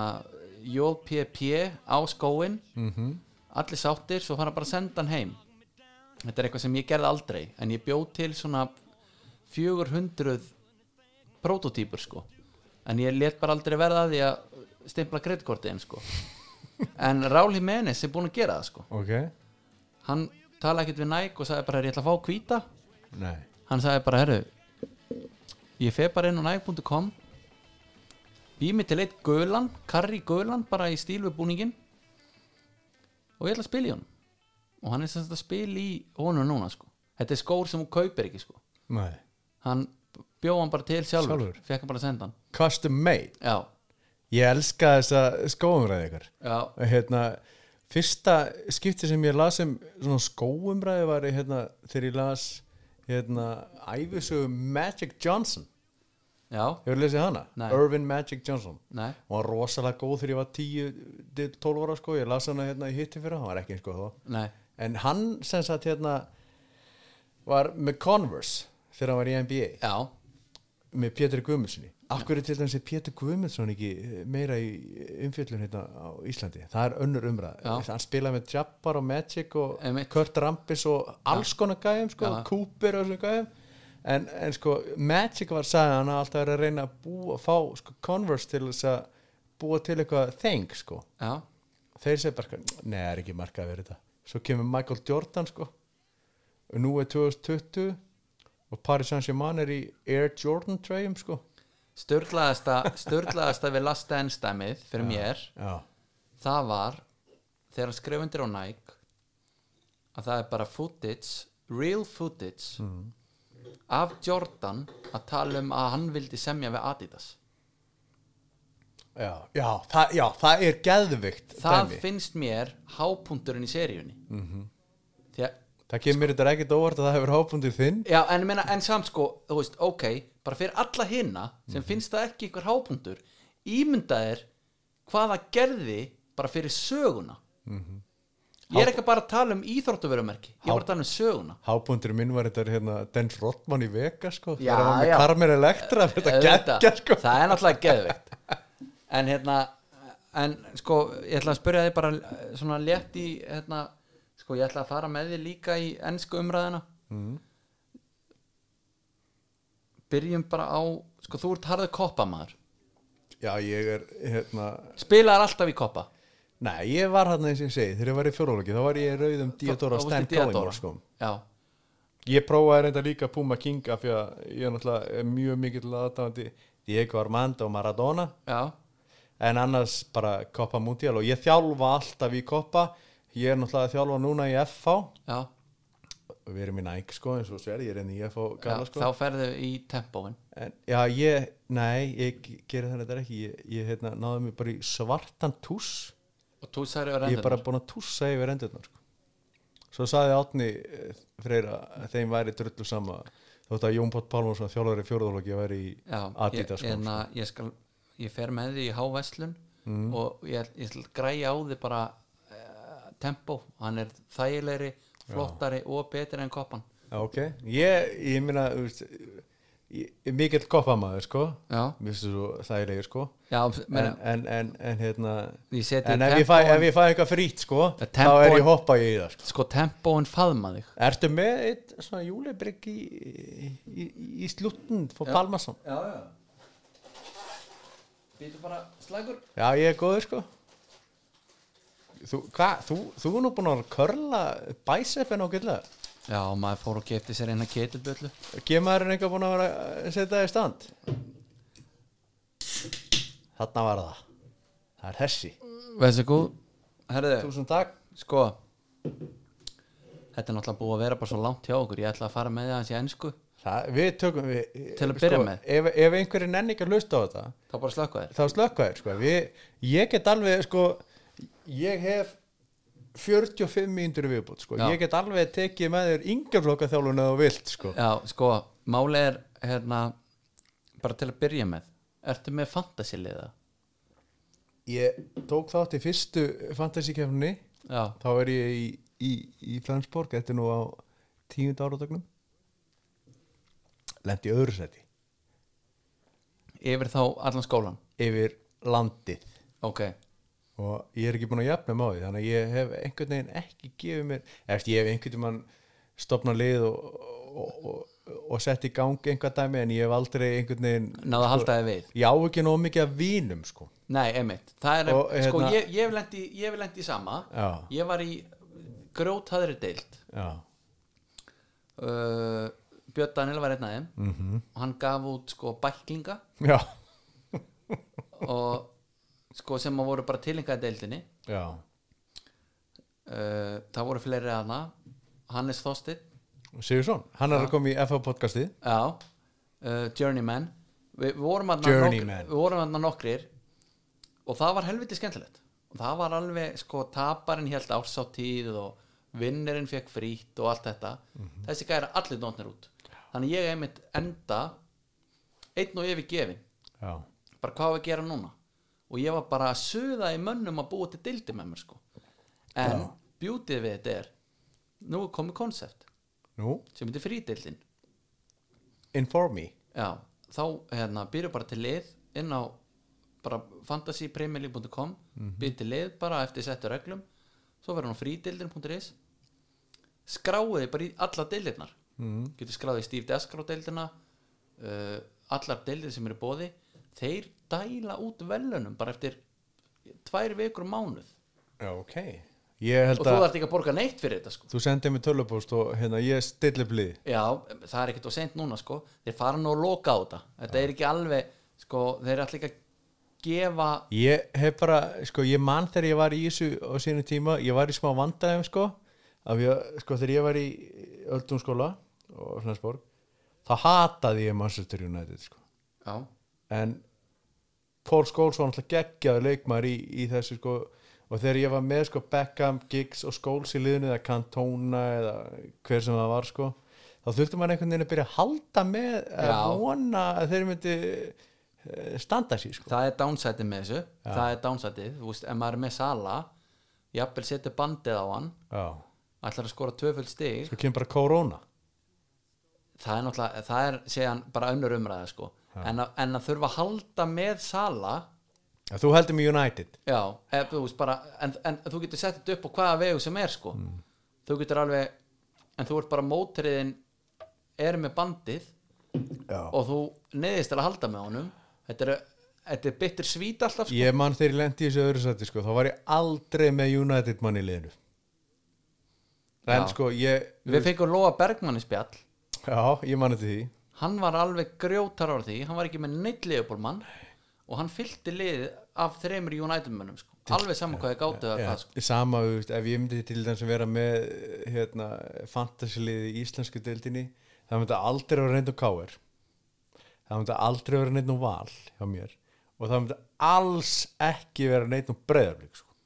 [SPEAKER 1] JPP á skóin -hmm. allir sáttir, svo fara bara að senda hann heim þetta er eitthvað sem ég gerði aldrei en ég bjóð til svona 400 prototýpur sko en ég let bara aldrei verða að því að stimpla kreddkortin sko en Ráli Menes er búin að gera það sko
[SPEAKER 2] ok
[SPEAKER 1] hann talaði ekkert við Nike og sagði bara ég ætla að fá hvíta
[SPEAKER 2] nei,
[SPEAKER 1] hann sagði bara, herru ég fer bara inn á nike.com býð mig til eitt gulan karri gulan bara í stíl við búningin og ég ætla að spila í honum og hann er sem sagt að spila í honum núna sko þetta er skór sem hún kaupir ekki sko
[SPEAKER 2] nei
[SPEAKER 1] hann bjóð hann bara til sjálfur,
[SPEAKER 2] Sjálfur?
[SPEAKER 1] fekk hann bara að senda hann
[SPEAKER 2] custom made,
[SPEAKER 1] já,
[SPEAKER 2] ég elska þessa skóumræði ykkur
[SPEAKER 1] já,
[SPEAKER 2] Og hérna, fyrsta skipti sem ég las um svona skóumræði var í, hérna, þegar ég las hérna, æfisögu Magic Johnson
[SPEAKER 1] já
[SPEAKER 2] hefur lesið hana,
[SPEAKER 1] Nei.
[SPEAKER 2] Irvin Magic Johnson
[SPEAKER 1] Nei.
[SPEAKER 2] hún var rosalega góð þegar ég var 10 til 12 ára sko, ég las hana hérna í hitti fyrir hann var ekki eins sko þá
[SPEAKER 1] nei,
[SPEAKER 2] en hann sem sagt hérna var með Converse þegar hann var í NBA
[SPEAKER 1] já
[SPEAKER 2] með Pétur Guðmundssoni af hverju til dæmis er Pétur Guðmundsson ekki eh, meira í umfjöllun hérna á Íslandi það er önnur umræð,
[SPEAKER 1] Já.
[SPEAKER 2] hann spilaði með Jabbar og Magic og
[SPEAKER 1] Einmitt.
[SPEAKER 2] Kurt Rampis og alls konar gæðum sko,
[SPEAKER 1] Já.
[SPEAKER 2] Cooper og svona gæðum en, en sko, Magic var sagði hann að alltaf er að reyna að búa, fá sko, Converse til þess að búa til eitthvað þeng sko,
[SPEAKER 1] já,
[SPEAKER 2] þeir segir bara sko, nei, það er ekki markað að vera þetta svo kemur Michael Jordan sko og nú er 2020 og Paris Saint-Germain er í Air Jordan treyjum sko
[SPEAKER 1] störlaðasta störlaðasta við last dance dæmið fyrir mér
[SPEAKER 2] Já,
[SPEAKER 1] það var þegar hann skreif undir á Nike að það er bara footage real footage af Jordan að tala um að hann vildi semja við Adidas
[SPEAKER 2] já, já, það, já, það er geðvikt
[SPEAKER 1] það
[SPEAKER 2] dæmi.
[SPEAKER 1] finnst mér hápunkturinn í seríunni mm -hmm. því að
[SPEAKER 2] Það kemur þetta ekkert óvart að það hefur hápundir þinn
[SPEAKER 1] Já, en, ég meina, en samt sko, þú veist, ok bara fyrir alla hina sem finnst það ekki ykkur hápunktur, ímyndaðir hvað það gerði bara fyrir söguna Ég er ekki bara að tala um íþróttuverumerki ég var að tala um söguna
[SPEAKER 2] Hápundir minn var þetta hérna Dennis Rodman í Vega sko
[SPEAKER 1] Já,
[SPEAKER 2] Þegar hann var með
[SPEAKER 1] já.
[SPEAKER 2] Carmen Electra Þetta
[SPEAKER 1] Auðvitað.
[SPEAKER 2] geggja sko
[SPEAKER 1] Það er náttúrulega geðveikt En hérna En sko, ég ætla að spyrja þig bara eh, svona létt í hérna, sko, ég ætla að fara með þig líka í ennsku umræðina
[SPEAKER 2] Mhm.
[SPEAKER 1] Byrjum bara á sko, þú ert harður koppa maður
[SPEAKER 2] Já, ég er hérna
[SPEAKER 1] Spilaðar alltaf í koppa
[SPEAKER 2] Nei, ég var hann eins og ég segi Þegar ég var í fjórólagi þá var ég í rauðum Diodora
[SPEAKER 1] Þú- þú
[SPEAKER 2] Stan
[SPEAKER 1] veist, í Diadora.
[SPEAKER 2] Collingwood sko
[SPEAKER 1] Já,
[SPEAKER 2] Ég prófaði reynda líka Puma King af því að ég er náttúrulega er mjög mikill aðdáðandi Diego Armando Maradona
[SPEAKER 1] já,
[SPEAKER 2] en annars bara Copa Mundial og ég þjálfa alltaf í Copa ég er náttúrulega að þjálfa núna í FH
[SPEAKER 1] já,
[SPEAKER 2] og við erum í Nike sko eins og sér, ég er enn í FH
[SPEAKER 1] já Þá
[SPEAKER 2] gala sko
[SPEAKER 1] ferðu í tempóin
[SPEAKER 2] en, já ég, nei, ég gerir það þetta ekki ég, ég hérna, náði mig bara í svartan túss
[SPEAKER 1] Og þú særi að
[SPEAKER 2] ég
[SPEAKER 1] reynda
[SPEAKER 2] er bara búin að tússa yfir endurnar sko. svo saði Átni freyra að þeim væri drullu sama þótt að Jón Pátt Pálmarsson þjálfari fjórðalóki væri í
[SPEAKER 1] Já,
[SPEAKER 2] Adidas
[SPEAKER 1] ég,
[SPEAKER 2] sko, Mm.
[SPEAKER 1] en að ég skal ég fer með því í háveslun og ég, ég skal græja á því bara uh, tempo, hann er þægilegri flottari og betri en koppan
[SPEAKER 2] Já, ok, ég, ég minna mikill koppamaður sko
[SPEAKER 1] Já.
[SPEAKER 2] mér finnst þú svo þægilegir sko
[SPEAKER 1] Já,
[SPEAKER 2] en,
[SPEAKER 1] meina,
[SPEAKER 2] en, en, en hérna
[SPEAKER 1] Ég seti
[SPEAKER 2] en ef ég,
[SPEAKER 1] tempóin-
[SPEAKER 2] fæ, ef ég fæ eitthvað frýtt sko
[SPEAKER 1] Ja,
[SPEAKER 2] þá er
[SPEAKER 1] tempóin-
[SPEAKER 2] ég hoppa í það sko.
[SPEAKER 1] sko tempoin faðma þig
[SPEAKER 2] Ertu með eitt svona júlebrygg í, í, í sluttin fór Palmason?
[SPEAKER 1] Já, já Býtu bara slagur
[SPEAKER 2] Já, ég er góður sko Þú, hva, þú, þú er nú búin að körla bæsefin á gilla
[SPEAKER 1] Já, maður fór og geti sér eina ketilböllu
[SPEAKER 2] Gemaðurinn eitthvað búin að vera að setja það í stand Þarna var það Það er hessi
[SPEAKER 1] Vesu góð Herðu,
[SPEAKER 2] Túsund takk
[SPEAKER 1] sko Þetta er náttúrulega búið að vera bara svo langt hjá okkur Ég ætla að fara með það hans í ensku
[SPEAKER 2] það, við tökum við, sko,
[SPEAKER 1] Til að byrja með.
[SPEAKER 2] ef, ef einhverju nenni ekki að lusta á þetta
[SPEAKER 1] þá bara slökka þér
[SPEAKER 2] þá slökkvæðir sko. við, ég get alveg sko, ég hef 45 mínútur í viðbútt sko.
[SPEAKER 1] Já.
[SPEAKER 2] ég get alveg tekið með þér yngjaflokka þjálfun eða þú vilt sko.
[SPEAKER 1] Já, sko, máli er hérna, bara til að byrja með Ertu með fantasiliða?
[SPEAKER 2] ég tók þátt í fyrstu fantasíkefni
[SPEAKER 1] Já,
[SPEAKER 2] þá er ég í, í, í Flensborg þetta er nú á tíundu áratögnum lendi öðru seti
[SPEAKER 1] yfir þá allan skólan
[SPEAKER 2] yfir landið
[SPEAKER 1] Ok,
[SPEAKER 2] og ég er ekki búin að jafna mig á því þannig að ég hef einhvern veginn ekki gefið mér eftir ég hef einhvern veginn stopnað lið og, og, og, og sett í gang einhver dæmi en ég hef aldrei einhvern veginn
[SPEAKER 1] náðu að halda þið við
[SPEAKER 2] ég á ekki nóg mikið af vínum sko
[SPEAKER 1] Nei, einmitt, það er,
[SPEAKER 2] Og,
[SPEAKER 1] sko,
[SPEAKER 2] hérna-
[SPEAKER 1] ég, ég hef lent í, ég hef lent í sama
[SPEAKER 2] Já.
[SPEAKER 1] Ég var í grjótaðri deild
[SPEAKER 2] já,
[SPEAKER 1] uh, Björn Daniel var einn af þeim
[SPEAKER 2] Mhm.
[SPEAKER 1] -hmm. og hann gaf út sko bæklinga
[SPEAKER 2] já,
[SPEAKER 1] og sko sem að voru bara tilinkaði deildinni
[SPEAKER 2] já.
[SPEAKER 1] uh, það voru fleiri aðna Hannes Þorstin
[SPEAKER 2] Sigursson, hann er að koma í FH podcastið
[SPEAKER 1] já, uh, Journeyman Vi, við vorum aðna
[SPEAKER 2] Journeyman.
[SPEAKER 1] við vorum aðna nokkrir og það var helviti skemmtilegt og það var alveg sko taparinn held ársáttíð og vinnirinn fekk frýtt og allt þetta þessi gæra allir dónir út þannig ég einmitt enda einn og yfirgefin
[SPEAKER 2] já,
[SPEAKER 1] bara hvað á að gera núna og ég var bara að suða í mönnum að búa til dildi með mér sko en ja. beautyð við þetta er nú er komið konsept
[SPEAKER 2] nú,
[SPEAKER 1] sem heitir frídildin
[SPEAKER 2] inform me
[SPEAKER 1] já, þá hérna, byrju bara til lið inn á bara fantasypremiali.com mm
[SPEAKER 2] Mhm.
[SPEAKER 1] byrju til lið bara eftir settu reglum svo verður hann á frídeildin.is skráið þið bara í alla deildirnar mm.
[SPEAKER 2] Mhm.
[SPEAKER 1] getur skráðið í Steve Deskar á deildina uh, allar deildir sem eru bóði þeir dæla út velunum bara eftir tvær vikur og mánuð
[SPEAKER 2] já, ok ég
[SPEAKER 1] og
[SPEAKER 2] held
[SPEAKER 1] þú
[SPEAKER 2] að
[SPEAKER 1] þarft ekki að borga neitt fyrir þetta sko
[SPEAKER 2] þú sendið mér tölupóst og hérna ég stilli upp lið
[SPEAKER 1] Já, það er ekkert og seint núna sko Þeir fara nú að loka á þetta Þetta er ekki alveg, sko, þeir er allir ekki að gefa
[SPEAKER 2] Ég hef bara, sko, ég man þegar ég var í þessu á sínu tíma, ég var í smá vandræðum, sko, af ég, sko, þegar ég var í Öldunskóla og Flensborg, þá hataði ég Manchester United, sko,
[SPEAKER 1] Já,
[SPEAKER 2] en Paul Scholes var náttúrulega geggjaður leikmaður í, í þessu, sko, og þegar ég var með, sko, Beckham, Giggs og Scholes í liðinu, eða Cantona, eða hver sem það var, sko, þá þurfti maður einhvern veginn að byrja að halda með, að
[SPEAKER 1] Já.
[SPEAKER 2] vona að þeir myndi eh, standa sér, sko.
[SPEAKER 1] það er downsætið með þessu Það er downsætið, þú veist, ef maður er með Sala Jafnvel setur bandið á hann
[SPEAKER 2] Já,
[SPEAKER 1] Ætlar að skora tvöföld stig
[SPEAKER 2] sko, kemur bara korona.
[SPEAKER 1] Það er náttúrulega, það er séðan bara önnur umræða sko en að, en að þurfa að halda með Sala
[SPEAKER 2] Já, þú heldur með United
[SPEAKER 1] Já, ef, þú veist, bara, en, en þú getur sett þetta upp á hvaða vegu sem er sko
[SPEAKER 2] Mm.
[SPEAKER 1] Þú getur alveg, en þú ert bara mótriðin Er með bandið
[SPEAKER 2] Já.
[SPEAKER 1] og þú neðist til að halda með honum þetta er, þetta er bitter svít alltaf sko.
[SPEAKER 2] Ég man þegar ég lendi í þessu öðru sæti sko, þá var ég aldrei með United mann í liðinu En
[SPEAKER 1] Já.
[SPEAKER 2] sko ég
[SPEAKER 1] við fengum Lóa Bergmann í spjall
[SPEAKER 2] Já, ég man eftir því
[SPEAKER 1] hann var alveg grjótar á því hann var ekki með neitt liðbólmann og hann fyllti liðið af þreymur United-mönnum sko. alveg saman hvað ég gáttu það
[SPEAKER 2] Já,
[SPEAKER 1] hvað sko.
[SPEAKER 2] Sama, þú veist, ef ég myndi til dæmis að vera með hérna, fantasiliði í íslensku deildinni það myndi aldrei vera neitt um káir það myndi aldrei vera neitt um val hjá mér og það myndi alls ekki vera neitt um breyðarblik sko.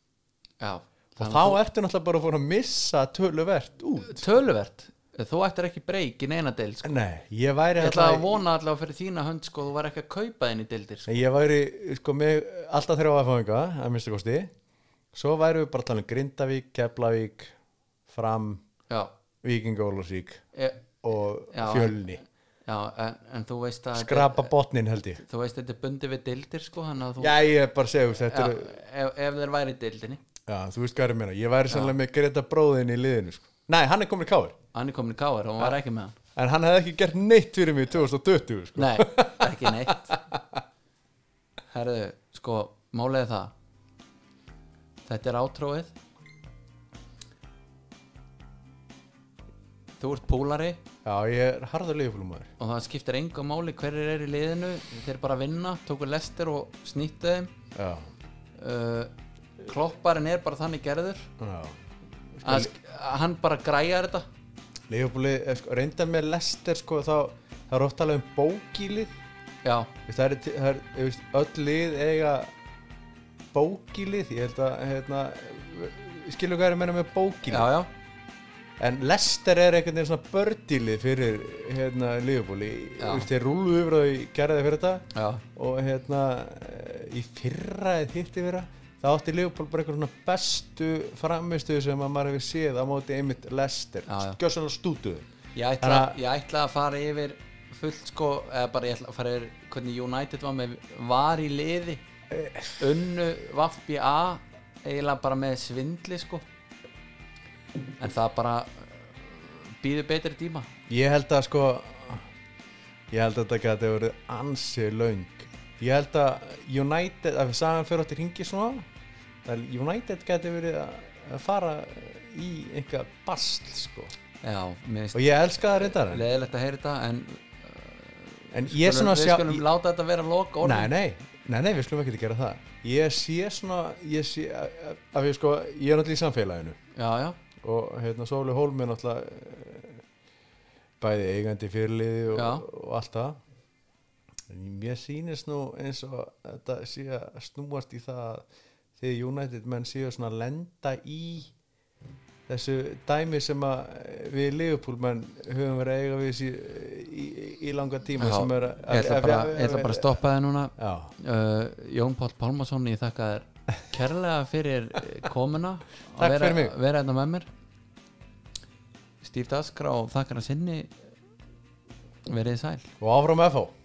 [SPEAKER 1] Já,
[SPEAKER 2] og
[SPEAKER 1] þannig
[SPEAKER 2] þá
[SPEAKER 1] að
[SPEAKER 2] ertu náttúrulega bara að fóra að missa töluvert út
[SPEAKER 1] þú- töluvert, þú ættir ekki breyk í neina deil sko.
[SPEAKER 2] Nei, ég væri hérna
[SPEAKER 1] ég ætla
[SPEAKER 2] alltaf-
[SPEAKER 1] að vona allavega fyrir þína hönd sko, þú var ekki að kaupa þinn í deildir sko.
[SPEAKER 2] Nei, Ég væri sko með alltaf þeirra áfæðinga að minnstu kosti svo væri við bara að tala um Grindavík, Keflavík Fram,
[SPEAKER 1] já,
[SPEAKER 2] Víking Ólafsvík
[SPEAKER 1] e,
[SPEAKER 2] og
[SPEAKER 1] Já.
[SPEAKER 2] Fjölni
[SPEAKER 1] já en, en þú veist að
[SPEAKER 2] Skrapa botnin held ég
[SPEAKER 1] þú veist þetta er bundið við deildir sko, þannig að þú
[SPEAKER 2] Já, ég er bara að segja þú, þetta
[SPEAKER 1] Já,
[SPEAKER 2] er
[SPEAKER 1] ef, ef þeir væri í deildinni
[SPEAKER 2] Já, þú veist hvað er meina, ég væri sannlega með Greta bróðin í liðinu sko. Nei, hann er komin í káir
[SPEAKER 1] hann er komin í káar og hann var ekki með hann
[SPEAKER 2] en hann hefði ekki gert neitt fyrir mig í 2020 sko.
[SPEAKER 1] nei, ekki neitt herðu, sko málega það þetta er átróið þú ert pólari
[SPEAKER 2] Já, ég er harður liðfólumæður
[SPEAKER 1] og það skiptir enga máli hverjir eru í liðinu þeir bara vinna, tóku lestir og snýttu þeim
[SPEAKER 2] Já,
[SPEAKER 1] uh, klopparinn er bara þannig gerður
[SPEAKER 2] já
[SPEAKER 1] að, að hann bara græjar þetta
[SPEAKER 2] eh, Leifbúli, sko, reynda með Lester sko, þá það er oft alveg um bókílið
[SPEAKER 1] já,
[SPEAKER 2] Veist, það er, það er þú veist, öll lið eiga bókílið ég held að hérna, skilur hvað er að menna með bókílið
[SPEAKER 1] já, já
[SPEAKER 2] en Lester er einhvern veginn svona bördílið fyrir hérna liðbúli
[SPEAKER 1] Já.
[SPEAKER 2] þeir rúluðu yfir það í gerði fyrir þetta
[SPEAKER 1] Já,
[SPEAKER 2] og hérna eh, í fyrra eða hitti fyrra þá átti Leopold bara einhver svona bestu framistu sem að maður hefur séð á móti einmitt Lester,
[SPEAKER 1] Já, já.
[SPEAKER 2] gjössanlega stútuðu
[SPEAKER 1] ég ætla,
[SPEAKER 2] Þannig að-
[SPEAKER 1] ég ætla að fara yfir fullt sko, eða bara ég ætla að fara yfir hvernig United var með var í liði unnu Vaffi A eiginlega bara með svindli sko en það bara býður betri tíma
[SPEAKER 2] ég held að sko ég held að þetta gæti að verið ansi laung ég held að United, að við sagðum fyrir átti ringi svona það er United gæti verið að að fara í einhver bastl sko
[SPEAKER 1] Já, mér finnst
[SPEAKER 2] og ég elska það reyndar en-
[SPEAKER 1] leðilegt að heyra þetta en
[SPEAKER 2] en ég
[SPEAKER 1] skulum,
[SPEAKER 2] er svona að
[SPEAKER 1] við
[SPEAKER 2] sjá
[SPEAKER 1] skulum láta þetta vera loka
[SPEAKER 2] Nei, nei, nei, nei, við skulum ekki gera það Ég sé svona ég sé, af ég sko, ég er náttúrulega í samfélaginu
[SPEAKER 1] Já, já,
[SPEAKER 2] og hérna Sóli Hólm er náttúrulega eh, bæði eigandi fyrirliði og,
[SPEAKER 1] Já.
[SPEAKER 2] og allt það en mér sýnist nú eins og þetta sé að snúast í það að þegar United menn séu svona að lenda í þessu dæmi sem að eh, við Liverpool menn höfum verið að eiga við þessi eh, í, í, í langa tíma
[SPEAKER 1] já
[SPEAKER 2] sem er að,
[SPEAKER 1] Ég ætla bara, ég ætla bara að stoppa það núna
[SPEAKER 2] Já,
[SPEAKER 1] uh, Jón Páll Pálmarsson ég þakka þér kærlega fyrir eh, komuna að
[SPEAKER 2] Takk
[SPEAKER 1] vera,
[SPEAKER 2] fyrir mig.
[SPEAKER 1] vera þetta með mér Stíf Daskra og þakkar að sinni verið þið sæl
[SPEAKER 2] og áfram FH